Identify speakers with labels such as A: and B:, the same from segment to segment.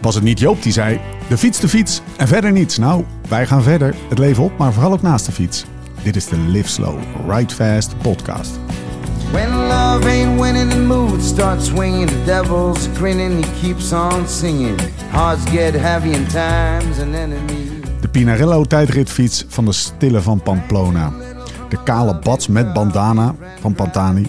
A: Was het niet Joop die zei: de fiets, de fiets en verder niets? Nou, wij gaan verder, het leven op, maar vooral ook naast de fiets. Dit is de Live Slow, Ride Fast podcast.
B: When love ain't winning, the mood starts swinging. The devil's grinning, he keeps on singing. Hearts get heavy, and time's an enemy.
A: De Pinarello tijdritfiets van de Stille van Pamplona. De kale bats met bandana van Pantani.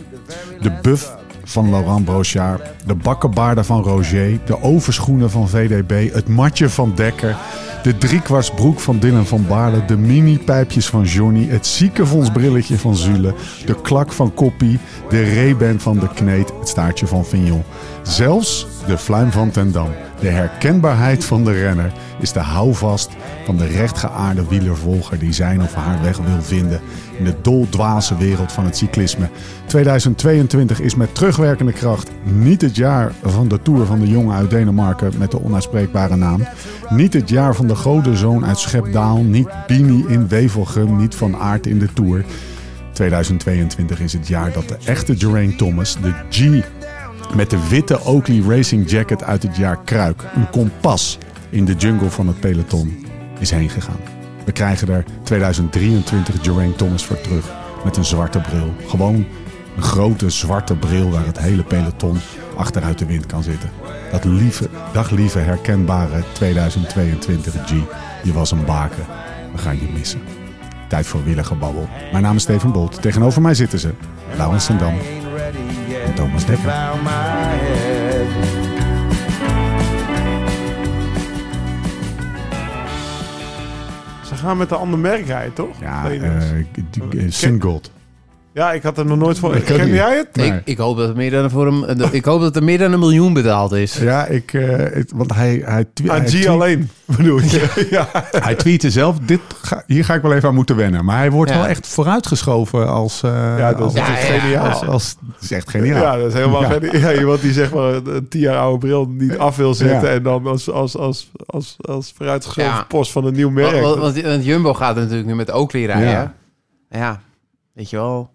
A: De buff van Laurent Brochard. De bakkenbaarden van Roger. De overschoenen van VDB. Het matje van Dekker. De driekwartsbroek van Dylan van Baarle. De mini-pijpjes van Johnny. Het ziekenfondsbrilletje van Zule. De klak van Koppie. De ray van De Kneet. Het staartje van Vignon. Zelfs de fluim van Ten Dam. De herkenbaarheid van de renner is de houvast van de rechtgeaarde wielervolger die zijn of haar weg wil vinden in de doldwaze wereld van het cyclisme. 2022 is met terugwerkende kracht niet het jaar van de Tour van de jongen uit Denemarken met de onuitspreekbare naam. Niet het jaar van de godenzoon uit Schepdaal, niet Bini in Wevelgem, niet Van Aert in de Tour. 2022 is het jaar dat de echte Geraint Thomas, de G met de witte Oakley Racing Jacket uit het jaar Kruik, een kompas in de jungle van het peloton, is heen gegaan. We krijgen er 2023 Geraint Thomas voor terug. Met een zwarte bril. Gewoon een grote zwarte bril waar het hele peloton achteruit de wind kan zitten. Dat lieve, daglieve herkenbare 2022 G. Je was een baken. We gaan je missen. Tijd voor wielergebabbel. Mijn naam is Steven Bolt. Tegenover mij zitten ze. Laurens ten Dam
B: I ain't ready yet.
A: en Thomas Dekker.
B: Bow my head.
C: Ze gaan met een ander merk rijden, toch?
A: Ja,
C: Nee, niks.
A: eh eh, Sungold.
C: ja, ik had er nog nooit voor.
A: Ik ook
C: Ken
A: niet.
C: jij het?
A: Nee.
D: Ik, ik, hoop dat er meer dan voor hem, ik hoop dat er meer dan een miljoen betaald is.
A: Ja, ik, eh, het- want hij, hij, twe-
C: Aan
A: hij,
C: Ah, G
A: twe-
C: alleen, bedoel je? Ja.
A: hij tweette zelf, dit ga, hier ga ik wel even aan moeten wennen. Maar hij wordt
D: Ja.
A: wel echt vooruitgeschoven als... eh,
C: Ja, dat is
A: als,
C: natuurlijk
D: Ja, ja,
C: geniaal.
A: als, als- dat is echt
C: Ja.
A: geniaal.
C: dat is helemaal
A: Ja.
C: geniaal. Ja, iemand die zeg maar een- een tien jaar oude bril niet af wil zetten...
A: Ja.
C: en dan als, als, als, als, als vooruitgeschoven
D: Ja.
C: post van een nieuw
D: Want,
C: merk.
D: want, want- want Jumbo gaat natuurlijk nu met Oakley rijden.
A: Ja.
D: Ja. weet je wel.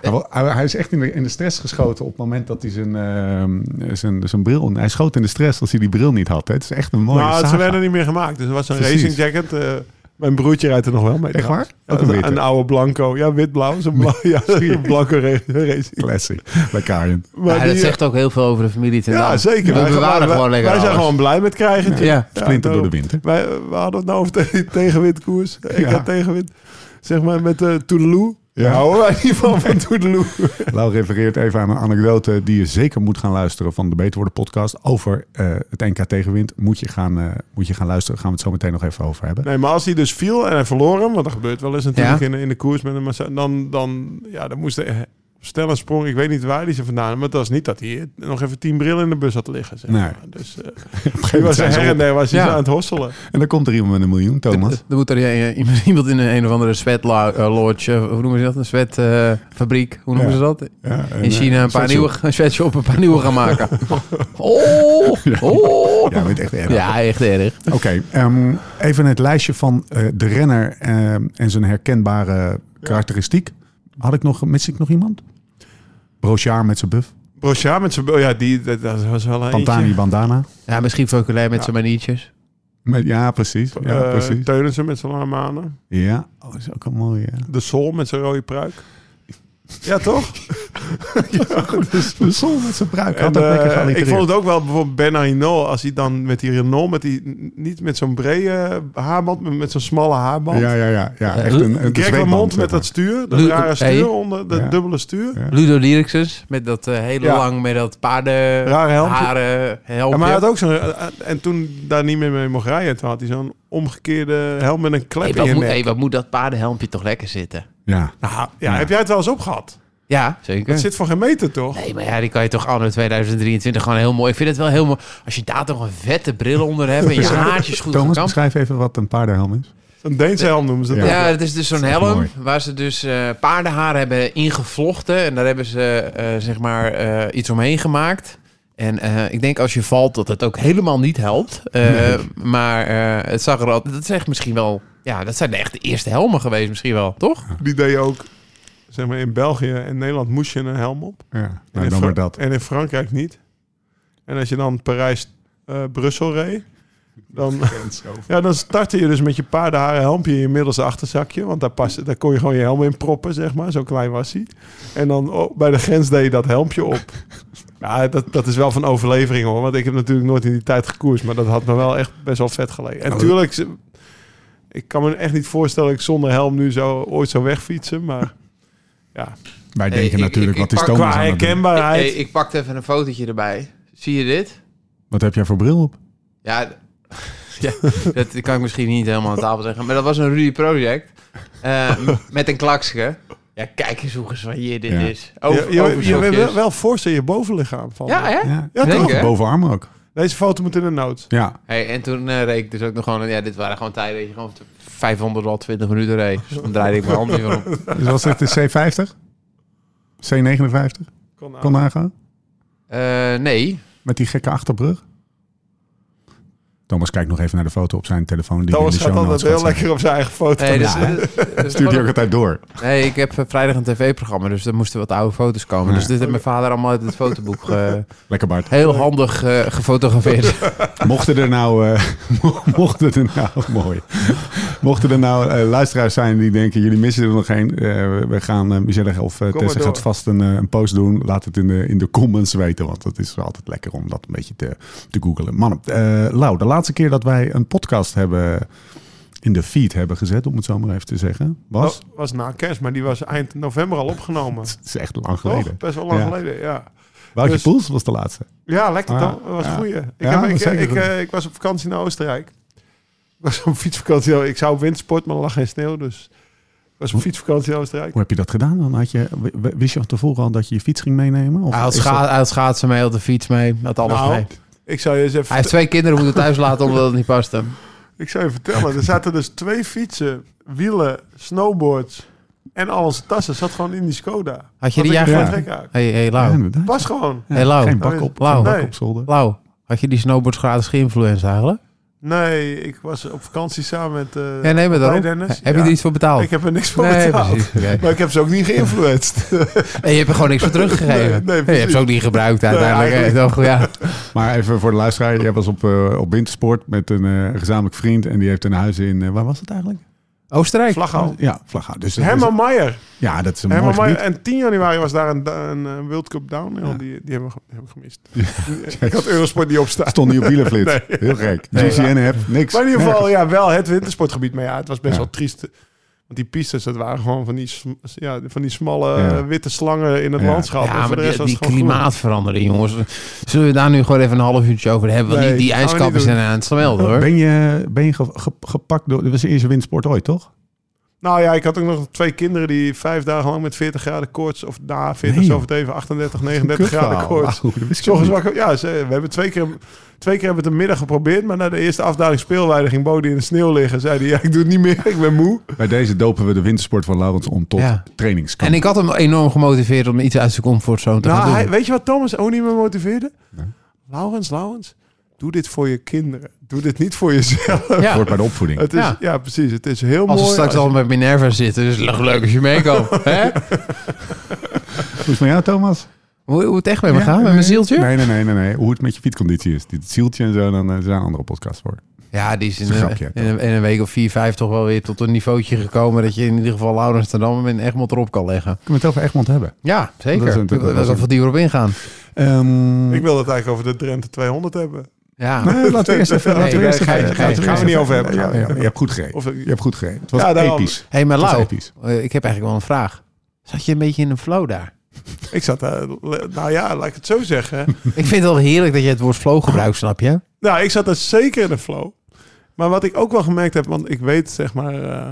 A: Hij wel- Hij, hij is echt in de, in de stress geschoten op het moment dat hij zijn, eh, zijn, zijn bril... Hij schoot in de stress als hij die bril niet had. Hè. Het is echt een mooie
C: maar Nou, ze
A: saga.
C: werden niet meer gemaakt. Dus het was een
A: Precies.
C: racing jacket. eh, mijn broertje rijdt er nog wel mee.
A: Echt waar?
C: trouwens.
A: Ook een
C: Ja,
A: witte.
C: een, oude blanco. Ja, wit-blauw. Zo'n bla ja, een blanco ra- racing.
A: Classic. Bij Karin.
C: Maar
D: Ja,
C: die, eh,
D: dat zegt ook heel veel over de familie ten
C: ja,
D: Dam.
C: zeker.
D: We
C: Wij-
D: bewaren
C: wij-
D: gewoon lekker
C: Wij zijn
D: alles.
C: gewoon blij met krijgen.
D: Ja.
A: Splinter door de
C: wind.
A: wind. hè.
C: Wij, we hadden het nou over te- tegenwindkoers. Ik
A: Ja.
C: had tegenwind. Zeg maar met eh Toedeloe.
A: Ja.
C: Ja, houden wij niet van van Toedeloe.
A: Lau refereert even aan een anekdote die je zeker moet gaan luisteren van de Beter Worden podcast. Over eh, het NK tegenwind moet je, gaan, eh, moet je gaan luisteren. Gaan we het zo meteen nog even over hebben.
C: Nee, maar als hij dus viel en hij verloor hem, want dat gebeurt wel eens natuurlijk
D: Ja.
C: in, in de koers met een massa- dan, dan, ja, dan moest hij snel een sprong. Ik weet niet waar hij ze vandaan had, maar het was niet dat hij nog even tien brillen in de bus had liggen. Zeg
A: Nee.
C: maar. Dus eh,
A: Op een gegeven
C: hij
A: moment
C: was
A: zijn ze
C: her en
A: op.
C: der was hij
D: Ja.
C: aan het hosselen.
A: En dan komt er iemand met een miljoen, Thomas.
D: Er moet er eh, iemand- iemand in een, een of andere sweatlodge, eh, hoe noemen ze dat? Een sweatfabriek, hoe noemen
A: Ja.
D: ze dat?
A: Ja, en,
D: In
A: eh,
D: China een paar
A: sweatshop.
D: nieuwe een sweatshop, een paar nieuwe gaan maken. Oh, oh.
A: Ja, weet echt erg.
D: Ja, echt erg.
A: Oké, ehm, even het lijstje van eh, de renner ehm, en zijn herkenbare karakteristiek. Had ik nog, mis ik nog iemand? Brochard met zijn buff.
C: Brochard met zijn... oh Ja, die, dat, dat was wel een
A: Pantani bandana.
D: Ja, misschien voculair met
C: Ja.
D: zijn maniertjes.
A: Met, ja, precies. Ja,
C: Ja,
A: precies.
C: Eh, Teunissen met zijn lange manen.
A: Ja, oh, is ook een mooie. ja.
C: De Sol met zijn rode pruik. Ja, toch?
A: De zon met zijn bruik.
C: En, eh, ik vond het ook wel bijvoorbeeld Ben Hinault, als hij dan met die Renault, met die, niet met zo'n brede haarband, maar met zo'n smalle haarband.
A: Ja, ja, ja. ja
D: Eh,
A: echt een, een
C: Greg
A: zweepband,
C: LeMond
A: zeg
C: met
A: maar.
C: dat stuur, dat
D: Lu-
C: rare stuur
D: Hey.
C: onder, dat
A: Ja.
C: dubbele stuur.
A: Ja.
D: Ludo Lyricsus, met dat eh, hele
C: Ja.
D: lang, met dat paarden...
C: Raar helmpje.
D: Haren, helmpje.
C: Ja, maar hij had ook zo'n... eh, En toen daar niet meer mee mocht rijden, toen had hij zo'n omgekeerde helm met een klep
D: Hey,
C: in
D: wat,
C: je
D: moet,
C: nek.
D: hey, wat moet dat paardenhelmpje toch lekker zitten?
A: Ja.
C: Nou, ja,
A: Ja.
C: heb jij het wel eens opgehad?
D: Ja,
C: Het
D: zeker.
C: zit voor geen meter, toch?
D: Nee, maar ja, die kan je toch anno 2023 gewoon heel mooi... Ik vind het wel heel mooi. Als je daar toch een vette bril onder hebt en je haartjes goed
A: Thomas,
D: gekamd.
A: beschrijf even wat een paardenhelm is.
C: Zo'n Een Deense helm noemen ze dat.
A: Ja.
C: ook.
D: Ja, het is dus zo'n
A: echt
D: helm
A: mooi.
D: waar ze dus eh, paardenhaar hebben ingevlochten. En daar hebben ze eh, zeg maar eh, iets omheen gemaakt. En eh, ik denk als je valt dat het ook helemaal niet helpt. Eh, Maar eh, het zag er al... Dat is echt misschien wel... Ja, dat zijn echt de eerste helmen geweest misschien wel, toch?
C: Die deed je ook. Zeg maar, in België en Nederland moest je een helm op.
A: Ja,
C: En
A: nou, dan
C: in Fra-
A: maar dat.
C: En in Frankrijk niet. En als je dan Parijs-Brussel reed, dan, ja, dan startte je dus met je paardenharen helmpje in je middelste achterzakje. Want daar, paste, daar kon je gewoon je helm in proppen, zeg maar. Zo klein was hij. En dan oh, bij de grens deed je dat helmpje op. Ja, dat, dat is wel van overlevering hoor. Want ik heb natuurlijk nooit in die tijd gekoerst. Maar dat had me wel echt best wel vet gelegen.
A: Nou,
C: En tuurlijk, ze- ik kan me echt niet voorstellen dat ik zonder helm nu zo, ooit zou wegfietsen. Maar ja,
A: Wij
D: Hey,
A: denken
D: ik-
A: natuurlijk,
D: ik-
A: wat
D: ik
A: is
D: pak
A: Thomas
C: qua
A: aan het doen?
C: herkenbaarheid.
D: Ik, ik pakte even een fotootje erbij. Zie je dit?
A: Wat heb jij voor bril op?
D: Ja, d- ja dat kan ik misschien niet helemaal aan tafel zeggen. Maar dat was een Rudy Project. eh, m- met een klakske. Ja, kijk eens hoe gezwaaieerd dit
A: Ja.
D: is. Over,
C: je je, je
D: overschotjes.
C: weet wel, wel voorstel je bovenlichaam van.
D: Ja, hè?
A: Ja,
C: Ja,
D: Denk,
A: toch?
D: hè?
A: Bovenarm ook.
C: Deze foto moet in de nood.
A: Ja,
D: Hey, en toen eh, reed ik dus ook nog gewoon... Ja, dit waren gewoon tijden dat je gewoon 500 al 20 minuten reed. Dus dan draaide ik mijn hand niet meer om.
A: dus was het de C50? C59?
C: Kon aan.
A: Kon nagaan?
D: Eh, nee.
A: Met die gekke achterbrug? Thomas kijkt nog even naar de foto op zijn telefoon. Die
C: Thomas
A: in de show
C: gaat altijd
A: notes
C: heel
A: zetten.
C: lekker op zijn eigen foto.
D: Nee,
A: Ja, hè? Stuurt hij ook altijd door.
D: nee, ik heb eh, vrijdag een tv-programma, dus er moesten wat oude foto's komen.
A: Ja.
D: Dus dit heeft mijn vader allemaal uit het fotoboek eh,
A: Lekker Bart.
D: heel handig eh, gefotografeerd.
A: Mochten er nou, eh, mo- mochten er nou, mooi. Mochten er nou eh, luisteraars zijn die denken, jullie missen er nog één. Eh, we gaan eh Michelle of eh,
C: maar
A: Tessa
C: door.
A: gaat vast een, eh, een post doen. Laat het in de, in de comments weten, want dat is altijd lekker om dat een beetje te, te googlen. Mannen, eh Lau, de laatste keer dat wij een podcast hebben in de feed hebben gezet, om het zo maar even te zeggen, was...
C: was, was na kerst, maar die was eind november al opgenomen.
A: Het is echt lang
C: Toch?
A: geleden.
C: Best wel lang
A: Ja.
C: geleden, ja.
A: Woutje
C: Oh. Dus-
A: Poels was de laatste.
C: Ja, lekker
A: Ah,
C: toch? Dat was
A: ja.
C: een goeie. Ik,
A: Ja,
C: heb,
A: dat
C: ik,
A: is zeker
C: ik,
A: goed.
C: eh, ik was op vakantie naar Oostenrijk. Ik was op fietsvakantie. oh, Ik zou op wintersport, maar er lag geen sneeuw, dus... Ik was op fietsvakantie in Oostenrijk.
A: Hoe heb je dat gedaan dan? Had je, w- w- wist je van tevoren al dat je je fiets ging meenemen? Of
D: Hij had,
A: is
D: scha
A: dat-
D: hij had schaatsen mee, had de fiets mee, had alles
C: Nou,
D: mee.
C: ik zou je eens even...
D: Hij heeft twee kinderen moeten thuis laten omdat het niet paste.
C: Ik zou je vertellen, er zaten dus twee fietsen, wielen, snowboards en al onze tassen. Zat gewoon in die Skoda.
D: Had je
C: Wat
D: die
C: ik
D: jaar
C: er
A: Ja.
C: geen
D: gewoon...
C: trek uit.
D: Hey, hey,
A: Ja,
D: Lau.
A: inderdaad.
C: Pas gewoon.
D: Hey, Lau.
A: Geen bak op,
D: Lau.
A: geen bak
C: Nee.
A: op zolder.
D: Lau. Had je die snowboard gratis geïnfluenced eigenlijk?
C: Nee, ik was op vakantie samen met... eh,
D: Ja, nee, maar daarom.
C: bij Dennis.
D: Heb je
C: Ja.
D: er iets voor betaald?
C: Ik heb er niks voor
D: nee,
C: betaald.
D: precies. oké.
C: Maar ik heb ze ook niet geïnfluenced.
D: En je hebt er gewoon niks voor teruggegeven.
C: Nee, nee,
D: je hebt
C: precies.
D: ze ook niet gebruikt uiteindelijk.
C: Nee,
D: hè, toch? ja.
A: Maar even voor de luisteraar. Jij was op, eh, op wintersport met een eh, gezamenlijk vriend. En die heeft een huis in... eh, waar was het eigenlijk?
D: Oostenrijk.
C: Vlaghout.
A: Ja, Vlaghout. Dus dat is-
C: Oh. Herman Meijer.
A: Ja, dat is een
C: Herman
A: mooi
C: Meijer.
A: gebied.
C: En 10 januari was daar een, een eh, World Cup Downhill.
A: Ja.
C: Die, die hebben we ge- die heb ik gemist. ik had Eurosport niet opstaan.
A: Stond niet op wielenflits. Heel gek.
C: Nee.
A: GCN heb niks.
C: Maar in
A: Nergens.
C: ieder geval, ja, wel het wintersportgebied. Maar ja, het was best
A: Ja.
C: wel triest. Want die pistes, dat waren gewoon van die, sm- ja, van die smalle
A: Ja.
C: eh, witte slangen in het
A: Ja.
C: landschap. En
D: Ja,
C: voor
D: maar
C: de rest
D: die,
C: was
D: die
C: het gewoon groen.
D: klimaatverandering, jongens. Zullen we daar nu gewoon even een half uurtje over hebben? Want
C: Nee,
D: die, die
C: gaan we niet
D: ijskappen
C: doen.
D: zijn aan het smelten, hoor.
A: Ben je, ben je ge- ge- gepakt door... Dat was je eerste wintersport ooit, toch?
C: Nou ja, ik had ook nog twee kinderen die vijf dagen lang met 40 graden koorts... of na 40
A: Nee,
C: zo
A: joh.
C: overdreven, 38, 39 graden
A: Kutverhaal.
C: koorts.
A: Wauw, dat wist ik
C: S ochtends
A: niet.
C: wakker- ja, ze- we hebben twee keer, twee keer hebben we het een middag geprobeerd. Maar na de eerste afdaling speelweide ging Bodie in de sneeuw liggen. Zei hij, ja, ik doe het niet meer, ik ben moe.
A: Bij deze dopen we de wintersport van Laurens om tot
D: Ja.
A: trainingskamp.
D: En ik had hem enorm gemotiveerd om iets uit zijn comfortzone te gaan
C: Nou,
D: doen.
C: hij- weet je wat Thomas ook niet meer motiveerde?
A: Nee.
C: Laurens, Laurens, doe dit voor je kinderen. Doe dit niet voor jezelf.
D: Ja.
A: Hoort bij de opvoeding.
C: Het is, ja.
D: Ja.
C: precies. Het is heel
D: Als we
C: mooi.
D: straks
C: als-
D: al met Minerva zitten, is het leuk- leuk als je meekoopt. hè?
A: Hoe is het met jou, Thomas?
D: Hoe, hoe het echt met me
A: Ja,
D: gaat? Met
A: nee.
D: mijn zieltje?
A: Nee, nee, nee, nee, nee. Hoe het met je fietsconditie is. Dit zieltje en zo, dan eh, er zijn andere podcasts voor.
D: Ja, die is in,
A: Dat is een
D: een-
A: grapje,
D: in, een, in een week of vier, vijf toch wel weer tot een niveautje gekomen... dat je in ieder geval Laurens ten Damme en Egmond erop kan leggen.
A: Kunnen we het over Egmond hebben?
D: Ja, zeker.
A: Dat is een- dat
D: Dat is
A: is een-
D: wel wat dieper op ingaan.
A: Ehm,
C: Ik wil het eigenlijk over de Drenthe 200 hebben.
D: Ja.
A: Nee, laten we eerst even.
D: Nee,
A: laten we
D: nee,
A: eerst
D: ga je-
A: even-
D: ga je-
A: laten we
D: gaan
A: eerst
C: we niet
A: even-
C: over hebben.
A: Ja, ja, je hebt goed gereden.
C: Of,
A: Je hebt goed gereden. Het was
C: Ja, daarom.
A: episch.
D: Hé, hey, maar
A: Het was
D: Lau,
A: episch.
D: eh, ik heb eigenlijk wel een vraag. Zat je een beetje in een flow daar?
C: ik zat daar... Nou ja, laat ik het zo zeggen.
D: Ik vind het wel heerlijk dat je het woord flow gebruikt, snap je?
C: nou, ik zat daar zeker in de flow. Maar wat ik ook wel gemerkt heb, want ik weet zeg maar... eh,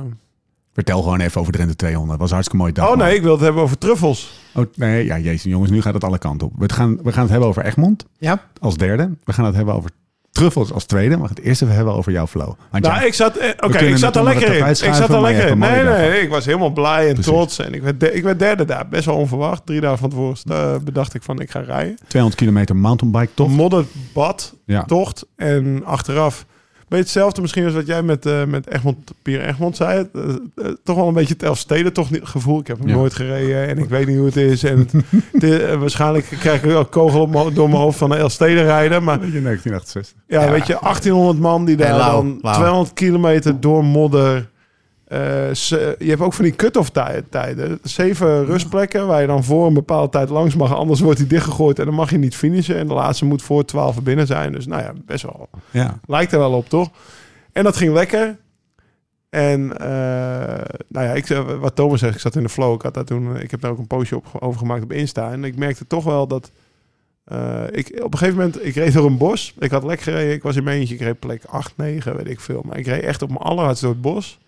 A: Vertel gewoon even over Drenthe 200. Het was een hartstikke mooi dag.
C: oh
A: man.
C: nee, ik wil het hebben over truffels.
A: Oh, nee, ja, jezus, jongens, nu gaat het alle kanten op. We gaan, we gaan het hebben over Egmond
D: Ja.
A: als derde. We gaan het hebben over Truffels als tweede, maar het eerste we hebben over jouw flow. Want
C: Nou,
A: ja,
C: ik zat, eh, oké,
A: kunnen
C: ik
A: het
C: zat er
A: onder
C: lekker
A: het
C: in.
A: tapijt
C: Ik zat
A: schuiven,
C: er
A: maar je
C: lekker in.
A: hebt een
C: Nee,
A: mooie
C: nee, nee, ik was helemaal blij en
A: Precies.
C: trots. En ik werd, de- ik werd derde daar. Best wel onverwacht. Drie dagen van tevoren eh, bedacht ik van, ik ga rijden.
A: 200 kilometer mountainbike toch?
C: Modderbad,
A: Ja.
C: tocht en achteraf. Beetje hetzelfde misschien als wat jij met, eh, met Egmond, Pier Egmond zei. Het, eh, eh, toch wel een beetje het Elfsteden toch niet- gevoel. Ik heb hem
A: Ja.
C: nooit gereden en ik weet niet hoe het is. En het, het is- eh, waarschijnlijk krijg ik wel een kogel op mijn- door mijn hoofd van de Elfsteden rijden. Maar
A: Weet je, 1968.
C: ja,
D: Ja.
C: weet je, 1800 man die daar
D: Hey, Lau,
C: dan
D: Lau.
C: 200 kilometer door modder. Eh, ze- je hebt ook van die cut-off tij- tijden. Zeven rustplekken waar je dan voor een bepaalde tijd langs mag. Anders wordt die dichtgegooid en dan mag je niet finishen. En de laatste moet voor 12 binnen zijn. Dus nou ja, best wel.
A: Ja.
C: Lijkt er wel op, toch? En dat ging lekker. En eh, nou ja, ik, eh, wat Thomas zegt, ik zat in de flow. Ik, had daar toen, eh, ik heb daar ook een postje op, over gemaakt op Insta. En ik merkte toch wel dat... eh, ik, op een gegeven moment, ik reed door een bos. Ik had lek gereden. Ik was in mijn eentje. Ik reed plek 8, 9, weet ik veel. Maar ik reed echt op mijn allerhardst door het bos.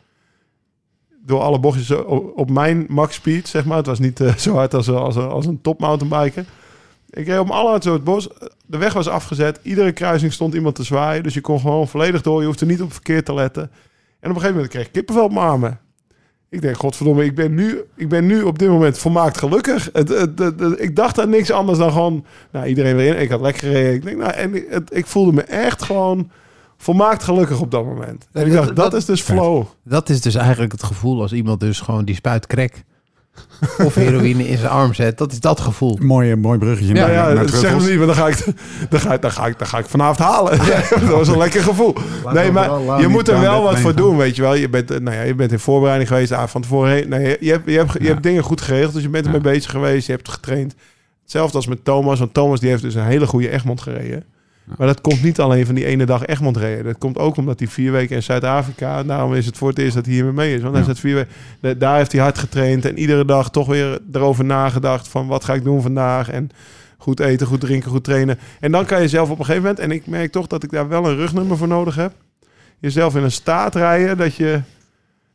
C: Door alle bochtjes eh, op, op mijn max speed, zeg maar. Het was niet eh, zo hard als, als, als een top mountainbiker. Ik reed op mijn allerhardst door het bos. De weg was afgezet. Iedere kruising stond iemand te zwaaien. Dus je kon gewoon volledig door. Je hoefde niet op verkeer te letten. En op een gegeven moment kreeg ik kippenvel op mijn armen. Ik denk, godverdomme, ik ben nu, ik ben nu op dit moment volmaakt gelukkig. Het, het, het- het- ik dacht aan niks anders dan gewoon... Nou, iedereen weer in. Ik had lekker gereden. Ik, denk, nou, en ik- het, ik voelde me echt gewoon volmaakt gelukkig op dat moment. En ik dacht, dat,
D: Dat-
C: is dus flow.
D: Dat is dus eigenlijk het gevoel als iemand dus gewoon die spuit crack of heroïne in zijn arm zet. Dat is dat gevoel.
A: Mooi, mooi bruggetje
D: Ja,
A: naar,
C: ja,
A: naar
C: dat zeg
A: truffels.
C: me niet, want dan ga ik, dan ga ik, dan ga ik, dan ga ik vanavond halen. dat was een lekker gevoel. nee,
A: we
C: maar
A: vooral, laat
C: je
A: niet
C: moet er
A: down
C: wel
A: that
C: wat
A: lane
C: voor
A: gaan.
C: doen, weet je wel. Je bent, eh, nou ja, je bent in voorbereiding geweest, de avond van tevoren. heen. Nee, je, je hebt, je, hebt, je
A: Ja.
C: hebt dingen goed geregeld, dus je bent ermee
A: Ja.
C: bezig geweest. Je hebt getraind. Hetzelfde als met Thomas, want Thomas die heeft dus een hele goede Egmond gereden.
A: Ja.
C: Maar dat komt niet alleen van die ene dag Egmond reden. Dat komt ook omdat hij vier weken in Zuid-Afrika... en daarom is het voor het eerst dat hij hiermee mee is. Want hij
A: Ja.
C: zat vier weken... Da- Daar heeft hij hard getraind en iedere dag toch weer erover nagedacht van wat ga ik doen vandaag en goed eten, goed drinken, goed trainen. En dan kan je zelf op een gegeven moment, en ik merk toch dat ik daar wel een rugnummer voor nodig heb, jezelf in een staat rijden dat je,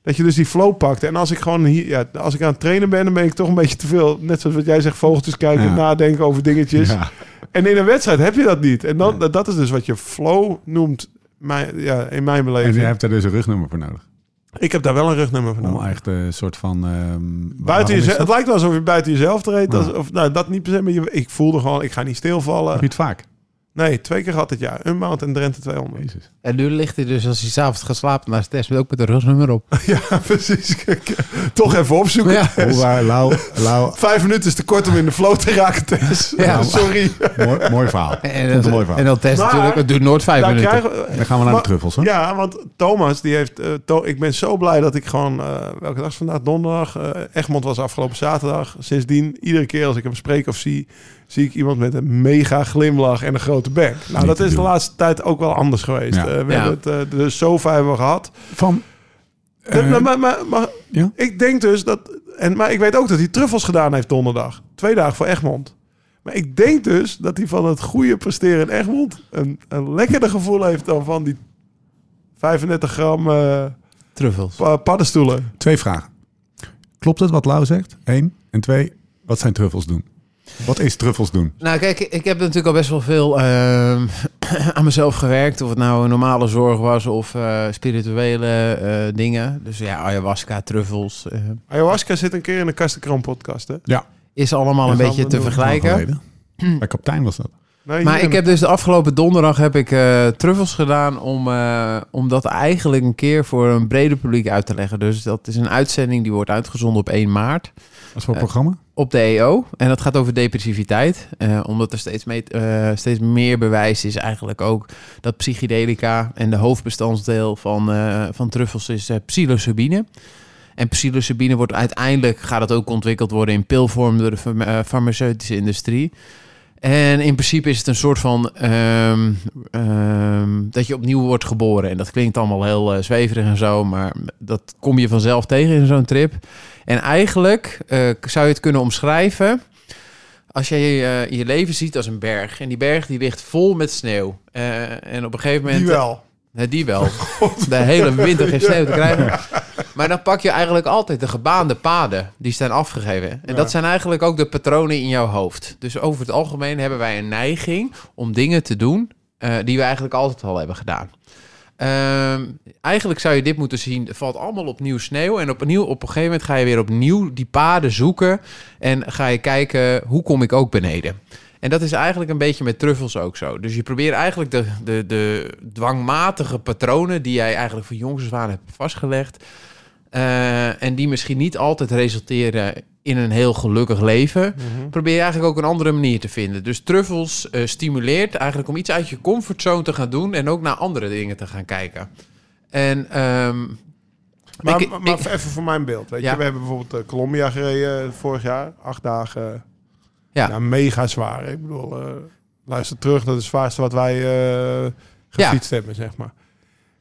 C: dat je dus die flow pakt. En als ik gewoon hier, ja, als ik aan het trainen ben, dan ben ik toch een beetje te veel, net zoals wat jij zegt, vogeltjes kijken,
A: Ja.
C: nadenken over dingetjes.
A: Ja.
C: En in een wedstrijd heb je dat niet. En dan,
A: Nee.
C: dat is dus wat je flow noemt, mijn, ja, in mijn
A: En je
C: beleving.
A: hebt daar dus een rugnummer voor nodig. Nou.
C: Ik heb daar wel een rugnummer voor nodig.
A: Om echt een soort van... ehm, waarom
C: Buiten
A: is dat?
C: jezelf, het lijkt wel alsof je buiten jezelf treedt.
A: Ja.
C: Als- Of, nou, dat niet per se, maar je, ik voelde gewoon, ik ga niet
A: Heb
C: stilvallen.
A: je het vaak?
C: Nee, twee keer gehad dit jaar. Unbound en Drenthe 200.
A: Jezus.
D: En nu ligt hij dus als hij s'avonds gaat slapen naast de test ook met een rugnummer op.
C: Ja, precies. Kijk, Toch even opzoeken.
D: Ja.
A: Hoe waar, Lau, Lau,
C: Vijf minuten is te kort om in de flow te raken, Tess.
D: Ja.
C: Sorry.
A: mooi, mooi verhaal.
D: En,
A: Vond het een mooi
D: en
A: verhaal.
D: dan test
C: Maar-
D: natuurlijk, het duurt nooit vijf
C: Daar
D: minuten.
C: Nou, krijgen we-
A: Dan gaan we naar de
C: Maar-
A: truffels, hè?
C: Ja, want Thomas, die heeft. eh, To- ik ben zo blij dat ik gewoon. eh, welke dag is vandaag? Donderdag. eh Egmond was afgelopen zaterdag. Sindsdien, iedere keer als ik hem spreek of zie. zie ik iemand met een mega glimlach en een grote bek. Nou,
A: Niet
C: dat
A: te
C: is de
A: doen.
C: laatste tijd ook wel anders geweest.
A: Ja.
C: Eh, we
D: Ja.
C: hebben het, eh, de sofa hebben we gehad.
A: Van... eh,
C: maar, maar, maar, maar
A: ja?
C: ik denk dus dat. En, maar ik weet ook dat hij truffels gedaan heeft donderdag. Twee dagen voor Egmond. Maar ik denk dus dat hij van het goede presteren in Egmond. een, een lekkerder gevoel heeft dan van die 35 gram. eh,
D: Truffels.
C: Pa- paddenstoelen.
A: Twee vragen. Klopt het wat Lau zegt? Eén. En twee, wat zijn truffels doen? Wat is truffels doen?
D: Nou, kijk, ik heb natuurlijk al best wel veel ehm, aan mezelf gewerkt. Of het nou een normale zorg was of eh, spirituele eh, dingen. Dus ja, ayahuasca, truffels. eh,
C: Ayahuasca zit een keer in de Kastenkram podcast, hè?
D: is allemaal een
C: Dat gaan
D: beetje
C: we
D: te
C: doen.
D: vergelijken.
A: Geleden. Bij kapitein was dat.
C: Nee,
D: Maar
C: hier.
D: ik heb dus de afgelopen donderdag heb ik eh, truffels gedaan om, eh, om dat eigenlijk een keer voor een breder publiek uit te leggen. Dus dat is een uitzending die wordt uitgezonden op 1 maart.
A: Als voor
D: Eh,
A: programma?
D: op de EO. En dat gaat over depressiviteit. Eh, omdat er steeds, mee, eh, steeds meer bewijs is eigenlijk ook dat psychedelica en de hoofdbestanddeel van, eh, van truffels is eh, psilocybine. En psilocybine wordt uiteindelijk, gaat het ook ontwikkeld worden in pilvorm door de farma- eh, farmaceutische industrie. En in principe is het een soort van ehm, ehm, dat je opnieuw wordt geboren. En dat klinkt allemaal heel eh, zweverig en zo, maar dat kom je vanzelf tegen in zo'n trip. En eigenlijk eh, zou je het kunnen omschrijven als jij je, je leven ziet als een berg. En die berg die ligt vol met sneeuw. Eh, en op een gegeven moment...
C: Die wel.
D: Nee, die wel. De hele winter geen sneeuw te krijgen. Maar dan pak je eigenlijk altijd de gebaande paden. Die zijn afgegeven. En dat zijn eigenlijk ook de patronen in jouw hoofd. Dus over het algemeen hebben wij een neiging om dingen te doen... eh, eh, die we eigenlijk altijd al hebben gedaan. Ehm, eigenlijk zou je dit moeten zien. Er valt allemaal opnieuw sneeuw. En opnieuw, op een gegeven moment ga je weer opnieuw die paden zoeken. En ga je kijken, hoe kom ik ook beneden? En dat is eigenlijk een beetje met truffels ook zo. Dus je probeert eigenlijk de, de, de dwangmatige patronen... die jij eigenlijk van jongs af aan hebt vastgelegd... eh, en die misschien niet altijd resulteren in een heel gelukkig leven...
C: Mhm.
D: probeer je eigenlijk ook een andere manier te vinden. Dus truffels eh, stimuleert eigenlijk om iets uit je comfortzone te gaan doen... en ook naar andere dingen te gaan kijken. En... ehm,
C: Maar,
D: ik-
C: maar
D: ik-
C: even voor mijn beeld. Weet
D: Ja.
C: je, we hebben bijvoorbeeld eh, Colombia gereden vorig jaar. Acht dagen.
D: Ja.
C: Ja. mega zwaar. Ik bedoel, eh, luister terug. Dat is het zwaarste wat wij eh,
D: Ja.
C: gefietst hebben, zeg maar.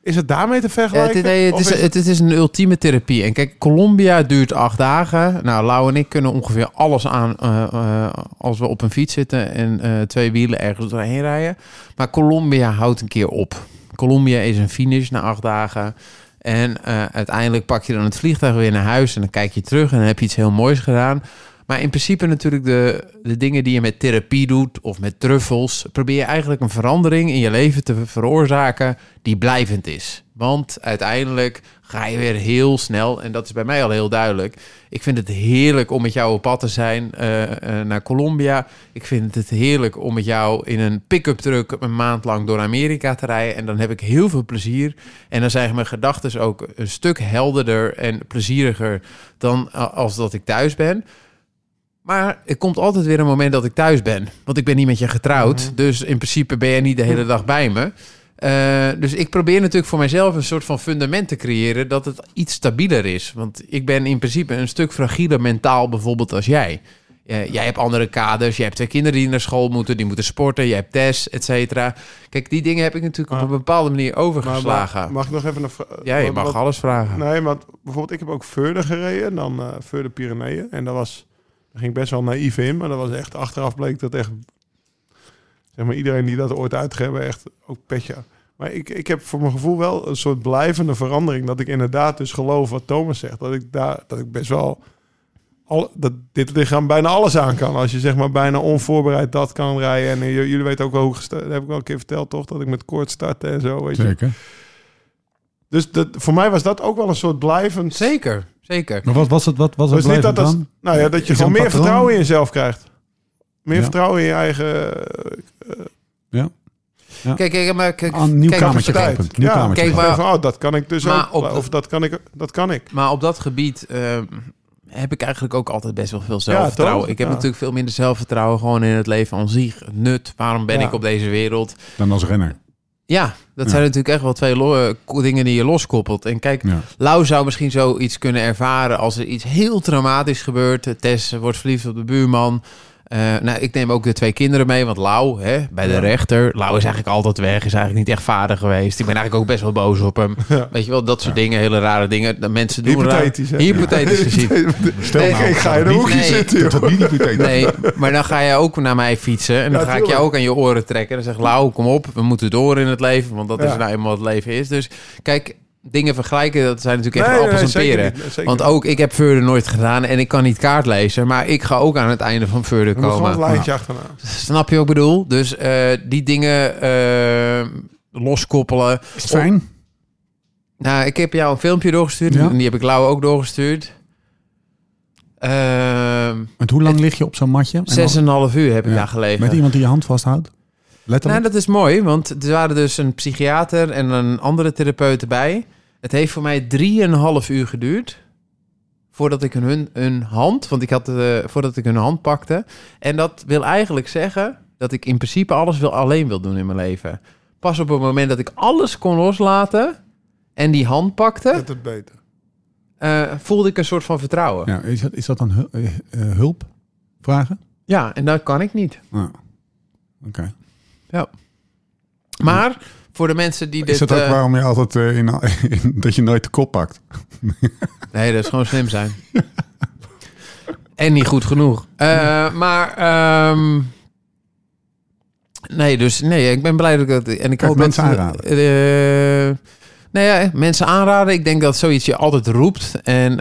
C: Is het daarmee te
D: Ja,
C: vergelijken?
D: Eh, het, nee, het,
C: Of
D: is, het, het is een ultieme therapie. En kijk, Colombia duurt acht dagen. Nou, Lau en ik kunnen ongeveer alles aan eh, eh, als we op een fiets zitten en eh, twee wielen ergens doorheen rijden. Maar Colombia houdt een keer op. Colombia is een finish na acht dagen. En eh, uiteindelijk pak je dan het vliegtuig weer naar huis en dan kijk je terug en dan heb je iets heel moois gedaan. Maar in principe natuurlijk de, de dingen die je met therapie doet of met truffels, probeer je eigenlijk een verandering in je leven te veroorzaken die blijvend is. Want uiteindelijk ga je weer heel snel, en dat is bij mij al heel duidelijk. Ik vind het heerlijk om met jou op pad te zijn eh, eh, naar Colombia. Ik vind het heerlijk om met jou in een pick-up truck een maand lang door Amerika te rijden. En dan heb ik heel veel plezier. En dan zijn mijn gedachten ook een stuk helderder en plezieriger dan a- als dat ik thuis ben. Maar er komt altijd weer een moment dat ik thuis ben. Want ik ben niet met je getrouwd.
C: Mhm.
D: Dus in principe ben jij niet de hele dag bij me. Eh, dus ik probeer natuurlijk voor mijzelf een soort van fundament te creëren dat het iets stabieler is. Want ik ben in principe een stuk fragieler mentaal bijvoorbeeld als jij. Eh, jij hebt andere kaders, jij hebt twee kinderen die naar school moeten, die moeten sporten, jij hebt tests, et cetera. Kijk, die dingen heb ik natuurlijk op
C: Maar-
D: een bepaalde manier
C: maar mag-
D: overgeslagen.
C: Mag ik nog even een vra-
D: ja, je
C: wat-
D: mag
C: wat- Nou,
D: alles vragen.
C: Nee, want bijvoorbeeld ik heb ook verder gereden dan eh verder Pyreneeën. En dat was, daar ging ik best wel naïef in. Maar dat was echt, achteraf bleek dat echt, zeg maar iedereen die dat ooit uitgeven, echt ook petje. aan. Maar ik, ik heb voor mijn gevoel wel een soort blijvende verandering. Dat ik inderdaad dus geloof wat Thomas zegt. Dat ik, daar, dat ik best wel, al, dat dit lichaam bijna alles aan kan. Als je zeg maar bijna onvoorbereid dat kan rijden. En eh, j- jullie weten ook wel hoe, gesta- dat heb ik wel een keer verteld toch, dat ik met koorts startte en zo. Weet je.
A: Zeker.
C: Dus dat, voor mij was dat ook wel een soort blijvend
D: Zeker, zeker.
A: Maar wat was het, wat was het
C: dus niet dat
A: blijvend
C: als,
A: dan?
C: nou ja, dat je
A: Is er
C: gewoon
A: een
C: meer
A: patroon?
C: vertrouwen in jezelf krijgt. Meer
A: Ja.
C: vertrouwen in je eigen. eh,
D: Kijk, kijk, maar kijk,
A: Aan Ah, een nieuw
D: kijk,
A: kamertje
C: capaciteit.
A: kopen. Nieuw
C: Ja,
A: kamertje
D: kijk,
A: kopen.
C: van, oh, dat kan ik dus
D: Maar
C: ook.
D: op-
C: of dat kan ik. Dat kan ik.
D: Maar op dat gebied eh, heb ik eigenlijk ook altijd best wel veel zelfvertrouwen.
C: toch?
D: ik heb
C: Ja.
D: natuurlijk veel minder zelfvertrouwen gewoon in het leven aan zich. Het nut, waarom ben
C: Ja.
D: ik op deze wereld?
A: Dan als renner.
D: Ja, dat
A: Ja.
D: zijn natuurlijk echt wel twee lo- eh, ko- dingen die je loskoppelt. En kijk,
A: Ja.
D: Lau zou misschien zoiets kunnen ervaren als er iets heel traumatisch gebeurt. Tess wordt verliefd op de buurman. Eh, nou, ik neem ook de twee kinderen mee, want Lau, hè, bij de
C: Ja.
D: rechter, Lau is eigenlijk altijd weg, is eigenlijk niet echt vader geweest. Ik ben eigenlijk ook best wel boos op hem.
C: Ja.
D: Weet je wel, dat soort dingen, hele rare dingen. Dat mensen doen raar-
C: Hypothetisch. hè?
D: Hypothetisch gezien.
A: Stel
D: Nee,
A: nou,
C: ik ga in
A: dat
C: een
A: niet-
C: hoekje
D: nee.
C: zitten.
A: Dat
C: joh.
A: dat niet hypothetisch.
D: Nee, maar dan ga je ook naar mij fietsen. En dan
C: Ja,
D: ga ik je
C: tuurlijk.
D: ook aan je oren trekken. Dan zeg ik, Lau, kom op, we moeten door in het leven. Want dat is
C: Ja.
D: nou eenmaal wat het leven is. Dus kijk, dingen vergelijken, dat zijn natuurlijk echt
C: Nee, nee,
D: appels en
C: zeker
D: peren.
C: niet, nee, zeker
D: Want
C: niet.
D: ook, ik heb Further nooit gedaan en ik kan niet kaart lezen. Maar ik ga ook aan het einde van Further
C: Er moet gewoon
D: komen.
C: een lijntje achterna.
D: Snap je wat ik bedoel? Dus eh, die dingen eh, loskoppelen.
A: Is het fijn?
D: Nou, ik heb jou een filmpje doorgestuurd.
A: Ja.
D: En die heb ik Lau ook doorgestuurd. Ehm
A: Want hoe lang lig je op zo'n matje? En
D: Zes en een half uur heb ik
A: Ja,
D: daar gelegen.
A: Met iemand die je hand vasthoudt?
D: Nou,
A: Letterlijk?
D: dat is mooi, want er waren dus een psychiater en een andere therapeut bij. Het heeft voor mij 3,5 uur geduurd voordat ik hun, hun hand, want ik had eh, voordat ik hun hand pakte. En dat wil eigenlijk zeggen dat ik in principe alles wil, alleen wil doen in mijn leven. Pas op het moment dat ik alles kon loslaten en die hand pakte,
C: Dat het beter.
D: eh, voelde ik een soort van vertrouwen. Ja,
A: ja, is, dat, is dat dan hu- eh, eh, hulp? Vragen?
D: en dat kan ik niet.
A: Nou, Oké.
D: Maar voor de mensen die dit...
A: Is dat ook
D: eh,
A: waarom je altijd eh, in, in- dat je nooit de kop pakt?
D: Nee, dat is gewoon slim zijn. en niet goed genoeg. Eh, maar, ehm, nee, dus nee, ik ben blij dat ik dat... En ik
A: Kan je
D: hoop dat,
A: mensen aanraden?
D: eh, Nou ja, mensen aanraden. Ik denk dat zoiets je altijd roept. En eh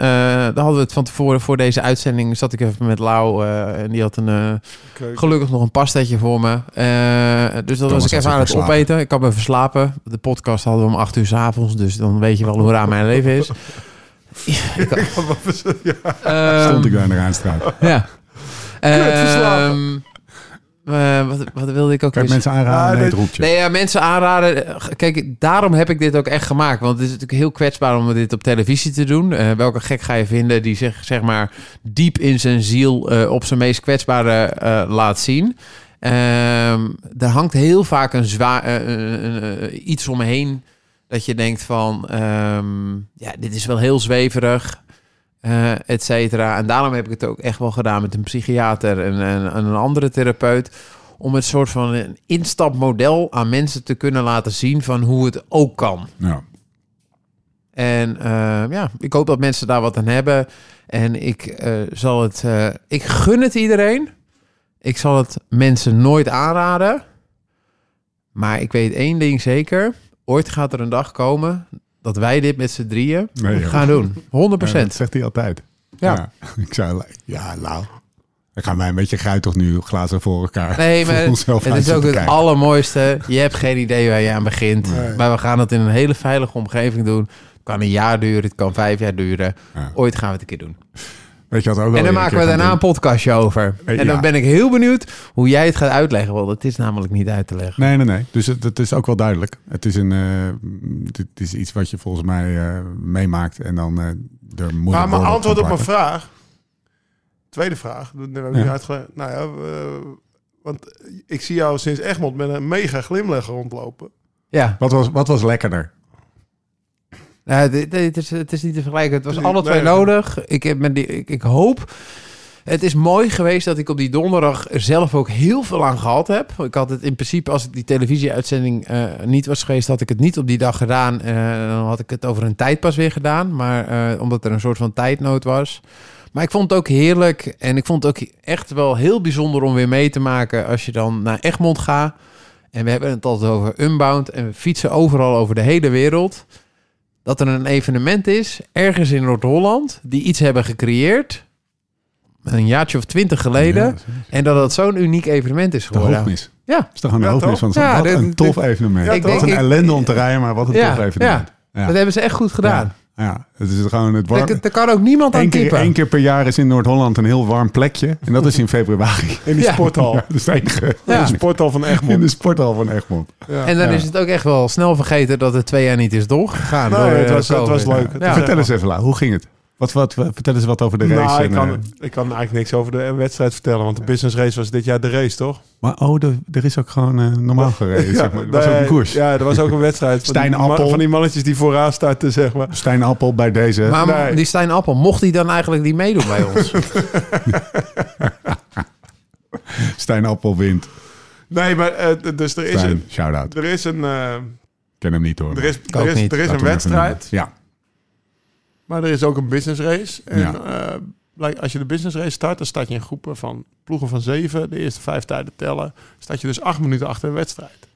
D: daar hadden we het van tevoren voor deze uitzending. Zat ik even met Lau. eh, en die had een, eh,
C: Keuken.
D: gelukkig nog een pastaatje voor me. Eh, dus dat
A: Thomas
D: was
A: had
D: ik even
A: zich
D: aan het
A: verslapen.
D: opeten. Ik had me verslapen. De podcast hadden we om acht uur s avonds. Dus dan weet je wel hoe raar mijn leven is. Ehm,
A: Stond ik daar in de Rijnstraat.
D: Ja.
C: verslagen.
D: Ehm, eh, wat, wat wilde ik ook
A: Kijk,
D: weer
A: mensen aanraden,
C: Ah,
A: nee,
C: nee.
A: het roept je.
D: Nou, Nee, ja, mensen aanraden. eh, Kijk, daarom heb ik dit ook echt gemaakt. Want het is natuurlijk heel kwetsbaar om dit op televisie te doen. Eh, welke gek ga je vinden die zich zeg maar diep in zijn ziel eh, op zijn meest kwetsbare eh, laat zien? Ehm er hangt heel vaak een zwaar iets omheen dat je denkt van, ehm, ja, dit is wel heel zweverig. eh et cetera. En daarom heb ik het ook echt wel gedaan met een psychiater en, en, en een andere therapeut om het soort van een instapmodel aan mensen te kunnen laten zien van hoe het ook kan.
A: Ja.
D: En eh, ja, ik hoop dat mensen daar wat aan hebben. En ik eh, zal het. eh, ik gun het iedereen. Ik zal het mensen nooit aanraden. Maar ik weet één ding zeker. Ooit gaat er een dag komen dat wij dit met z'n drieën
A: Nee, joh.
D: gaan doen. 100%.
A: Ja, dat zegt hij altijd.
D: Ja.
A: Ik zei, ja, nou. Dan gaan wij een beetje gruit toch nu glazen voor elkaar.
D: Nee, maar
A: voor onszelf
D: het
A: uit
D: is
A: zitten
D: ook het
A: kijken.
D: allermooiste. Je hebt geen idee waar je aan begint. Maar we gaan het in een hele veilige omgeving doen. Het kan een jaar duren, het kan vijf jaar duren.
A: Ja.
D: Ooit gaan we het een keer doen.
A: Weet je wat ook wel
D: en dan
A: weer
D: maken
A: een
D: we
A: keer
D: daarna
A: gaan
D: een podcastje over.
A: Eh,
D: En
A: ja.
D: dan ben ik heel benieuwd hoe jij het gaat uitleggen. Want het is namelijk niet uit te leggen.
A: doen. Nee, nee, nee. Dus het, het is ook wel duidelijk. Het is, een, eh, dit is iets wat je volgens mij eh, meemaakt. En dan eh er moet
C: Maar
A: een
C: mijn
A: oordeel
C: antwoord
A: van
C: op mijn
A: plakken.
C: vraag. Tweede vraag. Dat hebben we
A: Ja.
C: niet uitgelegd. Nou ja, we- want ik zie jou sinds Egmond met een mega glimlach rondlopen.
D: Ja,
A: Wat was, wat was lekkerder?
D: nou, dit, dit is, het is niet te vergelijken. Het was
C: Nee,
D: alle twee
C: nee.
D: nodig. Ik, heb met die, ik, ik hoop... Het is mooi geweest dat ik op die donderdag er zelf ook heel veel aan gehad heb. Ik had het in principe, als ik die televisieuitzending eh, niet was geweest, had ik het niet op die dag gedaan. Eh, dan had ik het over een tijd pas weer gedaan. Maar eh, omdat er een soort van tijdnood was. Maar ik vond het ook heerlijk. En ik vond het ook echt wel heel bijzonder om weer mee te maken als je dan naar Egmond gaat. En we hebben het altijd over Unbound. En we fietsen overal over de hele wereld. Dat er een evenement is, ergens in Noord-Holland, die iets hebben gecreëerd. Een jaartje of twintig geleden.
A: Ja,
D: En dat dat zo'n uniek evenement is
A: de
D: geworden.
A: hoogmis.
D: Oh, Ja.
A: Dat is toch een
C: Ja,
A: hoogmis
C: toch?
A: van zo'n
D: Ja,
A: Wat
D: dit-
A: een tof
D: dit-
A: evenement.
C: Ja,
A: Het
C: toch?
A: wat een
D: Ik-
A: ellende om te rijden, maar wat een tof evenement. Ja.
D: dat hebben ze echt goed gedaan.
A: Ja, het is gewoon het warm.
D: Daar, daar kan ook niemand aan
A: Eén keer,
D: typen.
A: één keer per jaar is in Noord-Holland een heel warm plekje. En dat is in februari.
C: In die
D: Ja.
C: sporthal.
A: Ja, dat is het enige.
D: Ja.
C: De sporthal van
A: In
C: Egmond.
A: de sporthal van Egmond.
C: Ja.
D: En dan
A: Ja.
D: is het ook echt wel snel vergeten dat het twee jaar niet is doorgegaan.
C: Nee,
D: door,
A: Nou,
C: het
D: eh,
C: was- het
D: COVID.
C: was leuk. Het
D: Ja.
C: was echt
A: vertel eens even, Lau, hoe ging het? Wat, wat, wat- vertel eens wat over de race.
C: nou, ik
A: en, eh,
C: kan, ik kan eigenlijk niks over de eh, wedstrijd vertellen, want de business race was dit jaar de race, toch?
A: maar oh, de- er is ook gewoon eh, normaal gereden. zeg maar. Er was ook een
C: nee,
A: koers.
C: Ja, er was ook een wedstrijd. van
A: Stijn
C: die ma-
A: Appel.
C: Van die mannetjes die vooraan starten, zeg maar.
A: Stijn Appel bij deze.
D: Maar
C: Nee.
D: die Stijn Appel, mocht hij dan eigenlijk niet meedoen bij ons?
A: Ah, Stijn Appel wint.
C: Nee, maar eh, d- dus er is
A: Stijn,
C: een...
A: shout-out.
C: Er is een, eh,
A: Ken hem niet hoor.
C: er is,
D: ook
C: er is,
D: niet.
A: Laten we
C: er is een
A: hem even noemen.
C: wedstrijd,
A: Ja.
C: maar er is ook een business race. En
A: Ja.
C: eh, blijk- als je de business race start, dan start je in groepen van ploegen van zeven. De eerste vijf tijden tellen. Staat je dus acht minuten achter een wedstrijd.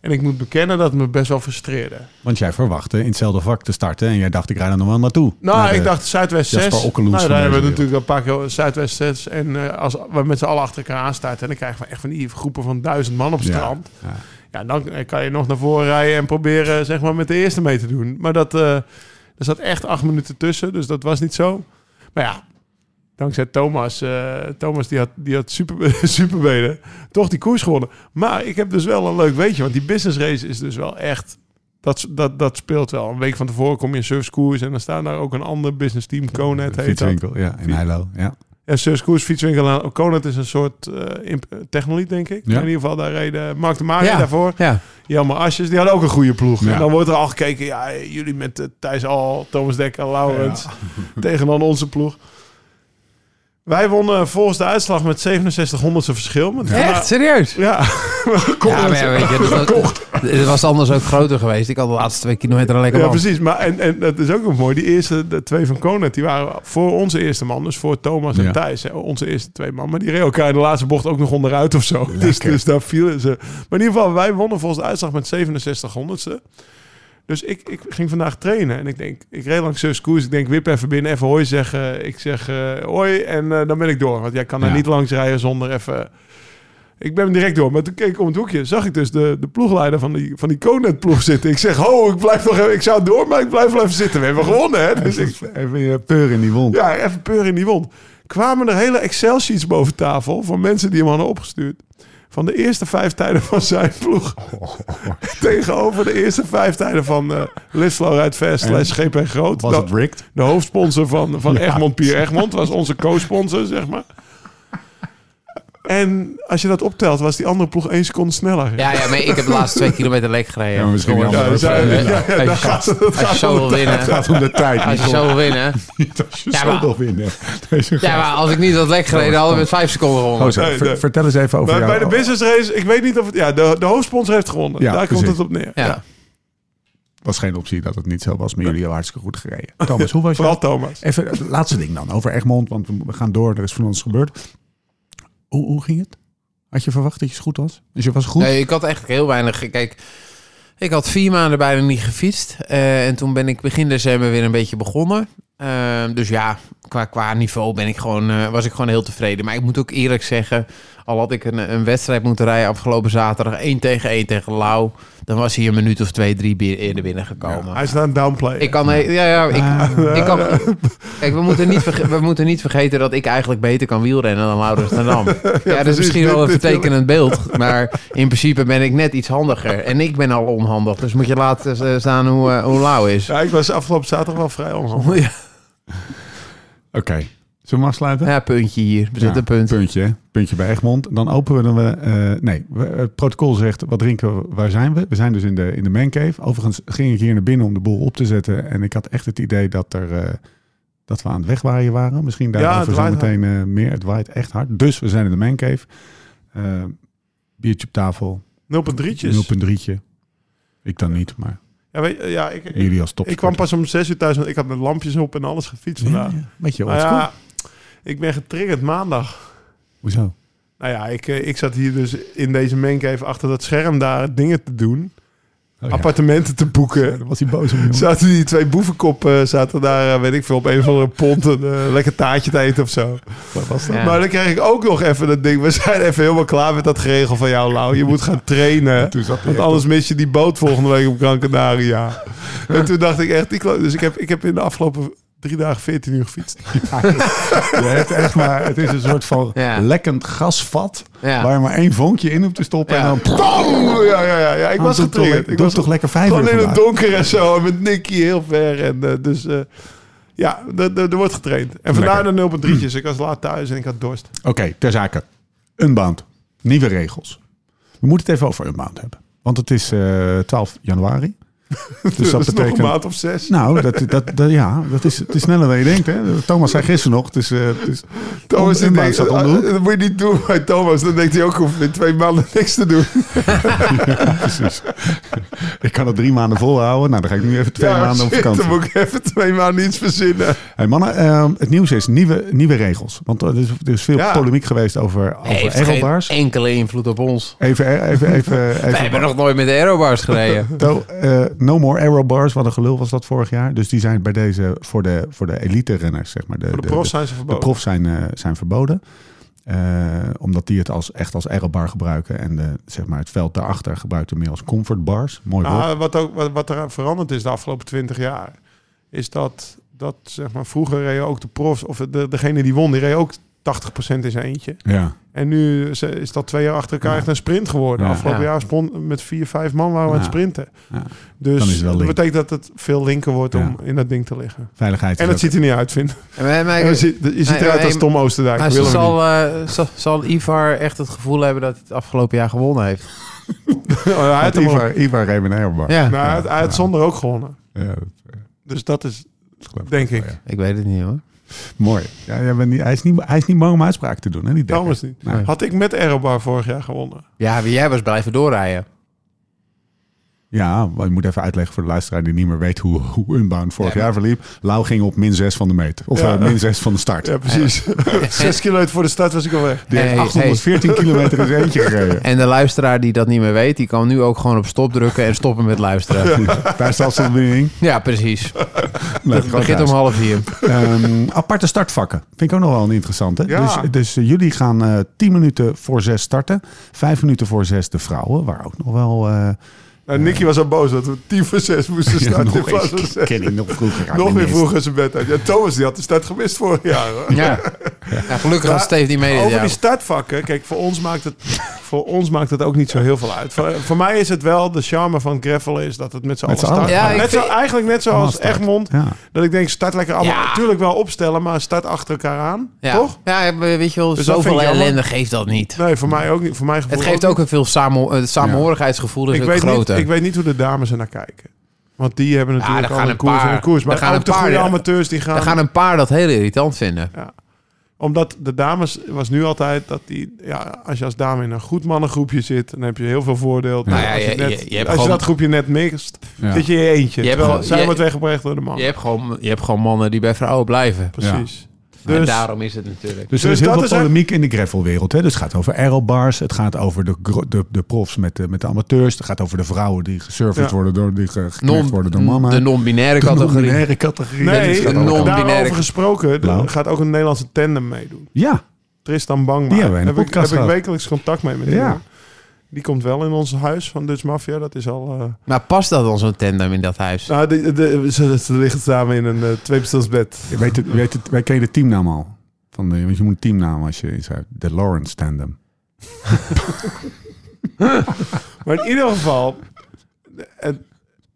C: En ik moet bekennen dat het me best wel frustreerde.
A: Want jij verwachtte in hetzelfde vak te starten. En jij dacht, ik rijd er nog wel naartoe.
C: Nou,
A: Naar de-
C: ik dacht Zuidwest 6.
A: Jasper Okkeloens
C: nou,
A: van
C: daar hebben we
A: deze
C: natuurlijk een paar keer Zuidwest 6. En eh, als we met z'n allen achter elkaar aanstarten... en dan krijgen we echt van die groepen van duizend man op
A: Ja,
C: strand.
A: ja.
C: Ja, dan eh, kan je nog naar voren rijden en proberen zeg maar, met de eerste mee te doen. Maar dat, eh er zat echt acht minuten tussen, dus dat was niet zo. Maar ja, dankzij Thomas. eh, Thomas die had, die had super, superbenen toch die koers gewonnen. Maar ik heb dus wel een leuk weetje, want die business race is dus wel echt... Dat, dat, dat speelt wel. Een week van tevoren kom je in surfskoers en dan staan daar ook een ander business team. Conet heet dat.
A: Fietswinkel, ja. In Heilo, ja.
C: En surfskoers, fietswinkel. aan- Conet is een soort eh imp- technoliet, denk ik.
A: Ja.
C: Maar In ieder geval, daar reden Mark de Mare
D: Ja.
C: daarvoor.
D: ja.
C: Jelmer Asjes, die hadden ook een goede ploeg.
A: Ja.
C: En dan wordt er al gekeken, ja, jullie met eh, Thijs Al, Thomas Dekker, Laurens. Tegen dan onze ploeg. Wij wonnen volgens de uitslag met 67 honderdste verschil. Met
D: Echt, serieus?
C: Ja,
D: Ja, maar ja, weet je, dat- het was anders ook groter geweest. Ik had de laatste twee kilometer alleen
C: ja
D: lekker man.
C: precies. Maar en, en dat is ook nog mooi. Die eerste de twee van Konet, die waren voor onze eerste man. Dus voor Thomas en
A: Ja.
C: Thijs, hè, onze eerste twee man. Maar die reden elkaar in de laatste bocht ook nog onderuit of zo. Dus, dus daar vielen ze. Maar in ieder geval, wij wonnen volgens de uitslag met 67 honderdste. Dus ik, ik ging vandaag trainen en ik denk, ik reed langs Sus Koers. Ik denk, wip even binnen, even hoi zeggen. Ik zeg eh, hoi en eh, dan ben ik door. Want jij kan er
A: Ja.
C: niet langs rijden zonder even... Ik ben direct door, maar toen keek ik om het hoekje. Zag ik dus de, de ploegleider van die, van die Conet-ploeg zitten. Ik zeg, ho, ik blijf nog even... Ik zou door, maar ik blijf wel even zitten. We hebben gewonnen, hè? Dus ik,
A: Even je peur in die wond.
C: ja, even peur in die wond. Kwamen er hele Excel-sheets boven tafel van mensen die hem hadden opgestuurd. Van de eerste vijf tijden van zijn ploeg. Tegenover de eerste vijf tijden van eh Lislo Rijdt Vest,
A: En
C: slash GP Groot.
A: Was
C: De-
A: het rigged?
C: De hoofdsponsor van, van
A: Ja.
C: Egmond Pier Egmond. Was onze co-sponsor, zeg maar. En als je dat optelt, was die andere ploeg één seconde sneller.
D: Ja, ja, maar ik heb de laatste twee kilometer leeg gereden.
A: Ja, maar misschien
D: Jongens,
A: die
C: Ja,
A: andere
C: dus
D: eh,
C: hij-
A: ploeg.
C: ja,
D: eh,
C: ja,
D: als
C: daar
D: je-
C: gaat het. dat
D: Als je
C: gaat
D: zo
C: om
D: wil
C: de-
A: Het
D: winnen,
A: gaat om de tijd.
D: als
A: Niet
D: je zo wil winnen.
A: niet als je
D: Ja,
A: zo
D: maar-
A: wil winnen. Deze
D: Ja, maar als ik niet had lek gereden, hadden we met vijf seconden gewonnen.
A: Gozer,
C: Nee,
A: Oh, ver-
C: nee.
A: vertel eens even over
C: Maar
A: jou.
C: bij de business race, ik weet niet of het... Ja, de, de hoofdsponsor heeft gewonnen.
A: Ja,
C: Daar komt
A: precies.
C: het op neer.
D: Ja.
C: Ja.
A: was geen optie dat het niet zo was, maar jullie hebben hartstikke goed gereden. Thomas, hoe was
C: Vooral
A: je?
C: Thomas.
A: Even het laatste ding dan, over Egmond, want we gaan door, er is van ons gebeurd. Hoe, hoe ging het? Had je verwacht dat je goed was? Dus je was goed?
D: Nee, ik had eigenlijk heel weinig. Kijk, ik had vier maanden bijna niet gefietst. Eh, en toen ben ik begin december weer een beetje begonnen. Eh, dus ja, qua, qua niveau ben ik gewoon, eh, was ik gewoon heel tevreden. Maar ik moet ook eerlijk zeggen, al had ik een, een wedstrijd moeten rijden afgelopen zaterdag, 1 tegen 1 tegen Lau, dan was hij een minuut of twee, drie bi- eerder binnengekomen.
C: Hij is aan het downplayen.
D: Ik kan, he- ja, ja, ik,
C: Ah.
D: ik kan, kijk, we moeten, niet verge- we moeten niet vergeten dat ik eigenlijk beter kan wielrennen dan Laurens ten Dam. Ja, dat is
C: precies,
D: misschien wel
C: dit-
D: een
C: dit wil ik.
D: vertekenend beeld, maar in principe ben ik net iets handiger. En ik ben al onhandig, dus moet je laten eh, staan hoe, eh, hoe Lau is.
C: Ja, ik was afgelopen zaterdag wel vrij onhandig.
D: Ja,
A: Oké. Zullen we afsluiten?
D: ja, puntje hier. Er zit
A: Ja,
D: een punt.
A: Puntje, hè? puntje bij Egmond. Dan openen we... eh, nee, we- het protocol zegt, wat drinken we, waar zijn we? We zijn dus in de, in de mancave. Overigens ging ik hier naar binnen om de boel op te zetten. En ik had echt het idee dat, er, eh, dat we aan het wegwaaien waren. Misschien
C: het
A: daarover zo
C: waait
A: meteen eh, meer. Het waait echt hard. Dus we zijn in de mancave. Eh biertje op tafel,
C: 0,3'tjes.
A: 0.3'tje. Ik dan niet, maar
C: Ja, weet, je, ja ik, ik,
A: jullie als top.
C: ik kwam pas om 6 uur thuis, want ik had met lampjes op en alles gefietst vandaag.
A: Beetje
C: Nou
A: oldschool.
C: ja, ik ben getriggerd maandag.
A: Hoezo? Oh
C: Nou ja, ik, eh, ik zat hier dus in deze mencave achter dat scherm daar dingen te doen.
A: Oh, ja.
C: Appartementen te boeken.
A: Dan was hij boos om jongen.
C: Zaten die twee boevenkoppen, zaten daar, eh, weet ik veel, op een of andere pont een eh, lekker taartje te eten of zo.
A: Wat was dat?
D: Ja.
C: Maar dan kreeg ik ook nog even dat ding. We zijn even helemaal klaar met dat geregel van jou, Lau. Je moet gaan trainen.
A: Toen zat hij
C: Want
A: echt
C: anders mis je die boot volgende week op Gran Canaria. En toen dacht ik echt, die klo- dus ik heb, ik heb in de afgelopen drie dagen 14 uur gefietst.
A: Je hebt echt maar, het is een soort van
D: Ja.
A: lekkend gasvat.
D: Ja.
A: Waar je maar één vonkje in hoeft te stoppen.
D: Ja.
A: En dan
C: Bam! Oh, Ja, ja, ja, ja. Ik was
A: Doe toch
C: getriggerd.
A: lekker-
C: Ik
A: doe
C: was
A: toch lekker vijf
C: Gewoon
A: uur
C: in het
A: vandaag.
C: donker en zo. En met Nicky heel ver. En eh, dus... eh, ja, er- er er wordt getraind. En vandaar
A: Lekker.
C: de 0,3'tjes. Ik was laat thuis en ik had dorst.
A: Oké, ter zake. Unbound. Nieuwe regels. We moeten het even over Unbound hebben. Want het is eh 12 januari. Dus dat,
C: Dus dat is nog
A: betekent...
C: een maand of zes.
A: Nou, dat, dat, dat, ja, dat is, het is sneller dan je denkt. Hè? Thomas zei gisteren nog. Het is, eh, het is,
C: Thomas die
A: Unbound
C: denkt,
A: staat om de
C: ah,
A: hoek.
C: dat moet je niet doen bij Thomas. Dan denkt hij ook, hoef in twee maanden niks te doen.
A: Precies. ik kan het drie maanden volhouden. Nou, dan ga ik nu even twee
C: Ja,
A: maanden op
C: shit,
A: vakantie.
C: Dan moet ik even twee maanden iets verzinnen.
A: Hey mannen, ehm, het nieuws is nieuwe, nieuwe regels. Want er is, er is veel
C: Ja.
A: polemiek geweest over, over
D: Heeft geen
A: aerobars.
D: enkele invloed op ons.
A: Even, eh, even, even,
D: Wij
A: even.
D: hebben nog nooit met de aerobars gereden.
A: To- eh, no more aerobars, wat een gelul was dat vorig jaar. Dus die zijn bij deze voor de, voor de elite renners, zeg maar. De,
C: Voor de prof zijn ze verboden.
A: de prof zijn, eh, zijn verboden. Eh, omdat die het als, echt als aerobar gebruiken. En de, zeg maar, het veld daarachter gebruikt hem meer als comfortbars. Mooi woord.
C: Nou, wat, ook, wat, wat er veranderd is de afgelopen twintig jaar, is dat, dat zeg maar, vroeger reden ook de profs, of de, degene die won, die reed ook 80% in zijn eentje.
A: Ja.
C: En nu is- is dat twee jaar achter elkaar
A: Ja.
C: echt een sprint geworden.
A: Ja.
C: Afgelopen
D: Ja.
C: jaar spon, met vier, vijf man waren we aan het
A: Ja.
C: sprinten.
A: Ja. Dan is
C: Dus
A: het wel
C: dat
A: link.
C: betekent dat het veel linker wordt om in dat ding te liggen.
A: Veiligheid.
C: En
A: is
C: dat
A: ook-
C: ziet er niet uit, vind ik.
D: En wij- wij-
C: Je ziet, je ziet
D: Nee,
C: eruit
D: nee,
C: als Tom Oosterdijk.
D: Maar
C: Ik wil hem
D: zal, eh, zal, zal Ivar echt het gevoel hebben dat hij het afgelopen jaar gewonnen heeft? eh,
C: niet. Oh, Hij had
A: Want
C: hem al-
A: Ivar, Ivar heeft een aerobar.
D: Ja,
C: Nou, hij had- hij had zonder ook gewonnen.
A: Ja, dat, eh,
C: Dus dat is,
A: dat geloof
C: denk
A: wel,
C: ik.
A: ja.
D: ik weet het niet hoor.
A: Mooi. Ja, jij bent niet, hij, is niet, hij is niet bang om uitspraak te doen, hè? Die
C: Thomas
A: Dekker.
C: niet. Had ik met Aerobar vorig jaar gewonnen?
D: Ja, maar jij was blijven doorrijden.
A: Ja, maar je moet even uitleggen voor de luisteraar die niet meer weet hoe, hoe Unbound vorig
D: Nee,
A: jaar verliep. Lau ging op min 6 van de meet. Of
C: Ja.
A: eh, min 6 van de start.
C: Ja, precies. Zes kilometer voor de start was ik al weg.
A: Die heeft
D: Hey,
A: 814 kilometer in zijn eentje gereden.
D: En de luisteraar die dat niet meer weet, die kan nu ook gewoon op stop drukken en stoppen met luisteren.
A: Daar staat ze in.
D: Ja, precies.
A: Nee,
D: Het begint om half vier.
A: Ehm, aparte startvakken. Vind ik ook nog wel een interessante.
C: Ja.
A: Dus, dus eh, jullie gaan eh 10 minuten voor 6 starten. 5 minuten voor 6 de vrouwen. Waar ook nog wel... eh,
C: Nou, Nicky was al boos dat we tien voor zes moesten starten. in
A: nog
C: plaats van
A: eens.
C: zes.
A: Ken ik nog vroeger. uit
C: Nog
A: mijn
C: weer
A: nest.
C: vroeg in zijn bed uit. Ja, Thomas die had de start gemist vorig jaar. Hoor.
D: Ja. ja gelukkig had
C: Ja,
D: Steve die mee. dit
C: Over die
D: jaar.
C: startvakken, kijk, voor ons, maakt het, voor ons maakt het ook niet zo heel veel uit. Voor, voor mij is het wel, de charme van gravel is dat het met z'n allen
A: Met z'n
C: start.
A: allen.
D: Ja, ik
C: net zo,
D: vind-
C: eigenlijk net
A: Allemaal
C: zoals
A: start.
C: Egmond,
A: Ja.
C: dat ik denk, start lekker allemaal.
D: Ja.
C: Natuurlijk wel opstellen, maar start achter elkaar aan.
D: Ja.
C: Toch?
D: Ja, weet je wel,
C: Dus dat vind
D: zoveel
C: ik jammer.
D: ellende geeft dat niet.
C: Nee, voor mij ook niet. Voor mij
D: Het geeft ook een veel samo- het samenhorigheidsgevoel, is
C: ik
D: dus ook
C: weet, niet,
D: groter.
C: ik weet niet hoe de dames er naar kijken. Want die hebben natuurlijk
D: daar
C: al
D: gaan
C: een
D: een
C: koers en
D: paar-
C: een koers. Maar
D: daar gaan
C: ook
D: een
C: de
D: paar,
C: goede
D: ja.
C: amateurs die gaan...
D: Er gaan een paar dat heel irritant vinden.
C: Omdat de dames was nu altijd dat die... Ja, als je als dame in een goed mannengroepje zit... dan heb je heel veel voordeel.
D: Nou ja,
C: als je,
D: je-
C: net-
D: je- je hebt
C: als
D: gewoon-
C: dat groepje net mixt,
A: Ja.
C: zit je in je eentje.
D: Je hebt
C: Terwijl
D: gewoon-
C: zij
D: je-
C: wordt weggebracht door de man.
D: Je hebt, gewoon, je hebt gewoon mannen die bij vrouwen blijven.
C: Precies.
D: en
C: Dus
D: daarom is het natuurlijk.
A: Dus, er is
C: Dus
A: heel
C: dat
A: veel
C: is echt-
A: polemiek in de gravelwereld. Hè? Dus het gaat over aerobars, het gaat over de, gro- de, de profs met de, met de amateurs, het gaat over de vrouwen die geserviced
C: Ja.
A: worden, door, die ge- geknecht
D: Non-
A: worden door mannen.
D: De non-binaire categorie.
A: non-binaire categorie.
D: Dat
C: nee,
D: is
A: allemaal
C: daarover
D: non-binaire.
C: gesproken...
A: Blauw.
C: er gaat ook een Nederlandse tandem meedoen.
A: Ja,
C: Tristan Bangma.
A: Die hebben we in de
C: heb ik,
A: podcast
C: heb ik
A: gehad.
C: wekelijks contact mee met die
A: Ja.
C: jongen. Die komt wel in ons huis van Dutch Mafia. Dat is al... eh,
D: Maar past dat dan zo'n tandem in dat huis?
C: Nou, de, de, ze, ze liggen samen in een eh, tweepersoonsbed.
A: je weet het, je weet het, wij kennen de teamnaam al. Van de, want je moet een teamnaam als je iets hebt. De Lawrence tandem.
C: Maar in ieder geval, eh,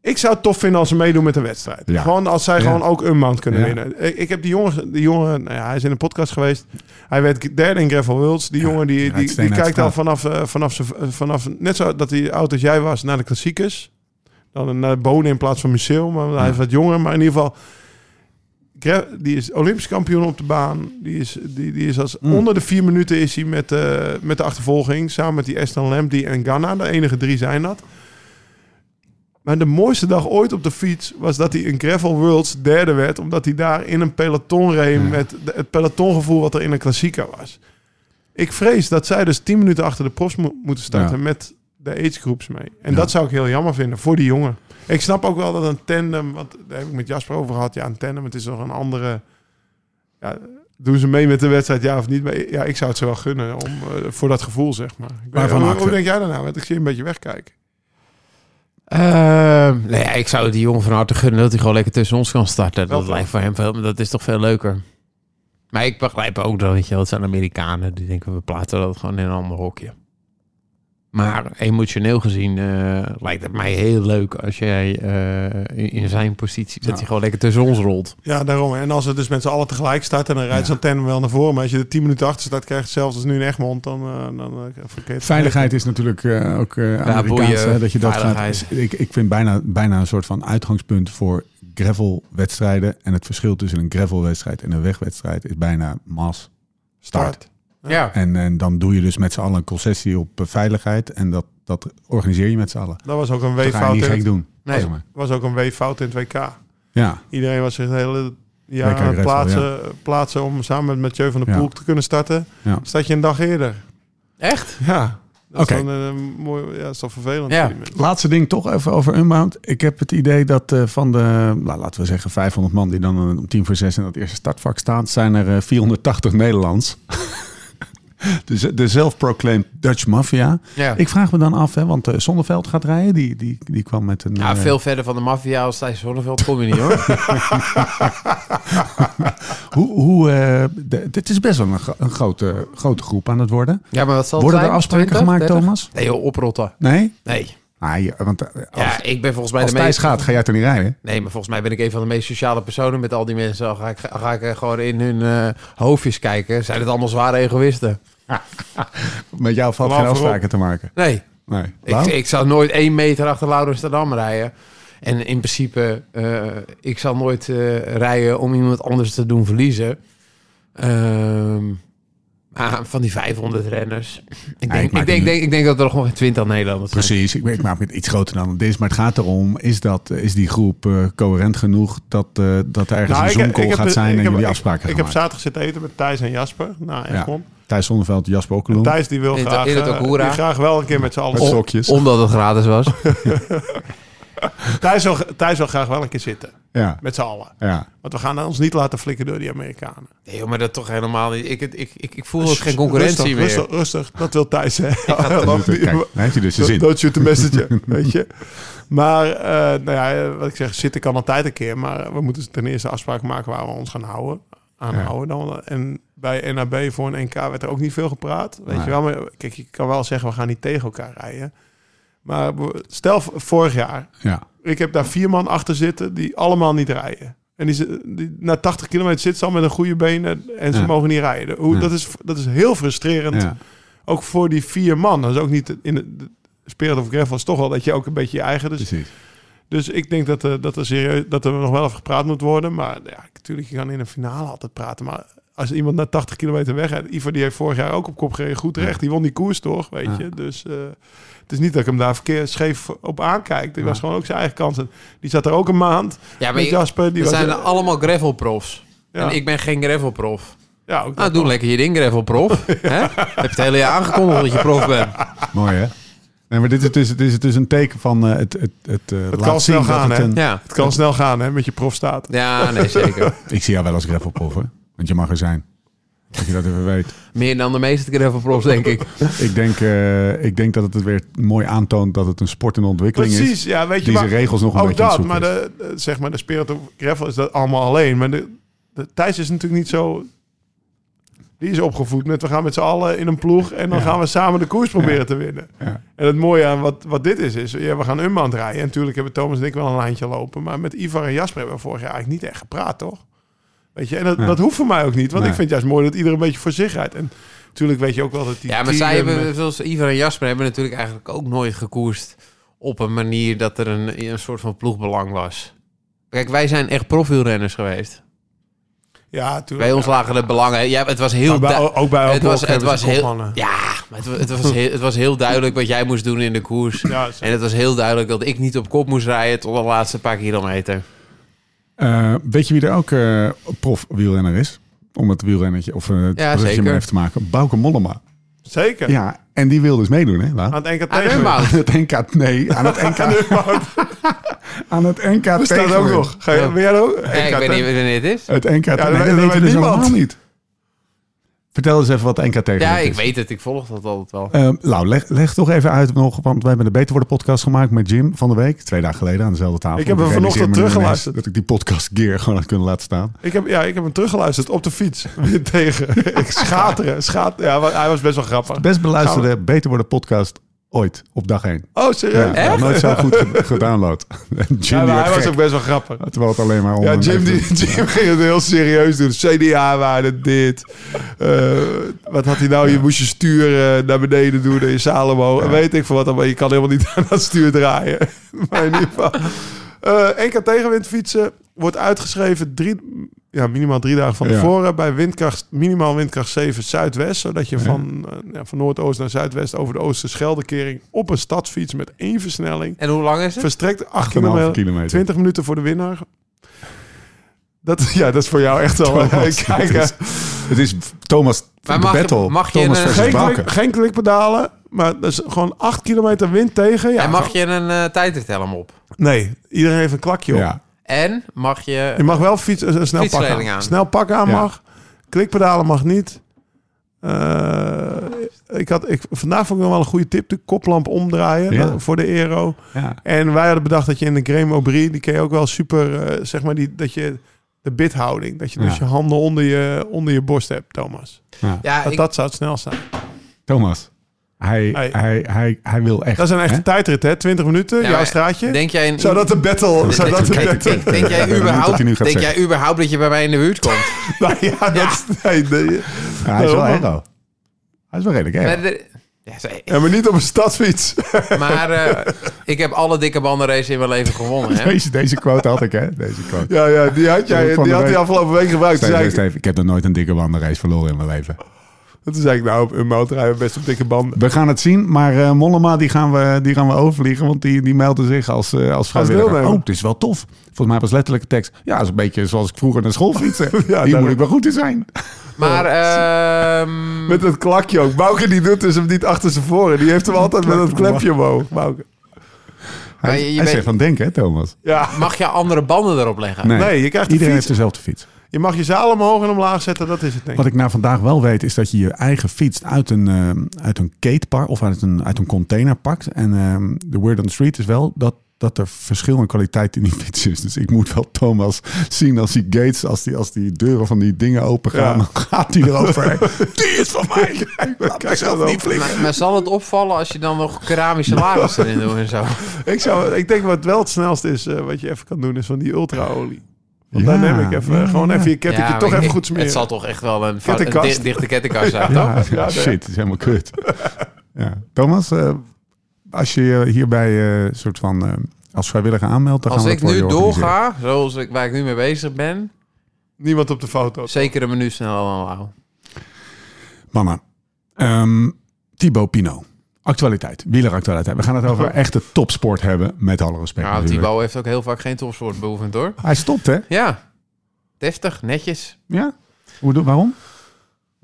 C: ik zou het tof vinden als ze meedoen met een wedstrijd.
A: Ja.
C: Gewoon als zij
A: Ja.
C: gewoon ook een maand kunnen
A: Ja.
C: winnen. Ik, ik heb die jongen, die jongen nou ja, hij is in een podcast geweest. Hij werd derde in Gravel Worlds. Die
A: Ja,
C: jongen die,
A: ja, het
C: die,
A: steen
C: die
A: uit
C: kijkt
A: de
C: al vanaf, eh, vanaf, ze- eh, vanaf, net zo dat hij oud als jij was, naar de klassiekers. Dan naar Bonen in plaats van Museum. Maar hij is wat jonger. Maar in ieder geval, Gra- die is Olympisch kampioen op de baan. Die is, die, die is als
A: Mm.
C: onder de vier minuten is hij met, eh, met de achtervolging. Samen met die Aston Lamptey en Ghana. De enige drie zijn dat. Maar de mooiste dag ooit op de fiets was dat hij in Gravel Worlds derde werd. Omdat hij daar in een peloton reed met de- het pelotongevoel wat er in een klassieker was. Ik vrees dat zij dus tien minuten achter de profs mo- moeten starten
A: Ja.
C: met de agegroeps mee. En
A: Ja.
C: dat zou ik heel jammer vinden voor die jongen. Ik snap ook wel dat een tandem, want daar heb ik met Jasper over gehad. Ja, een tandem, het is nog een andere... Ja, doen ze mee met de wedstrijd, ja of niet? Maar ja, ik zou het ze wel gunnen om, eh, voor dat gevoel, zeg maar. Ik weet,
A: Waarvan
C: hoe,
A: acte?
C: hoe denk jij daarna? Want ik zie je een beetje wegkijken.
D: Ehm, nee, ik zou die jongen van harte gunnen dat hij gewoon lekker tussen ons kan starten.
C: Wel
D: Dat
C: toch?
D: lijkt voor hem veel, dat is toch veel leuker. Maar ik begrijp ook dat, weet je wel, het zijn Amerikanen. Die denken, we plaatsen dat gewoon in een ander hokje. Maar emotioneel gezien eh, lijkt het mij heel leuk als jij eh, in- in zijn positie... dat
A: Ja.
D: hij gewoon lekker tussen ons rolt.
C: Ja, daarom. En als het dus met z'n allen tegelijk staat, en dan rijdt
A: Ja.
C: zo'n tandem wel naar voren. Maar als je er 10 minuten achter staat, krijgt zelfs als nu in Egmond, dan, eh dan eh, verkeerd.
A: Veiligheid is natuurlijk eh, ook eh Amerikaans.
D: boeien,
A: hè, dat je dat gaat,
D: veiligheid.
A: ik, ik vind bijna, bijna een soort van uitgangspunt voor gravelwedstrijden. En het verschil tussen een gravelwedstrijd en een wegwedstrijd is bijna mas start.
D: Ja.
A: En, en dan doe je dus met z'n allen een concessie op eh, veiligheid. En dat, dat organiseer je met z'n allen.
C: Dat was ook een
A: Dat ga je
C: weeffout.
A: niet
C: in
A: gek
C: het-
A: doen.
D: Nee.
A: zeg maar.
C: was ook een weeffout in het WK.
A: Ja,
C: Iedereen was zich het hele jaar
A: WK
C: aan het
A: Greffel,
C: plaatsen, plaatsen om samen met Mathieu van der
A: Ja.
C: Poel te kunnen starten.
A: Ja.
C: Staat je een dag eerder.
D: Echt?
C: Ja. Dat
A: Oké.
C: is dan een mooi, ja, dat is toch vervelend
D: Ja.
C: voor die mensen.
A: laatste ding toch even over Unbound. Ik heb het idee dat eh, van de, nou, laten we zeggen, 500 man die dan eh, om 10 voor 6 in dat eerste startvak staan, zijn er eh, 480 Nederlands. De, z- de self-proclaimed Dutch Mafia.
D: Ja.
A: Ik vraag me dan af, hè, want eh Zonneveld gaat rijden. Die, die, die kwam met een...
D: Nou,
A: eh,
D: veel verder van de maffia als Thijs Zonneveld kom je niet, hoor.
A: Hoe, hoe, eh, de- dit is best wel een, gro- een grote, grote groep aan het worden.
D: ja, maar wat zal het
A: Worden er
D: zijn?
A: afspraken
D: 20,
A: gemaakt,
D: 30?
A: Thomas?
D: Nee, joh, oprotten.
A: Nee?
D: Nee.
A: Ah, ja, want eh, als,
D: Ja, ik ben volgens mij
A: als
D: de meest...
A: Thijs gaat, ga jij toch niet rijden?
D: Nee, maar volgens mij ben ik een van de meest sociale personen met al die mensen. Al ga ik, ga ik eh, gewoon in hun eh, hoofdjes kijken. Zijn het allemaal zware egoïsten?
A: Met jou valt
C: Laat
A: geen
C: voorop.
A: afspraken te maken.
D: Nee,
A: Nee.
D: ik, ik zal nooit één meter achter Laurens ten Dam rijden. En in principe, eh, ik zal nooit eh, rijden om iemand anders te doen verliezen. Ehm, ah, van die 500 renners. Ik
A: ik
D: denk,
A: maak
D: ik denk,
A: een-
D: denk, ik denk dat er gewoon 20 Nederlanders zijn.
A: Precies, ik, weet- ik maak het iets groter dan het is. Maar het gaat erom, is, dat, is die groep eh, coherent genoeg dat, eh, dat er ergens
C: Nou,
A: een
C: ik-
A: zoomcall
C: ik heb-
A: gaat zijn en
C: ik heb-
A: jullie
C: ik-
A: afspraken
C: Ik
A: gaan
C: heb
A: maken?
C: zaterdag zitten eten met Thijs en Jasper. Nou, en
A: Ja.
C: kom.
A: Thijs Zonneveld, Jasper Okkeloen.
C: Thijs die wil
D: In het-
C: graag,
D: in het
C: eh,
D: Okura.
C: die graag wel een keer met z'n allen.
A: Met
C: Oh,
A: sokjes.
D: Omdat het gratis was.
C: Thijs, wil, Thijs wil graag wel een keer zitten
A: Ja,
C: met z'n allen.
A: ja.
C: Want we gaan ons niet laten flikken door die Amerikanen.
D: Nee, joh, maar dat toch helemaal niet. Ik, ik, ik, ik voel ook geen concurrentie
C: rustig,
D: meer.
C: Rustig, rustig. Dat wil Thijs hè.
A: Doet het. Kijk, daar heeft hij dus de
C: Don't,
A: zin.
C: don't shoot the messenger, weet je. Maar, eh, nou ja, eh, wat ik zeg, zitten kan altijd een keer. Maar we moeten ten eerste afspraak maken waar we ons gaan houden. Aanhouden dan. En bij NAB voor een NK werd er ook niet veel gepraat. Weet
A: Nee.
C: je wel, maar kijk, je kan wel zeggen, we gaan niet tegen elkaar rijden. Maar we- stel v- vorig jaar,
A: Ja.
C: ik heb daar vier man achter zitten die allemaal niet rijden. En die, zi- die na 80 kilometer zitten ze al met een goede benen en ze
A: Ja.
C: mogen niet rijden. Hoe,
A: Ja.
C: dat, is, dat is heel frustrerend
A: ja.
C: ook voor die vier man. Dat is ook niet in de, de Spirit of Gravel is toch wel dat je ook een beetje je eigen. Dus,
A: Precies.
C: dus ik denk dat, er dat, er serieus, dat er nog wel over gepraat moet worden. Maar ja, natuurlijk, je kan in een finale altijd praten. Maar als iemand na 80 kilometer wegrijdt, Ivo die heeft vorig jaar ook op kop gereden, goed recht. Die won die koers toch, weet
A: Ja.
C: je. Dus eh, het is niet dat ik hem daar verkeerd scheef op aankijk. Die was gewoon ook zijn eigen kans. En die zat er ook een maand
D: Ja, maar
C: met
D: ik-
C: Jasper. Die
D: we
C: was,
D: zijn
C: eh,
D: allemaal gravelprofs.
C: ja,
D: En ik ben geen gravelprof.
C: ja, ook
D: Nou,
C: dat
D: doe
C: wel.
D: lekker je ding, gravelprof. Hè? Heb je het hele jaar aangekondigd dat je prof bent.
A: Mooi, hè? Nee, maar dit is dus, dit is dus een teken van eh, het, het, het, eh, laat zien
C: kan snel
A: dat
C: gaan,
A: het
C: hè?
A: een-
D: Ja,
C: Het kan snel gaan hè, met je profstaat.
D: ja nee, zeker.
A: Ik zie jou wel als gravelprof, hè? Want je mag er zijn. Dat je dat even weet.
D: Meer dan de meeste gravelprofs, denk ik.
A: Ik denk, eh, ik denk dat het het weer mooi aantoont dat het een sport in ontwikkeling
C: Precies,
A: is.
C: ja, weet je,
A: Die zijn
C: maar-
A: regels nog een
C: ook
A: beetje aan het
C: dat, maar
A: zoeken is.
C: de, de- zeg maar de spirit of gravel is dat allemaal alleen. Maar de, de Thijs is natuurlijk niet zo... Die is opgevoed met, we gaan met z'n allen in een ploeg... en dan
A: Ja.
C: gaan we samen de koers proberen te winnen.
A: Ja.
C: En het mooie aan wat, wat dit is, is ja, we gaan unmand rijden. En natuurlijk hebben Thomas en ik wel een lijntje lopen. Maar met Ivar en Jasper hebben we vorig jaar eigenlijk niet echt gepraat, toch? Weet je, en dat,
A: Ja.
C: dat hoeft voor mij ook niet. Want
A: Nee.
C: ik vind juist mooi dat iedereen een beetje voor zich rijdt. En natuurlijk weet je ook wel dat die
D: Ja, maar
C: team
D: zij
C: en-
D: hebben, zoals Ivar en Jasper, hebben natuurlijk eigenlijk ook nooit gekoerst op een manier dat er een, een soort van ploegbelang was. Kijk, wij zijn echt profielrenners geweest.
C: Ja, tuurlijk.
D: Bij ons lagen de belangen. Ja, het was heel.
C: Maar bij-
D: du-
C: ook bij
D: het
C: Opelhoek
D: was, het
C: hebben
D: was
C: ze
D: heel.
C: kopmannen.
D: Ja, maar het, wa- het, was heel, het was heel duidelijk wat jij moest doen in de koers.
C: Ja,
D: En het was heel duidelijk dat ik niet op kop moest rijden tot de laatste paar kilometer.
A: Eh, weet je wie er ook eh prof wielrenner is? Om het wielrennetje of eh het
D: Ja,
A: bruggetje maar
D: zeker.
A: even te maken. Bouke Mollema.
C: zeker.
A: Ja, en die wil dus meedoen, hè? Laan?
C: Aan het NK
D: Aan
C: tegen.
D: Unbound.
A: Aan het NK... Nee, aan het NK... aan het NK
C: Er staat ook
A: tegenwind.
C: nog. Ga je, ben jij er ook?
D: Ja, ik weet niet wanneer het is.
C: Oh,
A: Het NK... Ja,
C: dat
A: nee, dat
C: weet-
A: weten
C: dat
A: we
C: weet
A: dus
C: niemand.
A: allemaal niet. Vertel eens even wat NK tegen
D: Ja,
A: is.
D: ik weet het. Ik volg dat altijd wel.
A: Ehm, nou, leg, leg toch even uit nog, want wij hebben de Beter Worden podcast gemaakt met Jim van de week. Twee dagen geleden aan dezelfde tafel.
C: Ik heb hem
A: realiseer
C: vanochtend
A: me nu ineens
C: teruggeluisterd.
A: Dat ik die podcast gear gewoon had kunnen laten staan.
C: Ik heb, ja, ik heb hem teruggeluisterd op de fiets. Weer tegen. Ik schateren. Schaat, ja, wa- hij was best wel grappig.
A: Best beluisterde Beter Worden podcast ooit, op dag 1.
C: Oh, serieus?
A: Ja,
D: Echt?
A: nooit zo goed ge- gedownload. En Jim
C: Ja,
A: die
C: maar
A: werd
C: hij was
A: gek,
C: ook best wel grappig.
A: terwijl het alleen maar om
C: Ja,
A: een
C: Jim,
A: even-
C: die, Jim ging het heel serieus doen. CDA-waarde, dit. Eh, wat had hij nou? Je moest je stuur eh, naar beneden doen in Salomo. En Weet ik veel wat. allemaal. je kan helemaal niet aan dat stuur draaien. maar in ieder geval. Eh NK tegenwind fietsen wordt uitgeschreven drie, ja, minimaal drie dagen van
A: Ja.
C: tevoren. Bij windkracht, minimaal windkracht 7 Zuidwest. Zodat je van, eh, ja, van Noordoost naar Zuidwest over de Oosterscheldekering... op een stadsfiets met één versnelling
D: En hoe lang is het?
C: Verstrekt 8
A: 8,5
C: kilometer,
A: kilometer.
C: 20 minuten voor de winnaar. Dat, ja, dat is voor jou echt al.
A: Thomas, dat
C: Kijk, eh,
A: is- Het is Thomas
D: Maar
A: de
D: mag je-
A: battle.
D: mag je
A: Thomas
D: een-
A: versus
C: geen,
A: Bouke.
C: klik, geen klikpedalen, maar dat is gewoon 8 kilometer wind tegen. Ja,
D: en mag je een eh tijdrithelm op?
C: Nee, iedereen heeft een klakje op.
A: Ja,
D: En mag je...
C: Je mag wel fiets, een snel pak aan.
D: Fietsleiding aan.
C: Snel pak aan
A: Ja.
C: mag. Klikpedalen mag niet. Eh, ik had, ik, vandaag vond ik nog wel een goede tip. De koplamp omdraaien
A: Ja.
C: eh, voor de aero.
A: ja.
C: En wij hadden bedacht dat je in de Graham O'Brien, die ken je ook wel super, eh, zeg maar, die, dat je de bithouding, dat je dus
A: Ja.
C: je handen onder je, onder je borst hebt, Thomas.
D: Ja,
C: Dat,
D: ik,
C: dat zou het snel zijn.
A: Thomas. Hij,
C: Hey.
A: hij, hij, hij wil echt.
C: Dat is een echte
A: hè?
C: tijdrit, hè? 20 minuten,
D: Ja,
C: jouw
D: maar
C: straatje.
D: denk jij... Een,
C: zou dat de battle... Zou dat de
D: denk, denk,
C: battle...
D: denk, denk
A: Ik ben
D: jij
A: benieuwd wat
D: überhaupt,
A: hij nu gaat
D: denk jij
A: zeggen.
D: überhaupt dat je bij mij in de buurt komt?
C: Nou ja, dat is... Nee, nee.
A: Ja, hij is wel
C: Oh, man.
A: hero. Hij is wel redelijk hero.
D: Maar, de- ja, ze-
C: Ja, maar niet op een stadsfiets.
D: maar eh, ik heb alle dikke bandenraces in mijn leven gewonnen. Hè?
A: Deze, deze quote had ik, hè? Deze quote.
C: Ja, ja, die had jij
A: Van
C: die
A: de
C: had
A: week.
C: die afgelopen week gebruikt. Toen
A: Steven,
C: zei ik,
A: Steven, ik heb nog nooit een dikke wandelrace verloren in mijn leven.
C: Dat is eigenlijk nou een motorrijder best op dikke banden.
A: We gaan het zien, maar eh, Mollema die gaan, we, die gaan we overvliegen, want die, die meldde zich als, eh als vrijwilliger.
C: deelnemer.
A: Oh, het is wel tof. Volgens mij was letterlijk de tekst. Ja, dat is een beetje zoals ik vroeger naar school fietsen. Hier moet
C: daarom.
A: ik wel goed in zijn.
D: Maar ehm,
C: Met dat klakje ook. Bouke die doet dus hem niet achter zijn voren. Die heeft hem altijd met dat klepje omhoog. Bouke.
A: Hij,
D: je- je
A: hij
D: weet-
A: zegt van denken, hè Thomas?
C: Ja.
D: mag je andere banden erop leggen?
A: Nee,
C: Nee, je krijgt de
A: iedereen
C: fiets.
A: heeft dezelfde fiets.
C: Je mag je zaal omhoog en omlaag zetten. Dat is het denk ik.
A: Wat ik nou vandaag wel weet, is dat je je eigen fiets uit een, eh uit een keetpark of uit een, uit een container pakt. En ehm, de word on the street is wel dat, dat er verschil in kwaliteit in die fiets is. Dus ik moet wel Thomas zien als die gates, als die, als die deuren van die dingen open gaan,
C: Ja.
A: dan gaat hij erover. die is van mij! Laat
C: Kijk,
A: mezelf
C: dat
A: niet flikken.
D: Maar, maar zal het opvallen als je dan nog keramische lagers erin doet en zo?
C: Ik, zou, ik denk wat wel het snelste is eh, wat je even kan doen, is van die ultraolie. Want
A: Ja,
C: daar neem ik even,
A: ja,
C: gewoon
A: ja.
C: even je kettingje
D: maar
C: toch
D: ik
C: even
D: denk,
C: goed smeren.
D: Het zal toch echt wel een, een
C: Kettingkast.
D: di- dichte kettingkast zijn, toch?
A: Ja,
C: Ja,
A: shit, is helemaal kut. Ja. Thomas, eh, als je je hierbij eh soort van eh, als vrijwilliger aanmeldt, dan
D: Als
A: gaan we
D: ik
A: het voor
D: nu
A: je organiseren.
D: doorga, zoals ik, waar ik nu mee bezig ben,
C: Niemand op de foto.
D: zeker een minuut sneller dan Lau.
A: Mannen, Ehm Thibaut Pino. Actualiteit, wieleractualiteit. We gaan het over echte topsport hebben, met alle respect.
D: Nou,
A: natuurlijk.
D: Thibaut heeft ook heel vaak geen topsport beoefend, hoor.
A: Hij stopt, hè?
D: Ja, deftig, netjes.
A: Ja. Hoe, doe- waarom?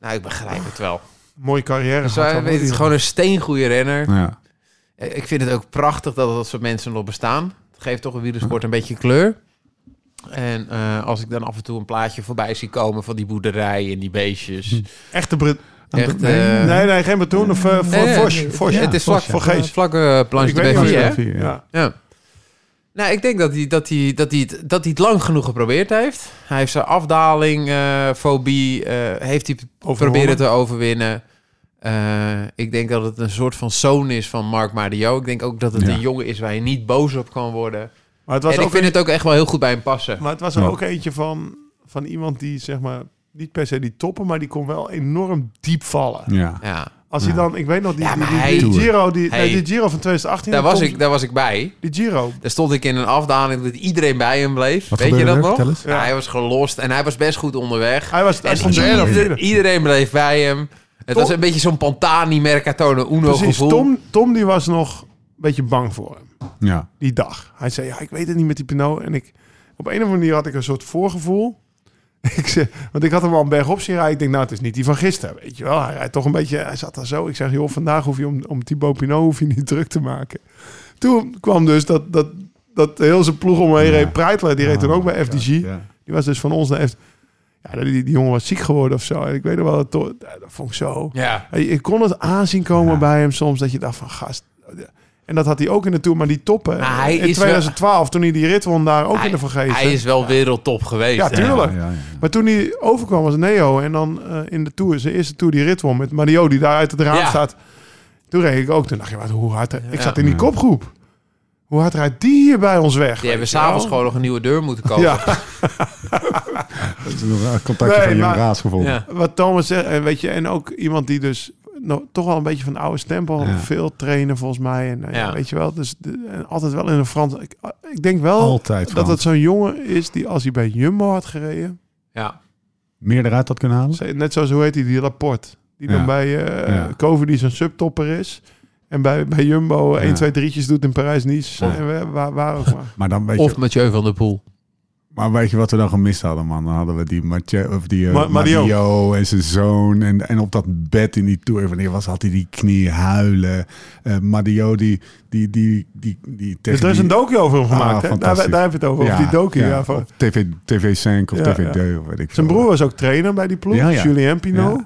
D: Nou, ik begrijp het wel.
C: Mooie carrière.
D: Zo,
C: gehad
D: hij
C: dan,
D: weet, het
C: hoor,
D: is
C: die
D: gewoon een steengoede renner.
A: Ja.
D: Eh, Ik vind het ook prachtig dat dat soort mensen nog bestaan. Het geeft toch een wielersport een beetje kleur. En eh, als ik dan af en toe een plaatje voorbij zie komen van die boerderij en die beestjes.
C: jongen. Echte Brit.
D: Echt,
A: nee,
D: eh,
C: Nee, nee, geen Batoen of eh, voor
D: Nee, nee,
C: Vos.
D: het-
C: Vos.
D: Het is vlak
A: Vos, ja.
D: voor
C: Geest.
D: Vlakke planche
C: Ik weet niet
D: de
C: wat
D: BV,
C: je
D: hè?
A: Vier, ja.
C: Ja.
D: Ja. Nou, ik denk dat hij, dat, hij, dat, hij, het- dat hij het lang genoeg geprobeerd heeft. Hij heeft zijn afdaling, eh, fobie, eh, heeft hij proberen te overwinnen. Eh, ik denk dat het een soort van zoon is van Marc Mario. Ik denk ook dat het
A: Ja.
D: een jongen is waar je niet boos op kan worden.
C: Maar het was,
D: en ik
C: ook,
D: vind het ook echt wel heel goed bij hem passen.
C: maar het was
A: Ja.
C: ook eentje van, van iemand die, zeg maar, niet per se die toppen, maar die kon wel enorm diep vallen.
A: ja.
D: Ja,
C: Als hij
A: Ja.
C: dan, ik weet nog, die,
D: Ja, maar
C: die-
D: hij-
C: die Giro, die,
D: Hij-
C: nee, die Giro van 2018.
D: daar
C: die
D: was,
C: komt-
D: ik, daar was ik bij.
C: Die Giro.
D: Daar stond ik in een afdaling dat iedereen bij hem bleef.
A: Wat
D: Weet je
A: gebeurde
D: dat
A: er?
D: nog?
A: Vertel eens.
D: Ja, hij was gelost en hij was best goed onderweg.
C: Hij was hij
D: En
C: stond derde of
D: ieder-
C: vierde.
D: iedereen bleef bij hem. Het
C: Tom-
D: was een beetje zo'n Pantani Mercatone Uno
C: Precies,
D: gevoel.
C: Tom, Tom die was nog een beetje bang voor hem,
A: ja.
C: die dag. Hij zei, ja, ik weet het niet met die Pinot. En ik, op een of andere manier had ik een soort voorgevoel. Ik zei, want ik had hem al een berg op zien rijden. Ik denk, nou, het is niet die van gisteren, weet je wel. Hij rijdt toch een beetje, hij zat daar zo. Ik zeg, joh, vandaag hoef je om, om Thibaut Pinot hoef je niet druk te maken. Toen kwam dus dat, dat, dat heel zijn ploeg om me heen
A: Ja.
C: reed. Preitler, die reed toen
A: Ah,
C: ook bij FDG. Die was dus van ons naar FDG. Ja, die, die jongen was ziek geworden of zo. En ik weet nog wel, dat, to- dat vond ik zo...
D: Ja.
C: Hey, Ik kon het aanzien komen
A: Ja.
C: bij hem soms dat je dacht van gast. En dat had hij ook in de Tour, maar die toppen. eh,
D: Maar hij
C: in
D: is
C: 2012, toen hij die rit won, daar ook
D: Hij-
C: in de vergeten.
D: Hij is wel wereldtop geweest.
C: Ja,
D: hè?
C: tuurlijk.
A: Ja, ja, ja.
C: Maar toen hij overkwam als Neo en dan eh, in de Tour, zijn eerste Tour die rit won met Mario die daar uit het raam
D: Ja.
C: staat. Toen reed ik ook, toen dacht je, wat, hoe hard... Ik
D: Ja.
C: zat in die
A: Ja.
C: kopgroep. Hoe hard rijdt die hier bij ons weg?
D: Die hebben
C: weet je wel?
D: s'avonds gewoon nog een nieuwe deur moeten kopen.
C: Ja.
A: Dat is nog een contactje
C: Nee,
A: van Jan
C: maar-
A: Raas gevonden.
D: Ja.
C: wat Thomas zegt, en weet je, en ook iemand die dus nog, toch wel een beetje van oude stempel,
A: Ja.
C: veel trainen volgens mij, en eh,
D: Ja.
C: weet je wel, dus de- en altijd wel in een Frans. Ik, ik denk wel
A: Altijd
C: dat
A: Frans.
C: het zo'n jongen is die als hij bij Jumbo had gereden,
D: Ja.
A: Meer eruit had kunnen halen?
C: ze- net zoals hoe heet die, die Laporte, die
A: Ja.
C: dan bij eh
A: Ja.
C: Covid die zijn subtopper is. En bij, bij Jumbo
A: Ja.
C: 1, 2, 3'tjes doet in Parijs-Nice.
A: Ja.
C: En we- waar, waar ook maar.
A: Maar, dan weet
D: Of
A: je,
D: Mathieu van der Poel.
A: maar weet je wat we dan gemist hadden, man? Dan hadden we die, Mathieu, of die eh,
C: Ma- Mario.
A: Mario en zijn zoon. En, en op dat bed in die tour. Wanneer was, had hij die knie huilen. Eh Mario die, die, die, die, die, tegen
C: Dus er is
A: die-
C: een docu over hem
A: Ah,
C: gemaakt. hè? daar,
A: fantastisch.
C: daar heb je het over, over die docu. Ja, van-
A: op TV, TV5 of
C: Ja,
A: TV2
C: ja.
A: of weet ik
C: Zijn
A: veel.
C: broer was ook trainer bij die ploeg,
A: Ja, ja.
C: Julien Pinot.
A: Ja.
C: Dat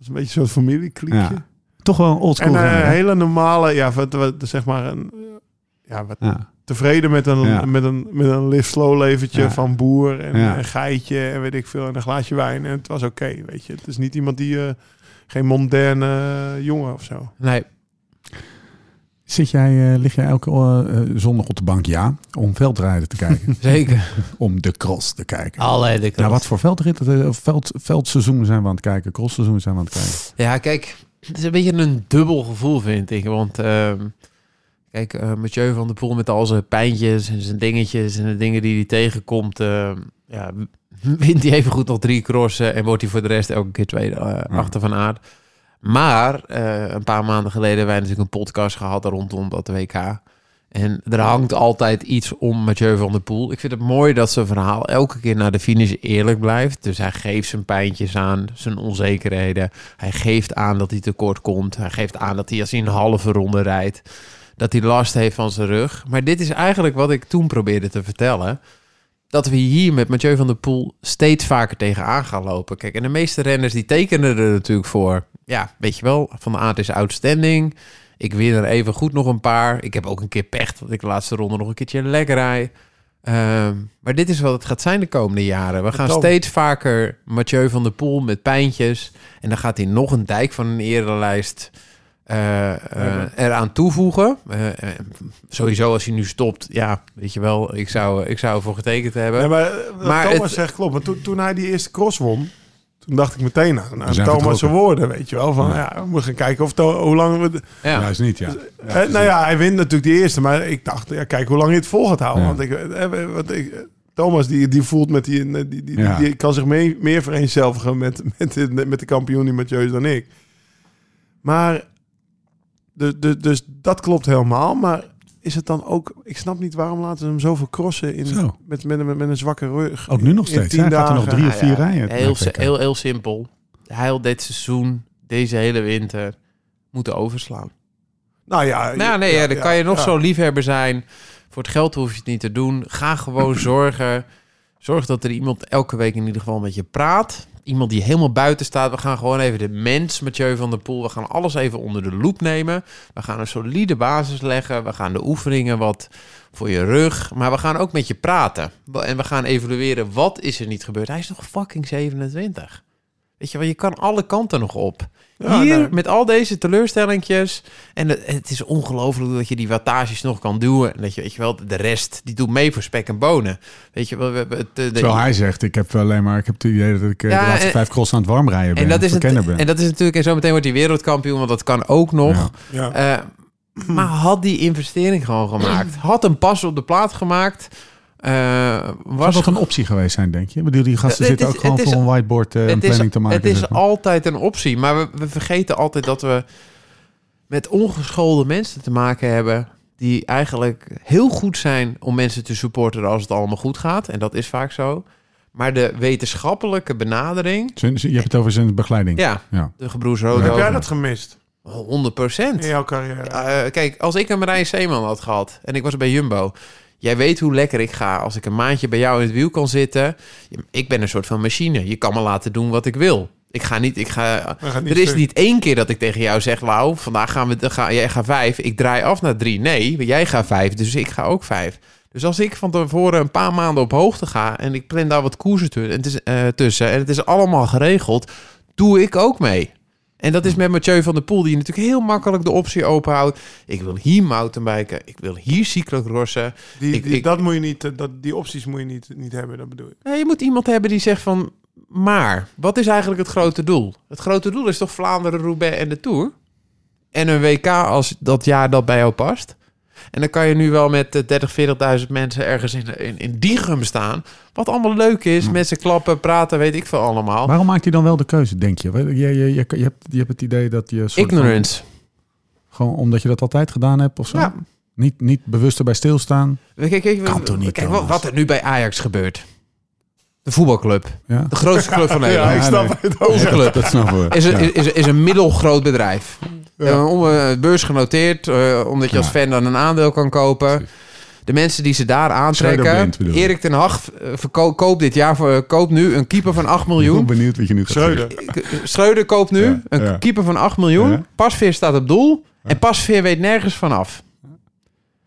C: is een beetje een soort familiekliekje.
A: Ja. Toch wel een
C: En
A: oldschool
C: eh,
A: renner,
C: een
A: hè?
C: hele normale, ja, wat, wat, zeg maar, een, eh, ja, wat
A: ja.
C: tevreden met een,
A: Ja.
C: met een, met een live slow leventje
A: Ja.
C: van boer en
A: Ja.
C: een geitje en weet ik veel en een glaasje wijn. En het was oké, weet je. Het is niet iemand die, eh, geen moderne eh, jongen of zo.
D: Nee.
A: Zit jij, eh, lig jij elke eh, eh, zondag op de bank, ja, om veldrijden te kijken?
D: Zeker.
A: om de cross te
C: Ah,
A: kijken.
D: Alle dikke.
A: Nou, wat voor veldritten, eh, veld, veldseizoenen zijn we aan het kijken, crossseizoenen zijn we aan het kijken.
D: Ja, kijk, het is een beetje een dubbel gevoel, vind ik. Want ehm, kijk, eh, Mathieu van der Poel met al zijn pijntjes en zijn dingetjes en de dingen die hij tegenkomt, ehm, ja, wint hij even goed nog drie crossen en wordt hij voor de rest elke keer tweede eh,
A: Ja.
D: achter van aard. Maar eh, een paar maanden geleden hebben wij natuurlijk een podcast gehad rondom dat WK. En er hangt altijd iets om Mathieu van der Poel. Ik vind het mooi dat zijn verhaal elke keer naar de finish eerlijk blijft. Dus hij geeft zijn pijntjes aan, zijn onzekerheden. Hij geeft aan dat hij tekort komt. Hij geeft aan dat hij als hij een halve ronde rijdt, dat hij last heeft van zijn rug. Maar dit is eigenlijk wat ik toen probeerde te vertellen. Dat we hier met Mathieu van der Poel steeds vaker tegenaan gaan lopen. Kijk, en de meeste renners die tekenen er natuurlijk voor. Ja, weet je wel, Van de Aert is outstanding. Ik win er even goed nog een paar. Ik heb ook een keer pech dat ik de laatste ronde nog een keertje lekker rijd. Ehm, maar dit is wat het gaat zijn de komende jaren. We gaan
C: kan.
D: steeds vaker Mathieu van der Poel met pijntjes. En dan gaat hij nog een dijk van een erenlijst eh, eh, eraan toevoegen. Eh, eh, sowieso als hij nu stopt, ja, weet je wel, ik zou, ik zou ervoor getekend hebben.
C: Nee, maar, eh, wat
D: Maar
C: Thomas
D: het-
C: zegt klopt. Maar toen, toen hij die eerste cross won, toen dacht ik meteen aan, aan
A: zijn
C: Thomas'
A: vertrokken.
C: woorden, weet je wel. Van, ja. we moeten gaan kijken of to- hoe lang we... de-
D: ja.
A: Juist niet, ja.
C: Eh, nou ja, hij wint natuurlijk die eerste. Maar ik dacht, ja, kijk hoe lang hij het vol gaat houden.
A: Ja.
C: Want ik, eh, want ik, eh, Thomas die, die voelt met die... eh, die, die, die-
A: Ja.
C: die kan zich mee, meer vereenzelvigen met, met, de- met de kampioen die Mathieu is dan ik. Maar... Dus, dus, dus dat klopt helemaal. Maar is het dan ook... Ik snap niet waarom laten ze hem zoveel crossen in,
A: Zo.
C: met, met, met, met een zwakke rug.
A: Ook nu nog
C: In
A: steeds.
C: tien
A: Hij gaat er nog
C: dagen.
A: drie of
D: Nou
A: vier
D: ja,
A: rijden.
D: Heel,
A: Nou,
D: heel, heel simpel. Hij had dit seizoen, deze hele winter, moeten overslaan.
C: Nou ja,
D: Nou ja, nee, ja, dan kan je nog
C: ja.
D: zo'n liefhebber zijn. Voor het geld hoef je het niet te doen. Ga gewoon zorgen. Zorg dat er iemand elke week in ieder geval met je praat. Iemand die helemaal buiten staat. We gaan gewoon even de mens, Mathieu van der Poel. We gaan alles even onder de loep nemen. We gaan een solide basis leggen. We gaan de oefeningen wat voor je rug. Maar we gaan ook met je praten. En we gaan evalueren wat is er niet gebeurd. Hij is nog fucking 27. Weet je wel, je kan alle kanten nog op.
C: Ja,
D: Hier,
C: nee.
D: met al deze teleurstellingjes. En het, het is ongelooflijk dat je die wattages nog kan duwen. En dat je, weet je wel, de rest, die doet mee voor spek en bonen. Weet je wel, we hebben het... eh, de-
A: Terwijl hij zegt, ik heb alleen maar, ik heb het idee dat ik eh,
D: Ja,
A: de laatste
D: en-
A: vijf cross aan het warm rijden ben.
D: en, dat is het,
A: verkenner ben.
D: en dat is natuurlijk... En zometeen wordt hij wereldkampioen, want dat kan ook nog.
A: Ja.
C: Ja.
D: Eh, maar had die investering gewoon gemaakt. Had een pas op de plaat gemaakt. eh,
A: Zou
D: was
A: dat een optie geweest zijn, denk je? Ik bedoel, die gasten
D: Het
A: zitten
D: is-
A: ook gewoon
D: het is-
A: voor een whiteboard eh, een
D: het
A: planning
D: is,
A: te maken.
D: Het is
A: zeg maar.
D: altijd een optie, maar we, we vergeten altijd dat we met ongeschoolde mensen te maken hebben. Die eigenlijk heel goed zijn om mensen te supporten als het allemaal goed gaat. En dat is vaak zo. Maar de wetenschappelijke benadering.
A: Zijn- Je hebt het over zijn begeleiding.
D: Ja,
A: Ja.
D: de gebroers
C: Heb jij
D: Rodo.
C: dat gemist
D: 100 procent.
C: in jouw carrière?
D: Eh, kijk, als ik een Marijn Zeeman had gehad en ik was bij Jumbo. Jij weet hoe lekker ik ga als ik een maandje bij jou in het wiel kan zitten. Je- Ik ben een soort van machine. Je kan me laten doen wat ik wil. Ik ga niet, ik ga...
C: Dat gaat niet
D: Er is
C: stuk.
D: niet één keer dat ik tegen jou zeg... Wauw, vandaag gaan we, dan ga, jij gaat vijf. Ik draai af naar drie. Nee, jij gaat vijf, dus ik ga ook vijf. Dus als ik van tevoren een paar maanden op hoogte ga... en ik plan daar wat koersen tu- en het is, eh, tussen... en het is allemaal geregeld, doe ik ook mee. En dat is met Mathieu van der Poel, die natuurlijk heel makkelijk de optie openhoudt. Ik wil hier mountainbiken, ik wil hier cyclocrossen.
C: Die,
D: Ik-
C: die-
D: ik-
C: dat moet je niet, eh, dat, die opties moet je niet, niet hebben, dat bedoel ik.
D: Nee, je moet iemand hebben die zegt van... Maar, wat is eigenlijk het grote doel? Het grote doel is toch Vlaanderen, Roubaix en de Tour? En een WK als dat jaar dat bij jou past? En dan kan je nu wel met eh, 30, 40.000 mensen ergens in, in, in Diegum staan. Wat allemaal leuk is,
A: Hm.
D: mensen klappen, praten, weet ik veel allemaal.
A: Waarom maakt hij dan wel de keuze, denk je? Je, je, je, je, hebt, je hebt het idee dat je... een soort van-
D: Ignorance.
A: gewoon omdat je dat altijd gedaan hebt of zo?
D: Ja.
A: Niet, niet bewust erbij stilstaan?
D: Kijk, kijk, kijk,
A: Kan toch niet,
D: kijk wat,
A: Thomas?
D: wat er nu bij Ajax gebeurt. De voetbalclub.
A: Ja,
D: De grootste club van Nederland.
A: ik snap
C: het
D: Onze club.
A: dat snappen we.
D: is,
A: Ja.
D: een- is, is een middelgroot bedrijf. Eh, om, eh, beurs genoteerd, eh, omdat je als
A: Ja.
D: fan dan een aandeel kan kopen. De mensen die ze daar aantrekken.
A: Schreuderblind, bedoel je?
D: Erik ten Hag eh, verko- koopt dit jaar voor, koopt nu een keeper van 8
A: Ik ben heel
D: miljoen.
A: benieuwd wat je nu gaat zeggen.
C: Schreuder.
D: K- Schreuder koopt nu
A: Ja,
D: een
A: ja.
D: keeper van 8 miljoen.
A: Ja.
D: Pasveer staat op doel. En Pasveer weet nergens vanaf.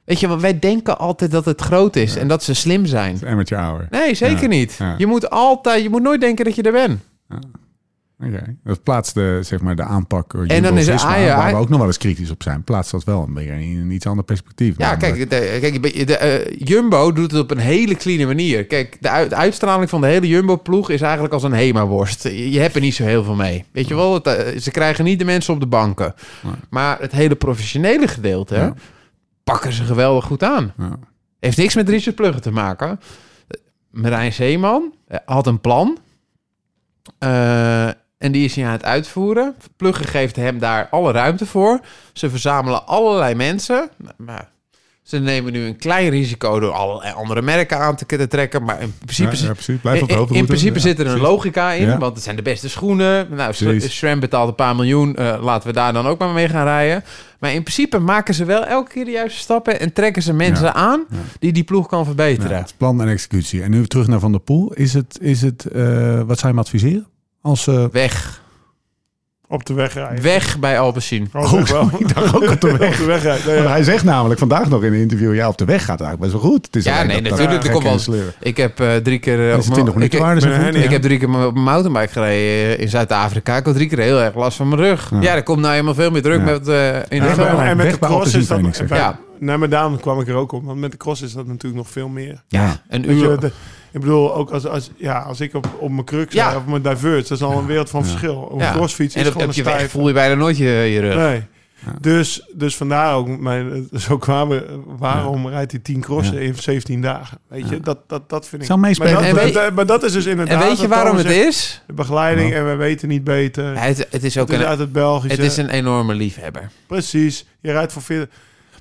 D: Weet je, want wij denken altijd dat het groot is en dat ze slim zijn.
A: Het is Emmertje Auer.
D: Nee, zeker
A: Ja,
D: niet.
A: ja.
D: Je moet altijd, je moet nooit denken dat je er bent.
A: Oké. Dat plaatst de, zeg maar, de aanpak. door
D: En dan
A: Jumbo
D: is er
A: Visma,
D: Ajax-
A: Waar we ook nog wel eens kritisch op zijn. Plaatst dat wel een beetje in een iets ander perspectief.
D: Ja,
A: namelijk.
D: kijk, de, kijk de, eh, Jumbo doet het op een hele clean manier. Kijk, de, uit- de uitstraling van de hele Jumbo-ploeg is eigenlijk als een Hema-worst. Je, je hebt er niet zo heel veel mee. Weet je wel, het, eh, ze krijgen niet de mensen op de banken.
A: Nee.
D: Maar het hele professionele gedeelte
A: Ja.
D: pakken ze geweldig goed aan.
A: Ja.
D: Heeft niks met Richard Pluggen te maken. Eh, Marijn Zeeman eh, had een plan. Eh, En die is hij aan het uitvoeren. Pluggen geeft hem daar alle ruimte voor. Ze verzamelen allerlei mensen. Nou, Maar ze nemen nu een klein risico door allerlei andere merken aan te kunnen trekken. Maar in principe,
A: ja,
D: zit-
A: precies. Blijf op de
D: in,
A: hoogte.
D: in principe zit er een logica in,
A: Ja.
D: want het zijn de beste schoenen. Nou, Sl-
A: Precies.
D: SRAM betaalt een paar miljoen, eh, laten we daar dan ook maar mee gaan rijden. Maar in principe maken ze wel elke keer de juiste stappen en trekken ze mensen
A: Ja.
D: aan
A: Ja.
D: die die ploeg kan verbeteren.
A: het is plan en executie. En nu terug naar Van der Poel. Is het, is het eh, wat zou je hem adviseren? Als, eh
D: Weg.
C: Op de weg rijden.
D: Weg bij Alpecin.
C: Oh, ik wel.
A: ik dacht ook op de weg.
C: Op de weg rijden. Nee,
A: Want
C: ja.
A: hij zegt namelijk vandaag nog in een interview... ja, op de weg gaat het eigenlijk best wel goed. Het is
D: Ja,
A: alleen
D: nee,
A: dat- dat
D: natuurlijk, er komt wel-
A: gekke sleur.
D: Ik heb eh, drie keer... eh,
A: Dat
D: op
A: is
D: mijn-
A: 20 minuten
D: ik,
A: waar. dat is
C: ben
A: een
C: er
A: goed.
C: niet,
D: ik
A: ja.
D: heb drie keer op mijn mountainbike gereden eh, in Zuid-Afrika. Ik had drie keer heel erg last van mijn rug.
A: Ja.
D: Ja, daar komt nou helemaal veel meer druk
A: Ja.
D: met eh, in de
C: Ja,
A: Weg
D: zomer.
A: bij-
C: maar- en
A: weg
C: met de
A: bij
C: cross
A: Alpecin,
C: is dat...
A: Phoenix, hè?
C: bij-
D: Ja.
C: Nee, maar daarom kwam ik er ook op. Want met de cross is dat natuurlijk nog veel meer.
A: Ja.
D: Een
C: Weet je,
D: uur.
C: dat- ik bedoel, ook als, als, ja, als ik op, op mijn kruk
D: Ja.
C: sta of op mijn divert, dat is al een wereld van
A: Ja.
C: verschil. Op
D: Ja.
C: een crossfiets
D: En
C: is
D: op,
C: gewoon
D: op
C: een
D: je weg
C: stijf.
D: voel je bijna nooit je, je rug.
C: Nee.
A: Ja.
C: Dus, dus vandaar ook mijn, zo kwamen, waarom rijdt hij 10 crossen in 17 dagen? Weet je,
A: Ja.
C: dat, dat, dat vind ik.
A: Zal meespelen.
C: Maar
D: En
C: dat,
D: weet-
C: dat- maar dat is dus
D: En
C: inderdaad.
D: weet je
C: wat
D: waarom
C: Thomas
D: het
C: zegt,
D: is?
C: De begeleiding en we weten niet beter.
D: Hij- Het, het is ook
C: het is
D: een,
C: uit het Belgische.
D: het is een enorme liefhebber.
C: Precies. Je rijdt voor 40.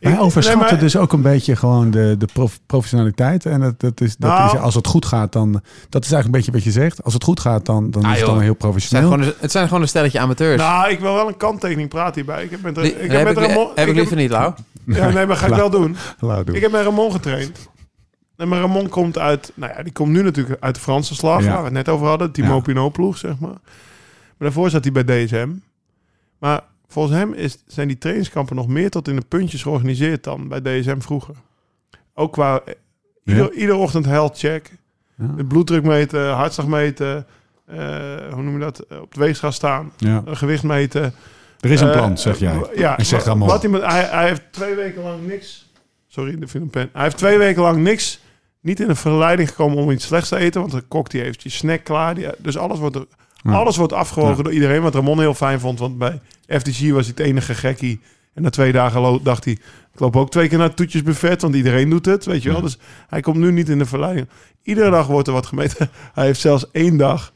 A: Maar hij
C: Ik-
A: overschatten
C: nee, maar-
A: dus ook een beetje gewoon de, de prof- professionaliteit. En dat, dat, is, dat
C: Nou.
A: is, als het goed gaat, dan... Dat is eigenlijk een beetje wat je zegt. Als het goed gaat, dan, dan
D: Ah,
A: is het
D: joh.
A: dan heel
D: Het zijn,
A: professioneel.
D: gewoon, een- het zijn gewoon een stelletje amateurs.
C: Nou, ik wil wel een kanttekening praten hierbij. Ik heb met,
D: Die-
C: ik
D: heb,
C: heb met
D: ik, li-
C: Ramon.
D: heb ik
C: ik
D: liever
C: heb-
D: niet, Lau.
C: Ja, nee, maar ga ik wel doen.
A: Laat doen.
C: Ik heb met Ramon getraind. En maar Ramon komt uit, nou ja, die komt nu natuurlijk uit de Franse slag,
A: Ja.
C: waar we het net over hadden. Timo
A: Ja.
C: Pinot ploeg, zeg maar. Maar daarvoor zat hij bij DSM. Maar volgens hem is, zijn die trainingskampen nog meer tot in de puntjes georganiseerd dan bij DSM vroeger. Ook qua eh, ieder, ieder ochtend health check,
A: Ja.
C: de bloeddruk meten, hartslag meten, eh, hoe noem je dat, eh, op de weegschaal staan,
A: Ja.
C: eh, gewicht meten.
A: Er is een
C: Eh,
A: plan, zeg
C: eh,
A: jij.
C: Ja,
A: En zegt
C: wa-
A: Ramon.
C: Wat hij, met- hij, hij heeft twee weken lang niks. Sorry, de film pen. Hij heeft twee weken lang niks. Niet in de verleiding gekomen om iets slechts te eten. Want de kok die heeft je snack klaar. Die, dus alles wordt, er-
A: Ja.
C: alles wordt afgewogen
A: Ja.
C: door iedereen. Wat Ramon heel fijn vond. Want bij FTG was hij het enige gekkie. En na twee dagen lo- dacht hij. Ik loop ook twee keer naar het toetjesbuffet. Want iedereen doet het. Weet je wel.
A: Ja.
C: Dus hij komt nu niet in de verleiding. Iedere dag wordt er wat gemeten. Hij heeft zelfs één dag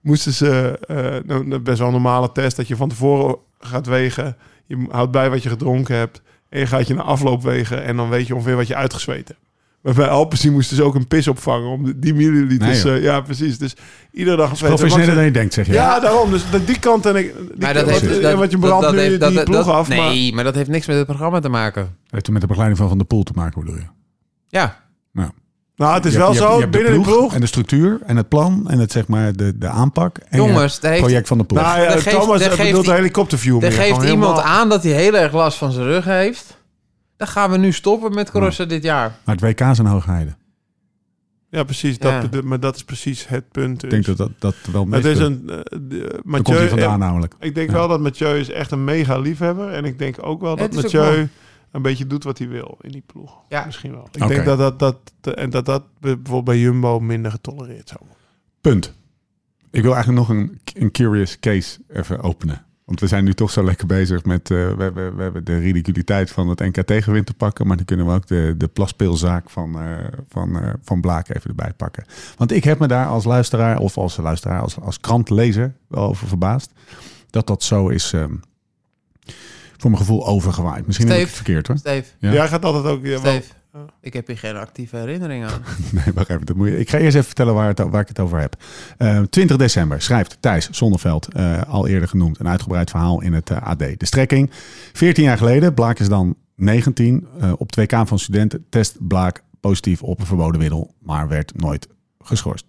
C: moesten ze eh, nou, nou, best wel een normale test dat je van tevoren gaat wegen. Je houdt bij wat je gedronken hebt en je gaat je na afloop wegen en dan weet je ongeveer wat je uitgezweet hebt. Maar bij Alpecin moesten ze ook een pis opvangen om de- die milliliters.
A: Nee,
C: eh, ja, precies. Dus iedere dag een feest.
A: Professioneler dan
C: En
A: je denkt, zeg
C: wat-
A: jij.
C: Ja, daarom. Dus dat- die kant en ik. Die
D: Maar dat
C: kant-
D: heeft,
C: en
D: dat,
C: wat je
D: dat-
C: brandt
D: dat
C: nu
D: heeft-
C: die
D: dat-
C: ploeg
D: dat-
C: af. maar-
D: Nee, maar... dat heeft niks met het programma te maken.
A: Heeft het met de begeleiding van Van der Poel te maken, bedoel je?
D: Ja,
C: nou, het is
A: Je
C: wel
A: hebt- je
C: zo.
A: hebt- je hebt
C: binnen de ploeg.
A: En de structuur en het plan en het, zeg maar, de, de aanpak. En
D: jongens, daar
A: Het
D: heeft,
A: project van de ploeg.
C: nou ja,
D: daar geeft-
C: Thomas
D: daar
C: dat
D: geeft
C: bedoelt de
D: i-
C: helikopterview.
D: daar
C: meer.
D: geeft
C: Gewoon
D: iemand
C: helemaal-
D: aan dat hij heel erg last van zijn rug heeft. Dan gaan we nu stoppen met crossen dit jaar.
A: Maar het WK zijn hoogheiden.
C: Ja, precies. Dat,
D: Ja.
C: bedoelt- Maar dat is precies het punt.
A: Ik
C: dus.
A: denk dat dat, dat wel mee
C: Het is een. eh, de-
A: Daar komt hij
C: Mathieu,
A: vandaan namelijk.
C: ik denk
A: Ja.
C: wel dat Mathieu is echt een mega liefhebber. En ik denk ook wel
D: Ja,
C: dat
D: het is ook
C: Mathieu een beetje doet wat hij wil in die ploeg.
D: Ja.
C: Misschien wel. Ik
A: Oké.
C: denk dat dat, dat, en dat dat bijvoorbeeld bij Jumbo minder getolereerd zou worden.
A: Punt. Ik wil eigenlijk nog een, een curious case even openen. Want we zijn nu toch zo lekker bezig met... eh, we, hebben, we hebben de ridiculiteit van het NK tegenwind te pakken... maar dan kunnen we ook de, de plaspeelzaak van, eh, van, eh, van Blaak even erbij pakken. Want ik heb me daar als luisteraar of als luisteraar, als, als krantlezer wel over verbaasd... dat dat zo is ehm, voor mijn gevoel overgewaaid. Misschien heb ik het
D: Steve.
A: verkeerd hoor.
D: Steve,
A: Ja.
C: Jij gaat altijd ook. Ja, wel-
D: Steve,
C: Ja.
D: ik heb hier geen actieve herinnering aan.
A: Nee, wacht even. Dat moet je, ik ga eerst even vertellen waar, het, waar ik het over heb. Eh, 20 december schrijft Thijs Zonneveld, eh, al eerder genoemd, een uitgebreid verhaal in het eh, AD. De strekking. 14 jaar geleden, Blaak is dan 19. eh, op 2K van studenten test Blaak positief op een verboden middel, maar werd nooit geschorst.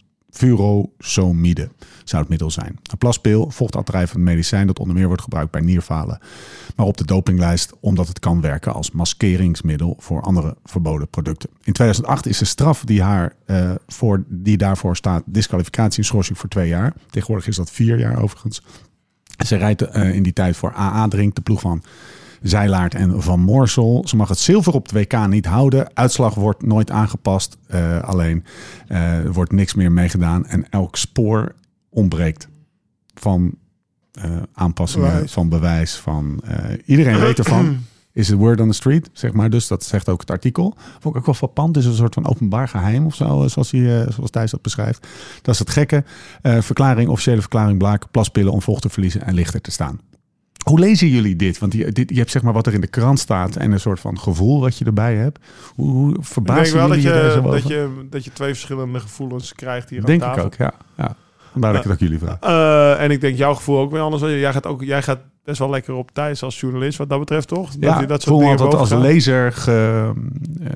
A: Furosomide zou het middel zijn. Een plaspeel, vochtaftrijvend medicijn dat onder meer wordt gebruikt bij nierfalen. Maar op de dopinglijst omdat het kan werken als maskeringsmiddel voor andere verboden producten. In 2008 is de straf die, haar, eh, voor, die daarvoor staat disqualificatie en schorsing voor twee jaar. Tegenwoordig is dat vier jaar overigens. Ze rijdt eh, in die tijd voor AA Drink, de ploeg van Zeilaert en Van Morsel. Ze mag het zilver op het WK niet houden. Uitslag wordt nooit aangepast. eh, alleen eh, er wordt niks meer meegedaan. En elk spoor ontbreekt van eh, aanpassingen,
C: Bewijs.
A: van bewijs. Van, eh, iedereen weet ervan. is het word on the street, zeg maar. Dus dat zegt ook het artikel. Vond ik ook wel frappant. Dus een soort van openbaar geheim of zo, eh, zoals, hij, eh, zoals Thijs dat beschrijft. Dat is het gekke. Eh, verklaring, officiële verklaring, blaak, plaspillen om vocht te verliezen en lichter te staan. Hoe lezen jullie dit? Want die- dit, je hebt zeg maar wat er in de krant staat en een soort van gevoel wat je erbij hebt. Hoe, hoe
C: Ik denk
A: verbazen
C: wel
A: jullie
C: dat
A: je daar
C: je,
A: zo
C: dat,
A: over?
C: je, dat je twee verschillende gevoelens krijgt hier
A: Denk
C: aan
A: ik
C: tafel.
A: ook, ja. ja. Vandaar dat ik het ook jullie vraag.
C: Eh, en ik denk jouw gevoel ook weer anders. Jij gaat, ook, jij gaat best wel lekker op Thijs als journalist, wat dat betreft, toch? Dat
A: Ja,
C: hij dat
A: dat
C: soort
A: voel me
C: dingen
A: altijd als
C: boven gaat.
A: lezer ge- eh,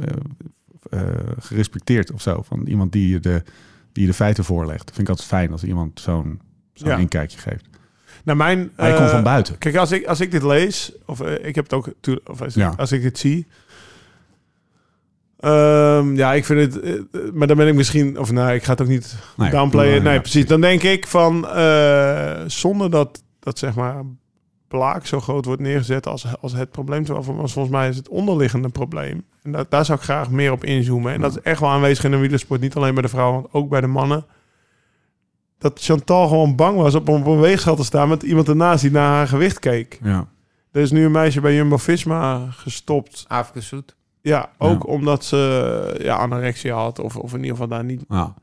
A: eh, eh, gerespecteerd of zo. Van iemand die je de, die je de feiten voorlegt. Vind ik altijd fijn als iemand zo'n zo'n
C: Ja.
A: inkijkje geeft.
C: Naar mijn,
A: Hij komt
C: eh,
A: van buiten.
C: Kijk, als ik, als ik dit lees, of eh, ik heb het ook, tuur- of als,
A: Ja.
C: als ik dit zie. Ehm, ja, ik vind het, eh, eh, maar dan ben ik misschien, of nou, ik ga het ook niet
A: Nee,
C: downplayen.
A: ja,
C: nee,
A: ja.
C: precies. Dan denk ik van, eh, zonder dat, dat zeg maar plaak zo groot wordt neergezet als, als het probleem. Terwijl voor- want volgens mij is het onderliggende probleem. En dat, daar zou ik graag meer op inzoomen. En dat is echt wel aanwezig in de wielersport. Niet alleen bij de vrouwen, want ook bij de mannen. Dat Chantal gewoon bang was op een beweegschaal te staan met iemand ernaast die naar haar gewicht keek.
A: Ja.
C: Er is nu een meisje bij Jumbo-Visma gestopt.
D: Afrika Zoet.
C: Ja, ook omdat ze ja, anorexia had. Of, of in ieder geval daar niet
A: Ja.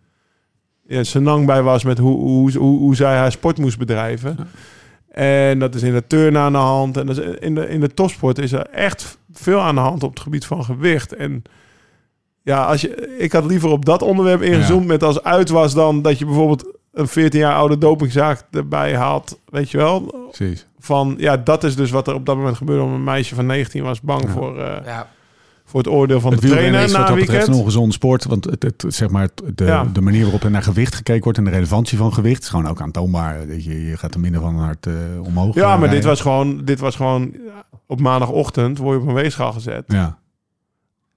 C: ja, senang bij was met hoe, hoe, hoe, hoe zij haar sport moest bedrijven. En dat is in de turn aan de hand. En dat is in, de, in de topsport is er echt veel aan de hand op het gebied van gewicht. En ja, als je, ik had liever op dat onderwerp ingezoomd met als uit was dan dat je bijvoorbeeld een 14 jaar oude dopingzaak erbij haalt. Weet je wel?
A: precies.
C: Van ja, dat is dus wat er op dat moment gebeurde. Om een meisje van 19 was bang
A: Ja.
C: voor, eh,
D: Ja.
C: voor het oordeel van
A: Het
C: de
A: wielrennen
C: trainer
A: is wat
C: na een
A: dat betreft een
C: weekend.
A: ongezonde sport. Want het, het, zeg maar, het- de,
C: Ja.
A: de manier waarop er naar gewicht gekeken wordt en de relevantie van gewicht is gewoon ook aantoonbaar. Weet Je, je gaat er minder van een hart eh, omhoog. eh,
C: Ja, maar dit
A: rijden.
C: was gewoon, dit was gewoon ja, op maandagochtend word je op een weegschaal gezet.
A: Ja.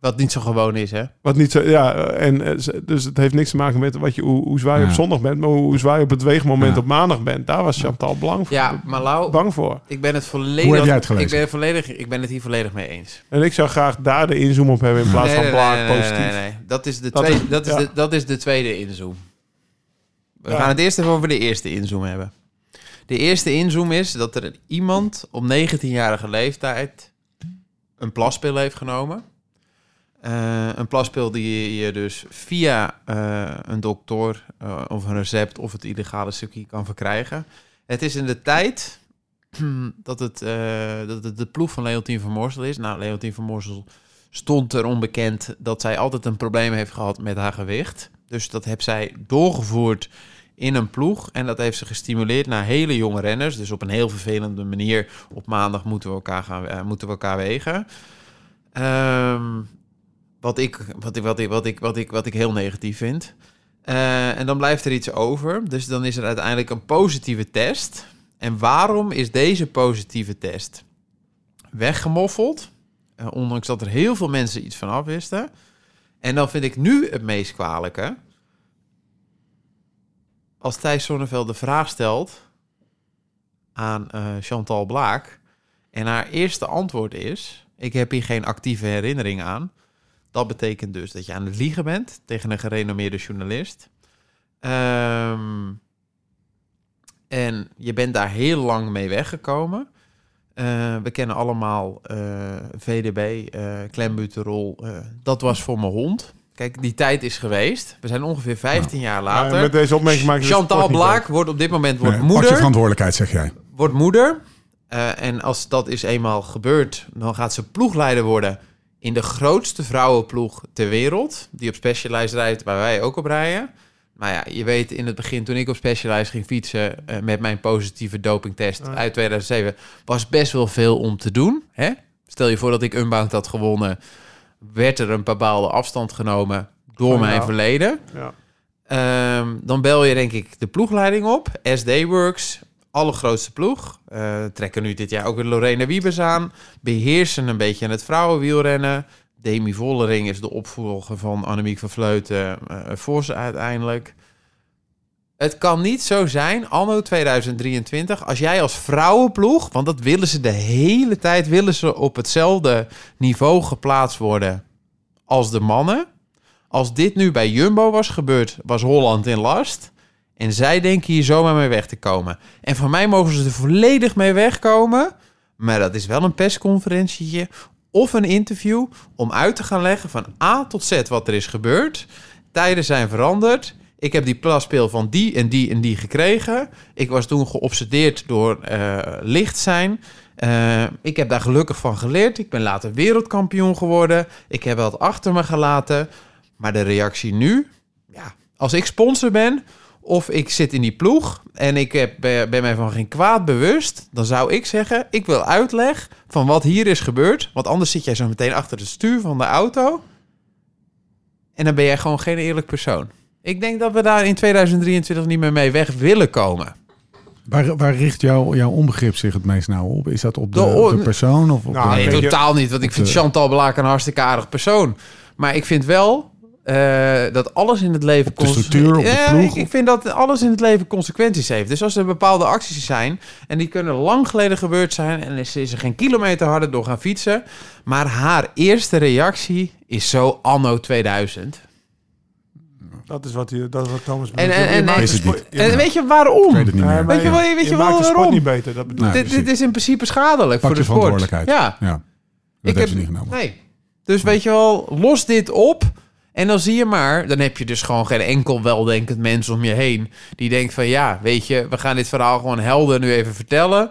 D: Wat niet zo gewoon is, hè?
C: Wat niet zo, ja, eh, en eh, ze- dus het heeft niks te maken met wat je, hoe, hoe zwaar je
A: Ja.
C: op zondag bent, maar hoe, hoe zwaar je op het weegmoment
A: Ja.
C: op maandag bent. Daar was Chantal blank voor,
D: Ja, maar Lau,
C: bang voor.
D: ik ben het volledig...
A: Hoe heb jij het gelezen?
D: Ik ben, het volledig, ik ben het hier volledig mee eens.
C: En ik zou graag daar de inzoom op hebben in plaats van blaak positief.
D: Dat is de
C: Dat
D: tweede,
C: is-
D: dat is
C: ja.
D: de, dat is de tweede inzoom. We
C: Ja.
D: gaan het eerst even over de eerste inzoom hebben. De eerste inzoom is dat er iemand op 19-jarige leeftijd een plaspil heeft genomen. Eh, een plaspil die je dus via eh, een dokter eh, of een recept of het illegale stukje kan verkrijgen. Het is in de tijd dat het, eh, dat het de ploeg van Leontien van Morsel is. Nou, Leontien van Morsel stond er onbekend dat zij altijd een probleem heeft gehad met haar gewicht. Dus dat heeft zij doorgevoerd in een ploeg. En dat heeft ze gestimuleerd naar hele jonge renners. Dus op een heel vervelende manier. Op maandag moeten we elkaar, gaan, eh, moeten we elkaar wegen. Ehm, wat, ik, wat, ik, wat, ik, wat, ik, wat, ik, wat ik heel negatief vind. Eh, en dan blijft er iets over. Dus dan is er uiteindelijk een positieve test. En waarom is deze positieve test weggemoffeld? Eh, ondanks dat er heel veel mensen iets van af wisten. En dan vind ik nu het meest kwalijke. Als Thijs Zonneveld de vraag stelt aan eh, Chantal Blaak. En haar eerste antwoord is: Ik heb hier geen actieve herinnering aan. Dat betekent dus dat je aan het liegen bent tegen een gerenommeerde journalist. Ehm, en je bent daar heel lang mee weggekomen. Eh, we kennen allemaal eh, VDB, eh klembuterol. eh, dat was voor mijn hond. Kijk, die tijd is geweest. We zijn ongeveer 15 jaar
C: Maar
D: later.
C: met deze opmerking maak je de
D: Chantal
C: sport niet
D: Blaak wordt op dit moment wordt
A: Nee, pak je
D: moeder.
A: verantwoordelijkheid, zeg jij.
D: Wordt moeder. Eh, en als dat is eenmaal gebeurd, dan gaat ze ploegleider worden in de grootste vrouwenploeg ter wereld. Die op Specialized rijdt, waar wij ook op rijden. Maar ja, je weet in het begin, toen ik op Specialized ging fietsen eh, met mijn positieve dopingtest
C: Ja.
D: uit 2007, was best wel veel om te doen. Hè? Stel je voor dat ik Unbound had gewonnen, werd er een bepaalde afstand genomen door
C: Van
D: mijn
C: jou.
D: verleden.
C: Ja.
D: Ehm, dan bel je denk ik de ploegleiding op. SD Works, allergrootste ploeg. Eh, trekken nu dit jaar ook weer Lorena Wiebes aan. Beheersen een beetje aan het vrouwenwielrennen. Demi Vollering is de opvolger van Annemiek van Vleuten. eh Vos uiteindelijk. Het kan niet zo zijn, anno 2023, als jij als vrouwenploeg... want dat willen ze de hele tijd, willen ze op hetzelfde niveau geplaatst worden als de mannen... Als dit nu bij Jumbo was gebeurd, was Holland in last. En zij denken hier zomaar mee weg te komen. En voor mij mogen ze er volledig mee wegkomen. Maar dat is wel een persconferentietje of een interview om uit te gaan leggen van A tot Z wat er is gebeurd. Tijden zijn veranderd. Ik heb die plaspeel van die en die en die gekregen. Ik was toen geobsedeerd door eh, licht zijn. Eh, ik heb daar gelukkig van geleerd. Ik ben later wereldkampioen geworden. Ik heb dat achter me gelaten. Maar de reactie nu, ja, als ik sponsor ben of ik zit in die ploeg en ik heb, ben ben mij van geen kwaad bewust, dan zou ik zeggen: ik wil uitleg van wat hier is gebeurd, want anders zit jij zo meteen achter het stuur van de auto en dan ben jij gewoon geen eerlijk persoon. Ik denk dat we daar in 2023 niet meer mee weg willen komen.
A: Waar, waar richt jouw jouw onbegrip zich het meest nou op? Is dat op de,
D: De
A: op de
D: on-
A: persoon? Of op
C: Nou,
A: de-
D: nee,
C: weet je-
D: totaal niet. Want ik vind
A: Ah, eh,
D: Chantal Blaak een hartstikke aardig persoon. Maar ik vind wel eh, dat alles in het leven...
A: de
D: cons-
A: structuur, op de
D: Ja,
A: ploeg,
D: ik, ik vind dat alles in het leven consequenties heeft. Dus als er bepaalde acties zijn... en die kunnen lang geleden gebeurd zijn... en is, is er geen kilometer harder door gaan fietsen... maar haar eerste reactie is zo anno 2000.
C: Dat is wat, je, dat is wat Thomas
D: En,
C: bedoelt.
D: en,
C: Je
D: en,
C: maakt
A: Is
C: de
A: het
C: sport-
A: niet.
C: je-
D: en weet je
A: ik
D: waarom?
A: weet het niet
C: Ja,
A: meer.
C: maar
D: Weet je wel- weet je wel
C: maakt de sport
D: waarom?
C: niet beter. Dat bedoel
A: Nee.
C: ik.
D: dit, dit
A: precies.
D: is in principe schadelijk
A: Pak
D: voor
A: je
D: de sport.
A: verantwoordelijkheid.
D: Ja.
A: Ja. Dat
D: Ik
A: heeft ze
D: heb-
A: niet genomen.
D: Nee. Dus weet je wel, los dit op. En dan zie je maar, dan heb je dus gewoon geen enkel weldenkend mens om je heen. Die denkt van ja, weet je, we gaan dit verhaal gewoon helder nu even vertellen.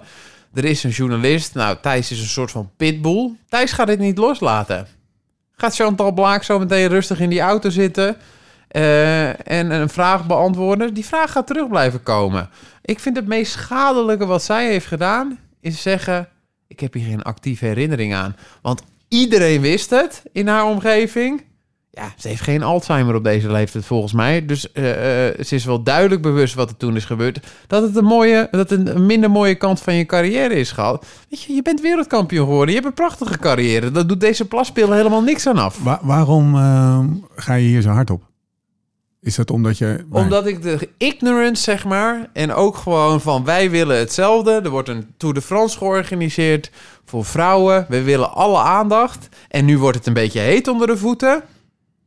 D: Er is een journalist, nou Thijs is een soort van pitbull. Thijs gaat dit niet loslaten. Gaat Chantal Blaak zo meteen rustig in die auto zitten eh, en een vraag beantwoorden. Die vraag gaat terug blijven komen. Ik vind het meest schadelijke wat zij heeft gedaan, is zeggen... ik heb hier geen actieve herinnering aan. Want iedereen wist het in haar omgeving. Ja, ze heeft geen Alzheimer op deze leeftijd volgens mij. Dus eh, eh, ze is wel duidelijk bewust wat er toen is gebeurd. Dat het een, mooie, dat het een minder mooie kant van je carrière is gehad. Weet je, je bent wereldkampioen geworden. Je hebt een prachtige carrière. Daar doet deze plaspil helemaal niks aan af.
A: Wa- waarom ehm, ga je hier zo hard op? Is dat omdat je... nee.
D: Omdat ik de ignorance, zeg maar, en ook gewoon van wij willen hetzelfde. Er wordt een Tour de France georganiseerd voor vrouwen. We willen alle aandacht. En nu wordt het een beetje heet onder de voeten.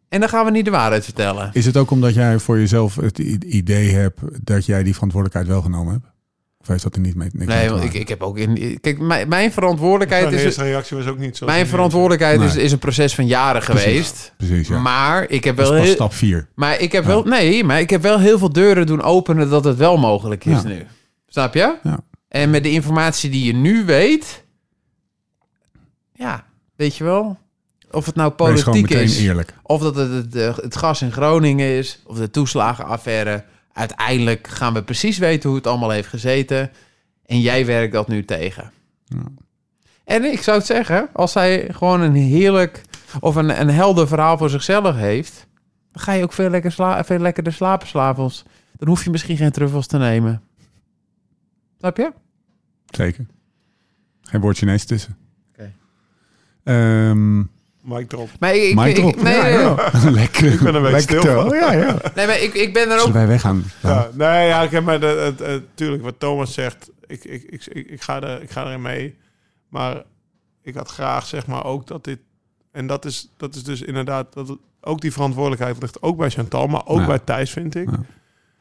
D: En dan gaan we niet de waarheid vertellen.
A: Is het ook omdat jij voor jezelf het i- idee hebt dat jij die verantwoordelijkheid wel genomen hebt? Of heeft dat er niet mee niks mee
D: Nee,
A: te
D: want ik,
A: maken?
D: ik heb ook in. Kijk, mijn, mijn
C: Zijn
D: verantwoordelijkheid is.
C: Nou, eerste reactie was ook niet zo.
D: Mijn verantwoordelijkheid is,
A: Nee.
D: is een proces van jaren
A: Precies.
D: geweest.
A: Precies, ja.
D: Maar ik heb
A: dat
D: wel.
A: is pas
D: heel-
A: stap 4.
D: Maar ik heb wel. Nee, maar ik heb wel heel veel deuren doen openen dat het wel mogelijk is
A: Ja.
D: nu. Snap je?
A: Ja.
D: En met de informatie die je nu weet. Ja, weet je wel. Of het nou
A: Wees gewoon
D: politiek
A: meteen
D: is.
A: eerlijk.
D: Of dat het, het, eh, het gas in Groningen is. Of de toeslagenaffaire. Uiteindelijk gaan we precies weten hoe het allemaal heeft gezeten. En jij werkt dat nu tegen.
A: Ja.
D: En ik zou het zeggen, als zij gewoon een heerlijk of een, een helder verhaal voor zichzelf heeft, dan ga je ook veel, lekker sla veel lekkerder slapen s'avonds. Dan hoef je misschien geen truffels te nemen. Snap je?
A: Zeker. Geen woord Chinees tussen.
D: Oké.
A: Ehm,
C: Mike erop.
D: Maar ik, ik,
A: mic
D: ik-
A: drop.
D: nee,
A: Ja,
D: nee,
A: ja. Lekker.
C: Ik ben er wel
A: Lekker
C: stil
A: tel.
C: van.
A: Ja, ja.
D: nee, maar ik, ik ben er ook
A: Zullen wij weggaan?
C: Ja, nee, ja, ik heb maar de, het, het- tuurlijk wat Thomas zegt. Ik, ik, ik, ik, ik ga er, ik ga erin mee. Maar ik had graag zeg maar ook dat dit. En dat is, dat is dus inderdaad. Dat, het- ook die verantwoordelijkheid ligt ook bij Chantal, maar ook
A: Ja.
C: bij Thijs, vind ik.
A: Ja.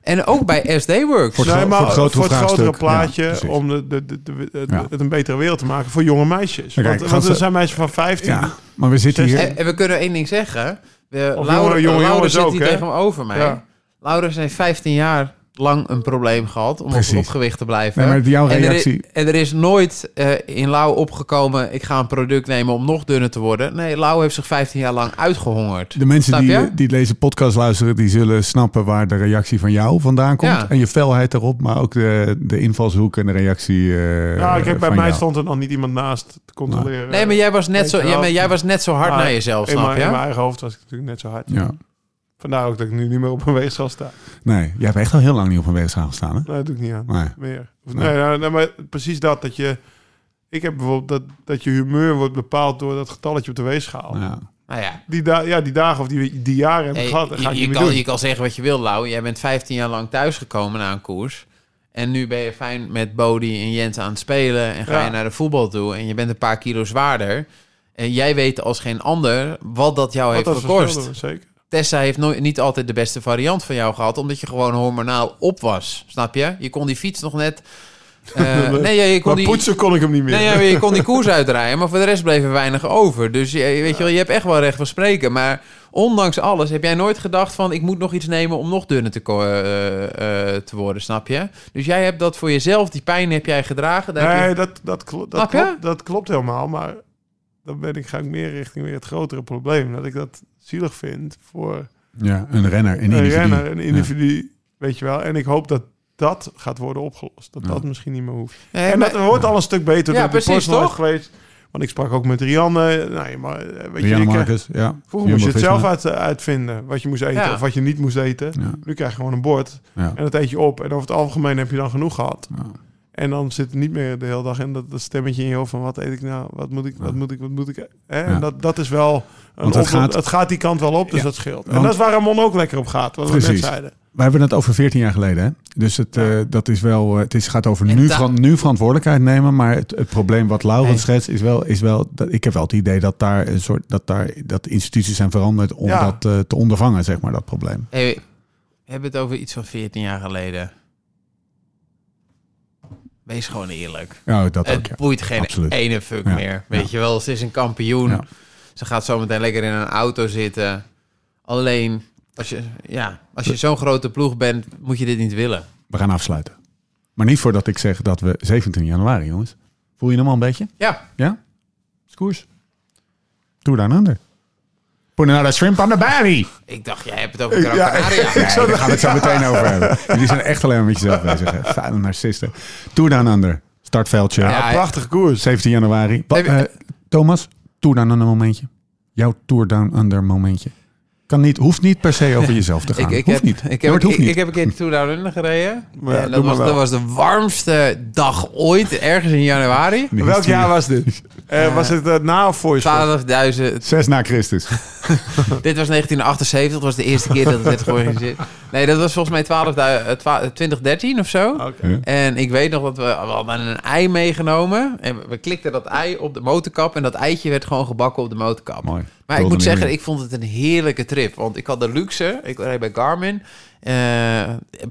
D: En ook bij SD Works.
A: Voor het gro- voor het grotere vraagstuk.
C: plaatje,
A: Ja, precies.
C: om de, de, de, de- de-
A: Ja.
C: het een betere wereld te maken voor jonge meisjes.
A: Kijk,
C: want
A: gaan
C: want er
A: ze-
C: zijn meisjes van 15.
A: Ja, maar we zitten hier.
D: En, en we kunnen één ding zeggen. We,
C: Of
D: Laura,
C: jonge- jonge
D: Laura
C: jongens
D: zit
C: ook,
D: hier
C: hè?
D: tegenover mij.
C: Ja.
D: Laura heeft 15 jaar lang een probleem gehad om op,
A: Precies.
D: op gewicht te blijven.
A: Nee, maar jouw
D: eh, en, er is,
A: reactie.
D: en er is nooit eh, in Lau opgekomen... ik ga een product nemen om nog dunner te worden. Nee, Lau heeft zich 15 jaar lang uitgehongerd.
A: De mensen
D: Snap
A: die, eh,
D: je?
A: die deze podcast luisteren, die zullen snappen waar de reactie van jou vandaan komt.
D: Ja.
A: En je felheid erop, maar ook de, de invalshoek en de reactie. eh,
C: Ja, kijk, bij
A: van
C: mij
A: jou.
C: stond er dan niet iemand naast te controleren.
D: Nee, maar jij was net zo,
C: Dankjewel.
D: jij, maar jij was net zo hard
C: Maar
D: naar jezelf,
C: in,
D: snap
C: mijn, in mijn
D: je?
C: eigen hoofd was ik natuurlijk net zo hard.
A: Ja.
C: Vandaar ook dat ik nu niet meer op een weegschaal sta.
A: Nee, jij hebt echt al heel lang niet op een weegschaal gestaan, hè?
C: Nee, dat doe ik niet aan.
A: Nee.
C: Meer. Of,
A: Nee.
C: nee, nou, nou, maar precies dat. Dat je... Ik heb bijvoorbeeld dat, dat je humeur wordt bepaald door dat getalletje op de weegschaal.
A: Ja.
D: Nou ja,
C: Die, da ja, die dagen of die, die jaren heb ik
D: Hey,
C: gehad, dat ga ik
D: je,
C: niet
D: je
C: meer
D: kan,
C: doen.
D: je kan zeggen wat je wil, Lau. Jij bent 15 jaar lang thuisgekomen na een koers. En nu ben je fijn met Bodie en Jens aan het spelen. En ga
C: Ja.
D: je naar de voetbal toe. En je bent een paar kilo zwaarder. En jij weet als geen ander wat dat jou
C: Wat dat
D: heeft
C: verschil
D: gekost.
C: doen, zeker.
D: Tessa heeft nooit, niet altijd de beste variant van jou gehad. Omdat je gewoon hormonaal op was. Snap je? Je kon die fiets nog net Eh, nee, ja, je kon
C: Maar
D: die,
C: poetsen kon ik hem niet meer.
D: nee, ja, je kon die koers uitrijden, maar voor de rest bleef er weinig over. Dus je, weet je, wel, je hebt echt wel recht van spreken. Maar ondanks alles heb jij nooit gedacht van... ik moet nog iets nemen om nog dunner te, ko- eh, eh, te worden, snap je? Dus jij hebt dat voor jezelf, die pijn heb jij gedragen. Daar heb je-
C: Nee, dat, dat, klo- dat,
D: Snap je?
C: klopt, dat klopt helemaal. Maar dan ben ik, ga ik meer richting weer het grotere probleem. Dat ik dat zielig vind voor
A: Ja, een renner, een,
C: een
A: individu.
C: renner, een
A: Ja.
C: individu. Weet je wel. En ik hoop dat dat gaat worden opgelost. Dat
A: Ja.
C: dat misschien niet meer hoeft.
D: Nee,
C: en
D: Eh, maar-
C: dat wordt al een stuk beter
D: Ja,
C: door die
D: precies,
C: personal
D: toch?
C: geweest. Want ik sprak ook met Rianne. Nee, maar eh, weet je,
A: Rianne
C: ik, eh,
A: Marcus, ja.
C: vroeger moest je het zelf
A: uit.
C: uit, eh, uitvinden. Wat je moest eten
D: Ja.
C: of wat je niet moest eten.
A: Ja,
C: Nu krijg je gewoon een bord
A: ja.
C: en dat eet je op. En over het algemeen heb je dan genoeg gehad.
A: Ja.
C: En dan zit het niet meer de hele dag in dat, dat stemmetje in je hoofd van wat eet ik nou, wat moet ik, wat moet ik, wat moet ik. eh? Hè?
A: Ja.
C: En dat, dat is wel, een
A: Want het
C: oplo-
A: gaat-
C: het gaat die kant wel op, dus
A: Ja.
C: dat scheelt. En
A: Want-
C: dat is waar Ramon ook lekker op gaat, wat we
A: Precies.
C: net zeiden.
A: We hebben het over 14 jaar geleden, hè? Dus het, eh, dat is wel, eh, het is, gaat over
D: En
A: nu,
D: da-
A: veran- nu verantwoordelijkheid nemen. Maar het, het probleem wat Laurens
D: Hey.
A: schetst is wel, is wel dat, ik heb wel het idee dat daar een soort, dat daar, dat instituties zijn veranderd om
C: Ja.
A: dat eh, te ondervangen, zeg maar, dat probleem.
D: Hey, we hebben het over iets van 14 jaar geleden. Wees gewoon eerlijk.
A: Ja, dat ook,
D: het
A: ja.
D: boeit geen
A: Absoluut.
D: ene fuck
A: Ja.
D: meer. Weet je wel, ze is een kampioen.
A: Ja.
D: Ze gaat zometeen lekker in een auto zitten. Alleen, als je, ja, als je zo'n grote ploeg bent, moet je dit niet willen.
A: We gaan afsluiten. Maar niet voordat ik zeg dat we 17 januari, jongens. Voel je hem al een beetje?
D: Ja,
A: Ja? Skoers. Doe daar een ander. Put another shrimp on the belly.
D: ik dacht, jij hebt het over Gran Canaria.
A: Nee, daar gaan we het zo meteen over hebben. Jullie zijn echt alleen maar met jezelf bezig. hè. Vuile narcisten. Tour Down Under. Startveldje.
D: Ja,
C: Ja, prachtige koers.
A: 17 januari. Wat,
D: Even-
A: eh, Thomas, Tour Down Under momentje. Jouw Tour Down Under momentje. Kan niet, hoeft niet per se over jezelf te gaan.
D: Ik, ik,
A: hoeft
D: heb,
A: niet.
D: Ik
A: Ja,
D: heb,
A: het hoeft
D: ik,
A: niet.
D: ik heb een keer de Tour Down Under gereden.
C: Maar ja,
D: en
C: doe
D: dat,
C: maar
D: was,
C: wel.
D: dat was de warmste dag ooit, ergens in januari.
A: Nee,
C: Welk
A: het is
C: jaar was dit? Eh, was het het na of voor je sport?
D: 12.000,
A: Zes na Christus.
D: Dit was 1978, dat was de eerste keer dat het werd georganiseerd. Nee, dat was volgens mij 12, du- eh, twa- 2013 of zo.
C: Oké.
D: En ik weet nog dat we, we hadden een ei meegenomen. En we- we klikten dat ei op de motorkap. En dat eitje werd gewoon gebakken op de motorkap.
A: Mooi.
D: Maar ik
A: Golden
D: moet zeggen,
A: earring.
D: ik vond het een heerlijke trip. Want ik had de luxe. Ik reed bij Garmin. Eh,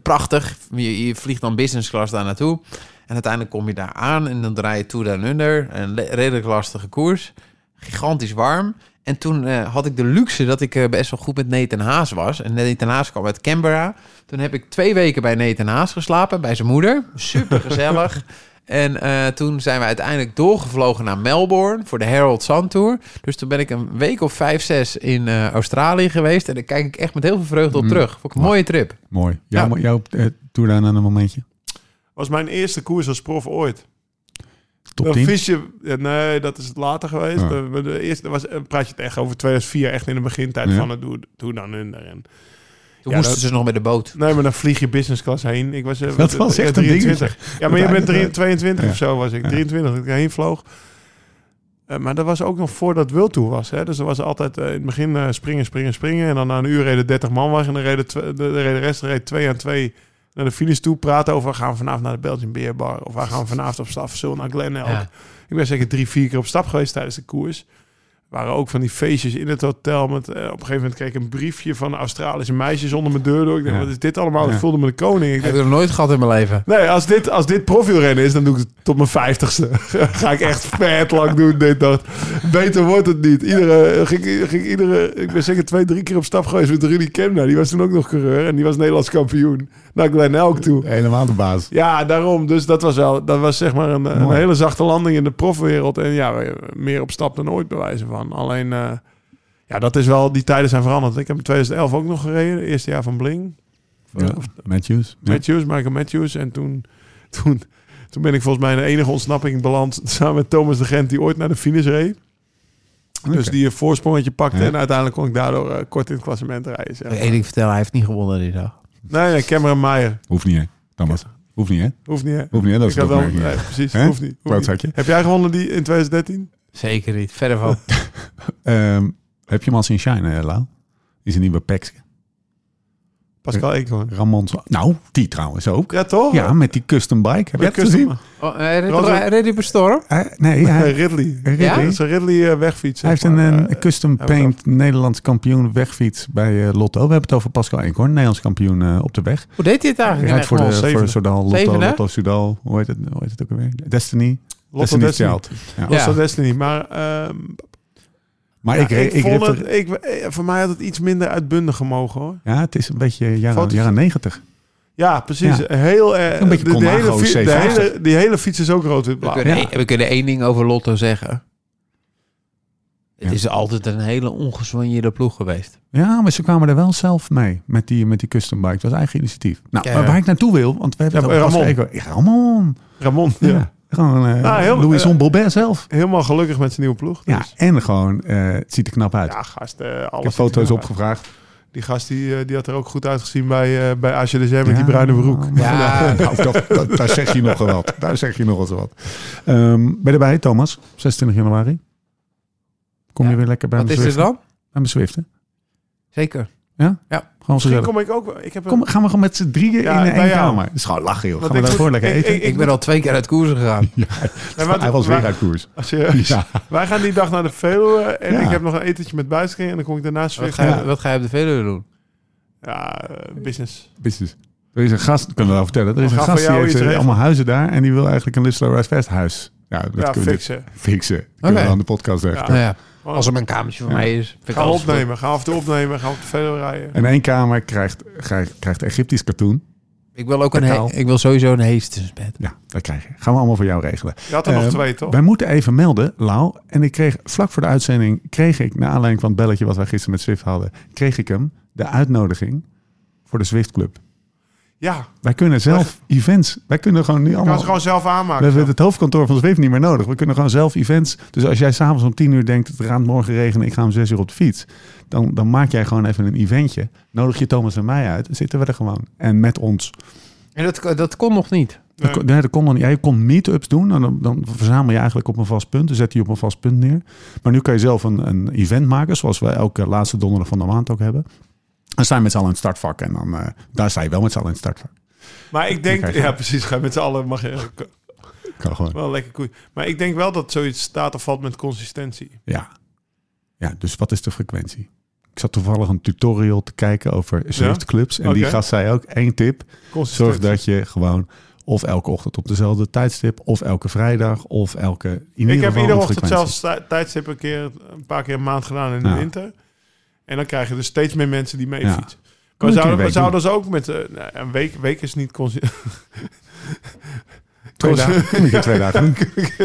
D: prachtig. Je, je vliegt dan business class daar naartoe. En uiteindelijk kom je daar aan. En dan draai je toe down under. Een le- redelijk lastige koers. Gigantisch warm. En toen eh, had ik de luxe dat ik eh, best wel goed met Nathan Haas was. En Nathan Haas kwam uit Canberra. Toen heb ik twee weken bij Nathan Haas geslapen, bij zijn moeder. Super gezellig. en eh, toen zijn we uiteindelijk doorgevlogen naar Melbourne voor de Herald Sun Tour. Dus toen ben ik een week of vijf, zes in eh, Australië geweest. En daar kijk ik echt met heel veel vreugde op
A: Mm.
D: terug. Vond ik een mooie trip.
A: Mooi. Jouw, jouw eh, Tour Down Under momentje.
C: Was mijn eerste koers als prof ooit.
A: Top
C: Dan
A: 10.
C: vis je, ja, nee, dat is het later geweest.
A: Ja.
C: De, de eerste dan was, eh, praat je het echt over 2004, echt in de begintijd
A: Ja.
C: van het doe, doe dan under. En,
D: Toen
C: Ja,
D: moesten
C: dat-
D: ze dus nog met de boot.
C: nee, maar dan vlieg je business class heen. Ik was, eh,
A: Dat was echt een
C: 23. Ja, maar je bent drie-
A: erin.
C: 22
A: Ja.
C: of zo was ik.
A: Ja.
C: 23 dat ik heen vloog. Eh, maar dat was ook nog voordat World Tour was. Hè? Dus er was altijd eh, in het begin eh, springen, springen, springen. En dan na een uur reden 30 man weg. En dan reden tw- de, de, reden- de rest reed twee aan twee naar de finish toe. Praten over, gaan we vanavond naar de Belgian Beer Bar. Of we gaan vanavond op stap, zullen naar Glen Elk.
D: Ja.
C: Ik ben zeker drie, vier keer op stap geweest tijdens de koers. Er waren ook van die feestjes in het hotel. Met, eh, op een gegeven moment kreeg ik een briefje van Australische meisjes onder mijn deur door. Ik dacht,
A: Ja.
C: wat is dit allemaal? Ik
A: Ja.
C: voelde me de koning. Ik
D: Heb
C: dacht,
D: ik nog nooit gehad in mijn leven.
C: Nee, als dit, als dit profielrennen is, dan doe ik het tot mijn vijftigste. Ga ik echt vet lang doen. Dit dacht, beter wordt het niet. Iedere, ging, ging iedere, ik ben zeker twee, drie keer op stap geweest met Rudy Kemna. Die was toen ook nog coureur en die was Nederlands kampioen. Naar Glen Elk toe.
A: Helemaal de baas.
C: Ja, daarom. Dus dat was wel, dat was zeg maar een, een
A: Mooi.
C: hele zachte landing in de profwereld. En ja, meer op stap dan ooit bewijzen van. Alleen, eh, ja, dat is wel, die tijden zijn veranderd. Ik heb in 2011 ook nog gereden, het eerste jaar van Bling.
A: Ja. Matthews. Ja.
C: Matthews, Michael Matthews. En toen, toen, toen ben ik volgens mij in de enige ontsnapping beland. Samen met Thomas de Gent, die ooit naar de finish reed. Dus
A: Oké.
C: die een voorsprongetje pakte.
A: Ja.
C: En uiteindelijk kon ik daardoor eh, kort in het klassement rijden. zeg maar.
D: Eén ding vertellen, hij heeft niet gewonnen die dag.
C: Nee, nee, Cameron Meijer.
A: Hoeft niet, hè? Thomas. Hoeft niet, hè?
C: Hoeft niet, hè?
A: Hoeft niet, hè? Dat
C: Ik
A: is het
C: had wel,
A: opmerking.
C: nee, precies,
A: Hè?
C: hoeft niet. hoeft niet.
A: Klootzakje.
C: Heb jij gewonnen die in 2013?
D: Zeker niet. Verder van.
A: Ehm, heb je hem al zien shine, eh, Lau? Is een nieuwe Pax.
C: Pascal Eekhoorn.
A: Ramon. Nou, die trouwens ook.
C: Ja, toch?
A: Ja, met die custom bike. Heb je
C: Oh. Met
A: het gezien?
C: Custom.
D: Oh, eh, Red-
C: Was er-
D: Ready for Storm?
A: Eh, nee, hij,
C: Ridley.
A: Ridley.
D: Ja?
C: Dat is een Ridley eh, wegfiets.
A: hij heeft
C: zeg
A: een,
C: maar.
A: een
C: Eh,
A: custom
C: hebben we
A: paint Nederlands kampioen wegfiets bij eh, Lotto. We hebben het over Pascal Eekhoorn, Nederlands kampioen eh, op de weg.
D: Hoe deed hij het
A: Hij
D: eigenlijk?
A: rijdt voor, de,
C: Egmond, zevende.
A: voor Sodal, Lotto,
D: Zevende?
A: Lotto Sudal. Hoe heet, het, hoe heet het ook alweer? Destiny.
C: Lotto
A: Destiny
C: Destiny.
A: Child. Ja.
C: Lotto Destiny. Maar ehm,
A: Maar
C: ja,
A: ik, re- ik,
C: vond
A: riep
C: het,
A: er-
C: ik, eh, voor mij had het iets minder uitbundig gemogen hoor.
A: Ja, het is een beetje jaren,
C: Foto's-
A: jaren 90.
C: Ja, precies.
A: Ja.
C: Heel erg.
A: Een beetje
C: de, de hele,
A: Conago
C: fi- de
A: 750.
C: hele, die hele fiets is ook
D: We
C: rood-wit-blauw.
D: kunnen, e-
A: Ja.
D: we kunnen één ding over Lotto zeggen. Het
A: Ja.
D: is altijd een hele ongesoigneerde ploeg geweest.
A: Ja, maar ze kwamen er wel zelf mee met die, met die custom bike. Het was eigen initiatief. Nou,
D: Ja.
A: maar waar ik naartoe wil, want we hebben
C: Ja,
A: het over
C: Ramon.
A: Pascal Eekhoorn. Ja, Ramon.
C: Ramon,
A: Ja.
C: ja.
A: Gewoon eh
C: Nou, heel-
A: Louison
C: eh,
A: Bobet zelf.
C: helemaal gelukkig met zijn nieuwe ploeg.
A: Ja,
C: Dus.
A: en gewoon, eh, het ziet er knap uit.
C: Ja, gast. eh,
A: ik
C: alles
A: heb foto's
C: ziet er
A: opgevraagd.
C: uit. Die gast die, eh, die had er ook goed uitgezien bij, eh bij ACDC met
A: Ja,
C: die bruine broek.
A: man.
D: Ja,
A: Nou, dat, dat- daar zeg je nogal wat. Daar zeg je nogal zo wat. Ehm, ben je erbij, Thomas? 26 januari. Kom
D: Ja.
A: je weer lekker bij
D: wat
A: me
D: is er
A: zwiften?
D: dan?
A: Bij me zwiften.
D: Zeker.
A: Gewoon
C: Misschien
A: gezellig.
C: kom ik ook. wel- Ik heb een-
A: Kom, gaan we gewoon met z'n drieën
C: Ja,
A: in
C: bij
A: één
C: jou.
A: kamer. Dat is gewoon lachen, joh.
C: Want
A: Gaan we
C: ik-
A: daarvoor lekker
C: ik-
A: eten?
D: Ik, ben al twee keer uit koersen gegaan.
C: Nee, want-
A: Hij was
C: wij-
A: weer uit koers.
C: als je-
A: Ja.
C: Wij gaan die dag naar de Veluwe en
A: Ja.
C: ik heb nog een etentje met buiskring en dan kom ik daarnaast
D: Wat
C: weer.
D: ga,
A: Ja.
D: je, wat ga je op de Veluwe doen?
C: Ja, eh, business.
A: Business. Er is een gast, kunnen we wel vertellen. Er is
C: We
A: een
C: gaan
A: gast
C: voor
A: die
C: jou
A: heeft
C: iets
A: eh,
C: regelen.
A: allemaal huizen daar. En die wil eigenlijk een Lislo Ride Fest huis. Ja, dat
C: ja,
A: kunnen we dus
C: fixen.
A: fixen. Dat kunnen we
D: Oké.
A: aan de podcast echt.
C: Ja.
D: Nou ja,
C: Gewoon-
D: als er maar een kamertje voor
A: Ja.
D: mij is. vind
C: Gaan
D: ik
C: we
D: alles goed.
C: Oh. opnemen. Gaan we af en toe opnemen. Gaan we op de Veluwe rijden.
A: En één kamer krijgt, krijgt, krijgt Egyptisch katoen.
D: Ik wil, ook een he-
A: Kakaal.
D: ik wil sowieso een heestensbed.
A: Ja, dat krijg je. Gaan we allemaal voor jou regelen.
C: Je had er nog
A: Eh,
C: twee, toch?
A: Wij moeten even melden, Lau. En ik kreeg vlak voor de uitzending, kreeg ik, naar aanleiding van het belletje wat wij gisteren met Swift hadden, kreeg ik hem de uitnodiging voor de Swift Club.
C: Ja,
A: Wij kunnen zelf events, wij kunnen gewoon nu
C: ik kan het
A: allemaal...
C: gewoon zelf
A: We
C: aanmaken.
A: hebben het hoofdkantoor van Zwift niet meer nodig. We kunnen gewoon zelf events. Dus als jij s'avonds om tien uur denkt, het gaat morgen regenen, ik ga om zes uur op de fiets. Dan, dan maak jij gewoon even een eventje. Nodig je Thomas en mij uit, dan zitten we er gewoon. En met ons.
D: En dat, dat kon nog niet.
A: Dat kon- nee, dat kon dan niet. Ja, je kon meetups doen. En dan, dan verzamel je eigenlijk op een vast punt. Dan zet je op een vast punt neer. Maar nu kan je zelf een, een event maken, zoals we elke laatste donderdag van de maand ook hebben. Dan sta je met z'n allen in het startvak. En dan, eh, daar sta je wel met z'n allen in het startvak.
C: Maar ik denk,
A: Dan krijg je-
C: ja precies, ga je met z'n allen mag je
A: Kan gewoon.
C: wel een lekker koeien. Maar ik denk wel dat zoiets staat of valt met consistentie.
A: Ja. ja, dus wat is de frequentie? Ik zat toevallig een tutorial te kijken over Swift clubs. En die
C: Oké.
A: gast zei ook één tip.
C: Consistentie.
A: Zorg dat je gewoon of elke ochtend op dezelfde tijdstip... of elke vrijdag of elke... In ieder
C: ik heb
A: geval
C: iedere
A: een
C: ochtend
A: frequentie.
C: zelfs ti- tijdstip een keer, een paar keer een maand gedaan in de
A: Ja.
C: winter. En dan krijg je dus steeds meer mensen die mee
A: Ja.
C: fietsen.
A: Moet
C: We
A: je
C: zouden,
A: een
C: we
A: week
C: zouden dus ook met eh, nou, een week, week is niet consistent.
A: Twee dagen. Moet je twee dagen doen.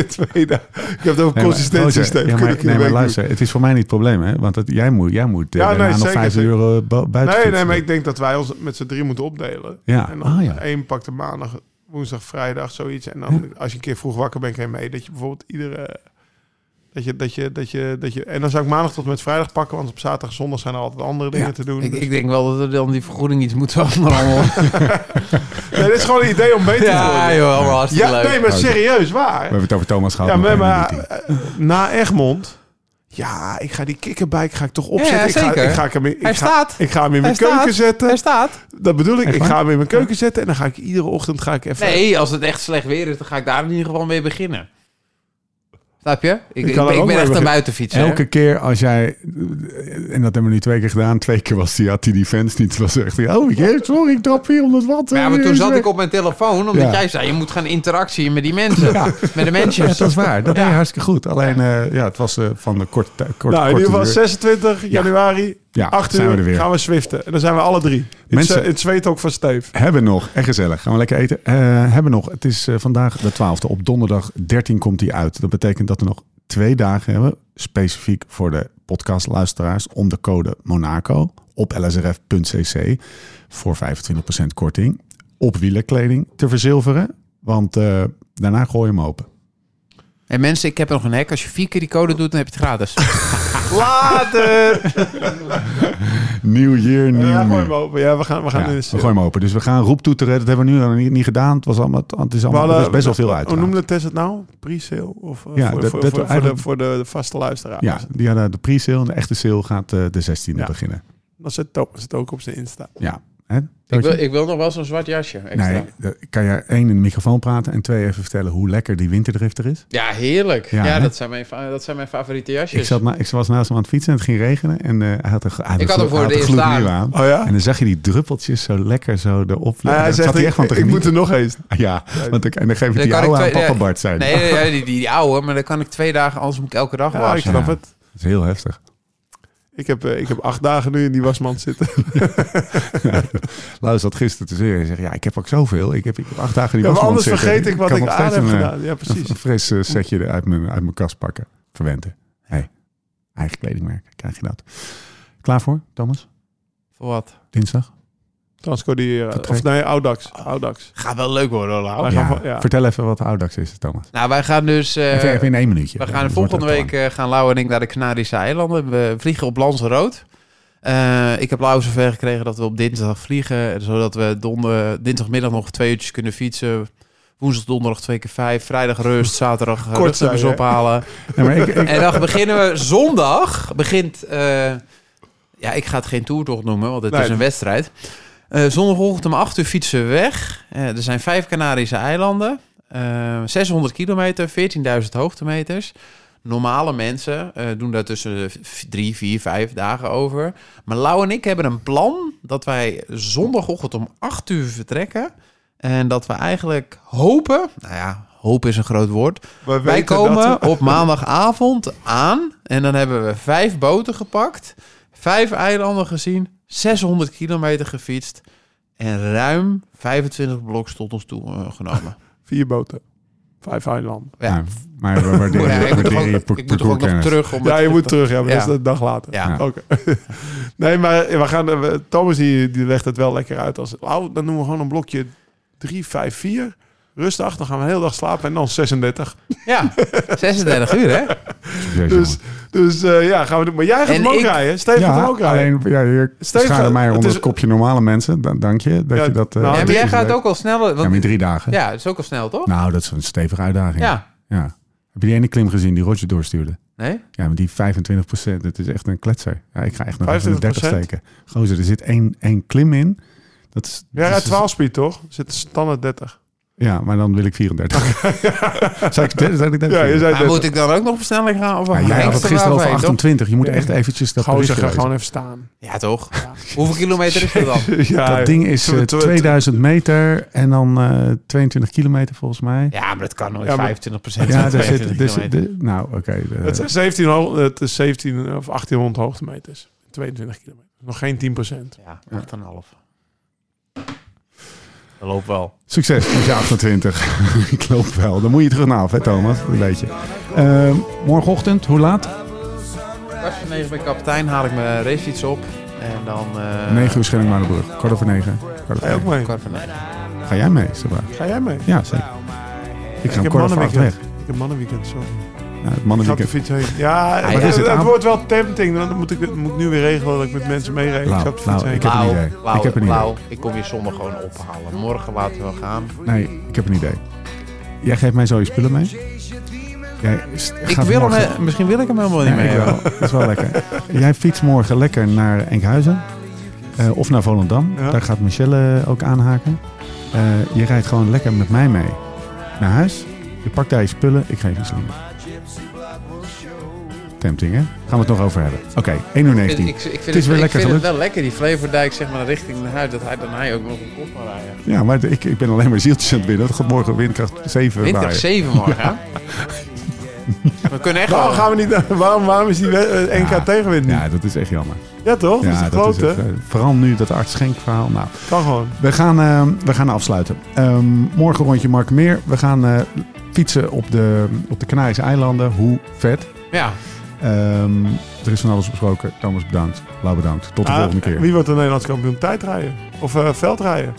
C: Twee dagen. Ik heb het over
A: Nee, maar,
C: consistentie.
A: Roger,
C: Steven.
A: Ja,
C: Kun je een
A: maar,
C: keer
A: nee,
C: een
A: maar
C: week
A: luister, het is voor mij niet het probleem, hè? Want het, jij moet, jij moet eh,
C: Ja,
A: daarna
C: nee,
A: nog
C: zeker,
A: vijf
C: zeker.
A: uur eh, bu-
C: doen.
A: buiten
C: Nee, nee,
A: fietsen.
C: maar ik denk dat wij ons met z'n drie moeten opdelen.
A: Ja,
C: En dan
A: ah ja.
C: één pakt de maandag, woensdag, vrijdag, zoiets. En dan als je een keer vroeg wakker bent, ga je mee. Dat je bijvoorbeeld iedere... Dat je, dat je, dat je, dat je, en dan zou ik maandag tot en met vrijdag pakken, want op zaterdag en zondag zijn er altijd andere dingen
A: Ja,
C: te doen.
D: Ik,
C: Dus-
D: ik denk wel dat we dan die vergoeding iets moeten allemaal.
C: nee, dit is gewoon een idee om beter te
D: ja,
C: worden.
D: joh, allemaal hartstikke
C: Ja,
D: leuk.
C: nee, maar
A: Leuk.
C: serieus,
A: We
C: waar.
A: hebben het over Thomas gehad.
C: Ja,
A: nog
C: maar,
A: één
C: maar
A: meeting.
C: eh, na Egmond, ja, ik ga die kikkerbike ga ik toch opzetten.
D: ja,
C: Ik, ga,
D: zeker.
C: ik, ga hem in, ik,
D: Hij
C: ga,
D: staat.
C: ik ga hem in
D: Hij
C: mijn
D: staat.
C: keuken zetten.
D: Hij staat.
C: Dat bedoel ik.
A: Echt
C: Ik
A: waar?
C: ga hem in mijn keuken zetten en dan ga ik iedere ochtend ga ik even...
D: Nee, als het echt slecht weer is, dan ga ik daar in ieder geval mee beginnen. Snap je? Ik,
C: kan
D: ik,
C: er ook mee
D: ben- ik ben echt
C: beginnen.
D: een buitenfietser. hè?
A: Elke keer als jij, en dat hebben we nu twee keer gedaan, twee keer was die, had hij die fans niet. was echt, oh jee, sorry, ik drop 400 watt.
D: Maar ja, maar
A: eh,
D: toen
A: is
D: zat
A: weg.
D: ik op mijn telefoon, omdat
A: Ja.
D: jij zei, je moet gaan interactie met die mensen. Met de
A: Ja,
D: mensen.
A: dat is waar. Dat
D: Ja.
A: deed je hartstikke goed. Alleen, eh, ja, het was eh, van de korte tijd. Kort,
C: nou, in
A: korte
C: ieder geval
A: duur.
C: 26 januari,
A: Ja,
C: 8
A: zijn we er
C: uur,
A: weer.
C: gaan we swiften. En dan zijn we alle drie.
A: Mensen-
C: Mensen... Het, zweet ook van Steve.
A: Hebben nog, en gezellig. Gaan we lekker eten. Eh, hebben nog, het is eh, vandaag de 12e. Op donderdag 13 komt die uit. Dat betekent dat we nog twee dagen hebben. Specifiek voor de podcastluisteraars. Om de code Monaco op lsrf.cc. Voor 25% korting. Op wielerkleding te verzilveren. Want eh, daarna gooi je hem open.
D: En mensen, ik heb nog een hack. Als je vier keer die code doet, dan heb je het gratis.
A: Nieuw year, nieuw
C: Ja, gooi
A: me.
C: hem open. Ja, we gaan, we gaan
A: Ja,
C: in
A: we
C: de sale.
A: gooien hem open. Dus we gaan roeptoeteren. Dat hebben we nu nog niet, niet gedaan. Het, was allemaal, het is
C: We
A: allemaal
C: hadden-
A: er is best wel eh, veel uit.
C: Hoe
A: trouwens.
C: noemde Tess het nou? Pre-sale? Of eh,
A: Ja,
C: voor,
A: dat-
C: voor,
A: dat
C: voor, voor, de,
A: eigenlijk-
C: voor de, de vaste luisteraar.
A: Ja, die hadden de pre-sale. En de echte sale gaat eh, de 16e
C: Ja.
A: beginnen.
C: Dan zit Thomas het ook op zijn Insta.
A: Ja, Hè?
D: Ik
A: Doodje?
D: wil, ik wil nog wel zo'n zwart jasje extra.
A: nee, de- ik kan je één in de microfoon praten en twee even vertellen hoe lekker die winterdrift er is.
D: Ja, heerlijk.
A: Ja,
D: Ja,
A: hè?
D: dat, zijn mijn, fa- dat zijn mijn favoriete jasjes.
A: Ik, zat na, ik was naast hem aan het fietsen en het ging regenen. En eh, hij had een, hij had
D: Ik had hem
A: een glo-
D: voor
A: hij
D: het eerst
A: een gloednieuw aan.
C: Oh ja?
A: En dan zag je die druppeltjes zo lekker zo erop.
C: Ah, hij
A: Dan zat
C: zegt,
A: hij
C: ik,
A: echt van te
C: ik moet
A: genieten.
C: er nog eens.
A: Ja, want ik, en dan geef ik
D: Dan
A: die
D: kan ik
A: oude aan
D: twee-
A: papa Bart zijn.
D: Nee, nee, nee, die, die, die oude, maar dan kan ik twee dagen, anders moet ik elke dag
C: Ja, ik
D: wassen.
C: snap
A: Ja.
C: het.
A: Dat is heel heftig.
C: Ik heb, eh, ik heb acht dagen nu in die wasmand zitten.
A: Luister dat gisteren te zeer en zegt, ja, ik heb ook zoveel. Ik heb, ik heb acht dagen die
C: Ja, maar
A: wasmand
C: anders
A: zitten.
C: vergeet ik wat
A: kan
C: ik
A: nog
C: aan
A: steeds
C: heb
A: een, eh,
C: gedaan. Ja,
A: Een,
C: precies.
A: een fris eh, setje er uit mijn, uit mijn kast pakken. Verwenten. Hey, eigen kledingmerk. Krijg je dat. Klaar voor, Thomas?
D: Voor wat?
A: Dinsdag?
C: Transcoderen. Of nee, Audax. Audax.
D: Gaat wel leuk worden, hoor, Lau.
C: Wij gaan van- ja.
A: Vertel even wat de Audax is, Thomas.
D: Nou, wij gaan dus... eh,
A: even, even in één minuutje.
D: We
A: Ja,
D: gaan
A: dat
D: volgende
A: wordt echt
D: week eh, gaan Lau en ik naar de Canarische eilanden. We vliegen op Lanzarote. Eh ik heb Lau zover gekregen dat we op dinsdag vliegen. Zodat we donder, dinsdagmiddag nog twee uurtjes kunnen fietsen. Woensdag, donderdag twee keer vijf. Vrijdag rust, zaterdag eh,
C: Kort
D: rugnummers
C: zijn, hè?
D: ophalen.
A: lang. Nee, maar ik, ik-
D: En dan beginnen we zondag. Begint. eh, ja, ik ga het geen toertocht noemen, want het
C: Nee.
D: is een wedstrijd. Eh, zondagochtend om 8 uur fietsen we weg. Eh, er zijn vijf Canarische eilanden. Eh, 600 kilometer, 14.000 hoogtemeters. Normale mensen eh, doen daar tussen de v- drie, vier, vijf dagen over. Maar Lau en ik hebben een plan dat wij zondagochtend om 8 uur vertrekken. En dat we eigenlijk hopen, nou ja, hoop is een groot woord.
C: We
D: Wij
C: weten
D: komen
C: dat-
D: op maandagavond aan en dan hebben we vijf boten gepakt, vijf eilanden gezien, 600 kilometer gefietst en ruim 25 bloks tot ons toe eh, genomen.
C: Vier boten. Vijf eilanden.
D: Ja.
A: nou, maar we waarderen,
D: Ja, ik moet toch
A: waarderen je
D: ook,
A: par-
D: ik moet toch ook nog
A: parcourskennis.
D: terug om
C: Ja,
D: het-
C: je moet terug. Ja, maar
D: Ja.
C: dat is een dag later.
D: Ja.
C: Oké. nee, maar we gaan, eh, Thomas die, die legt het wel lekker uit. Als, oh, dan doen we gewoon een blokje 3, 5, 4. Rustig, dan gaan we een hele dag slapen en dan 36.
D: ja, 36 uur hè?
A: Succes,
C: Dus,
A: jongen.
C: dus eh, ja, gaan we doen. Maar jij gaat
D: En
C: hem ook
D: ik-
C: rijden. Steven gaat
A: ja,
C: hem ook rijden.
A: alleen ja, je
C: Steven,
A: schaarde mij
C: het
A: onder
C: is-
A: het kopje normale mensen. Dan, dank je dat
C: Ja,
A: je dat... eh,
C: nou,
D: Ja,
A: dat
D: maar
A: je
D: jij
A: dat
D: gaat
A: deed.
D: ook al sneller.
A: Ja, maar in
D: Want,
A: drie dagen.
D: ja, dat is ook al snel toch?
A: Nou, dat is een stevige uitdaging.
D: Ja,
A: Ja. Heb je die ene klim gezien die Roger doorstuurde?
D: nee?
A: Ja, maar die 25 procent, dat is echt een kletser. Ja, ik ga echt nog even de 30
C: 25%?
A: steken. Gozer, er zit één, één klim in. Dat is,
C: Jij
A: dat
C: rijdt
A: is-
C: 12 speed, toch? Zit standaard 30.
A: Ja, maar dan wil ik 34. zou ik 30? Zou ik 30?
C: Ja, je zei
D: Maar
C: 30.
D: moet ik dan ook nog op versnelling gaan? Of
A: Ja, jij had het
D: Hengster
A: gisteren over
D: waarheen, toch?
A: 28. Je moet
C: Ja.
A: echt eventjes dat
C: Gozer,
A: berichtje
C: ga
A: lezen.
C: gewoon even staan.
D: Ja, toch? Hoeveel kilometer is dat dan?
C: ja,
A: Dat ding is eh,
C: tw- tw-
A: 2000 meter en dan eh, 22 kilometer volgens mij.
D: Ja, maar dat kan nooit.
C: Ja, maar-
D: 25
A: Ja,
D: procent.
A: daar zit... daar zit- de- nou, oké. de-
C: Het is 17, ho- het is 17 of 1800 hoogtemeters. 22 kilometer. Nog geen 10
D: Ja, 8,5. Dat loopt wel.
A: Succes met je 28. ik loop wel. Dan moet je terug naar af, hè Thomas? Een beetje. Eh, morgenochtend, hoe laat?
D: Kwart voor negen bij kapitein haal ik mijn racefiets op. En dan... eh
A: 9 uur Schelling Maardenbrug. Kwart over 9. Kwart
C: Ga je
A: over
C: ook mee?
D: Kwart voor negen.
A: negen. Ga jij mee, Sabra?
C: Ga jij mee?
A: Ja, zeker. Ik ga
C: heb
A: hem kwart over acht weg. Nou,
C: mannenweekend. Ik heb mannenweekend, sorry.
A: Ja, het
C: Ik ga op de
A: mannenweekend.
C: fiets heen. Ja,
A: wat
C: het,
A: is het?
C: het
A: Aan-
C: wordt wel tempting. want Dan moet ik, dit- moet ik nu weer regelen dat ik met mensen meereed. Ik
A: Lau,
C: ga op de fiets
A: Lau, Nou,
C: heen.
A: Ik heb een
D: Lau,
A: idee.
D: Lau,
A: Ik heb een idee.
D: Lau, ik kom je zondag gewoon ophalen. Morgen laten we gaan.
A: Nee, ik heb een idee. Jij geeft mij zo je spullen mee. Jij s-
D: Ik
A: gaat
D: wil hem,
A: morgen-
D: eh, misschien wil ik hem helemaal niet
A: Nee,
D: meer
A: ik wel.
D: hebben.
A: Dat is wel lekker. Jij fietst morgen lekker naar Enkhuizen. eh, of naar Volendam.
C: Ja.
A: Daar gaat Michelle eh, ook aanhaken. Eh, je rijdt gewoon lekker met mij mee naar huis. Je pakt daar je spullen. Ik geef je slinger. Tempting, hè? Gaan we het nog over hebben. Oké, 1 uur
D: Ik, ik,
A: 19.
D: ik vind,
A: weer
D: het, ik
A: lekker
D: vind
A: gelukt.
D: het wel lekker, die Flevordijk zeg maar richting Den Haag, dat hij dan hij ook nog een kop kan rijden.
A: Ja, maar ik, ik ben alleen maar zieltjes aan het winnen. Het gaat morgen windkracht 7
D: Windkracht
A: waaien.
D: 7 morgen, hè? We kunnen echt
A: Nou,
C: Waarom,
A: Oh.
D: wel.
C: gaan we niet, naar- waarom, waarom is die we- eh, NK
A: Ja.
C: tegenwind niet? Ja,
A: Ja, dat is echt jammer.
C: toch?
A: ja,
C: dat is het grote.
A: echt, eh, vooral nu dat arts Schenk verhaal. Nou,
C: Kan gewoon.
A: we gaan, eh, we gaan afsluiten. Ehm, morgen rondje Mark Meer. We gaan eh, fietsen op de, op de Canarische eilanden. Hoe vet.
D: Ja,
A: Ehm, er is van alles besproken. Thomas bedankt. Lau bedankt. Tot de
C: Ah,
A: volgende keer.
C: Wie wordt de Nederlands kampioen? Tijdrijden? Of eh, veldrijden?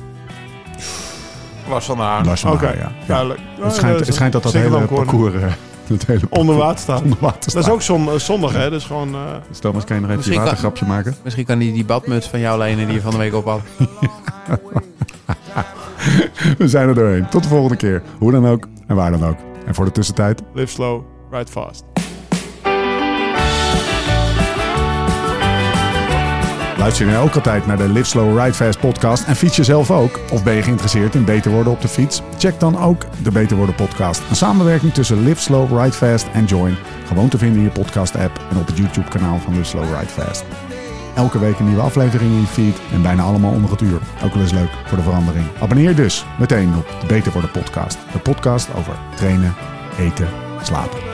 D: Lars van der Haan.
A: Lars van
C: Oké,
A: Haar, ja. Ja.
C: Duidelijk. Ja,
A: Het, schijnt,
C: is
A: het schijnt dat dat
C: zeker
A: hele
C: wel een corner.
A: parcours... eh, dat hele parcours
C: Onder water staat.
A: onder water
C: Dat is
A: staat.
C: ook zon, eh, zondag, hè? Dus gewoon... eh,
A: Dus Thomas, kan je nog even je
D: Misschien kan-
A: watergrapje maken?
D: Misschien kan hij die badmuts van jou lenen die je van de week op had.
A: We zijn er doorheen. Tot de volgende keer. Hoe dan ook en waar dan ook. En voor de tussentijd...
C: live slow, ride fast.
E: Thank
A: Luister je nou ook altijd naar de Live Slow Ride Fast podcast en fiets je zelf ook? Of ben je geïnteresseerd in beter worden op de fiets? Check dan ook de Beter Worden podcast. Een samenwerking tussen Live Slow Ride Fast en Join. Gewoon te vinden in je podcast app en op het YouTube kanaal van Live Slow Ride Fast. Elke week een nieuwe aflevering in je feed en bijna allemaal onder het uur. Ook wel eens leuk voor de verandering. Abonneer dus meteen op de Beter Worden podcast. De podcast over trainen, eten, slapen.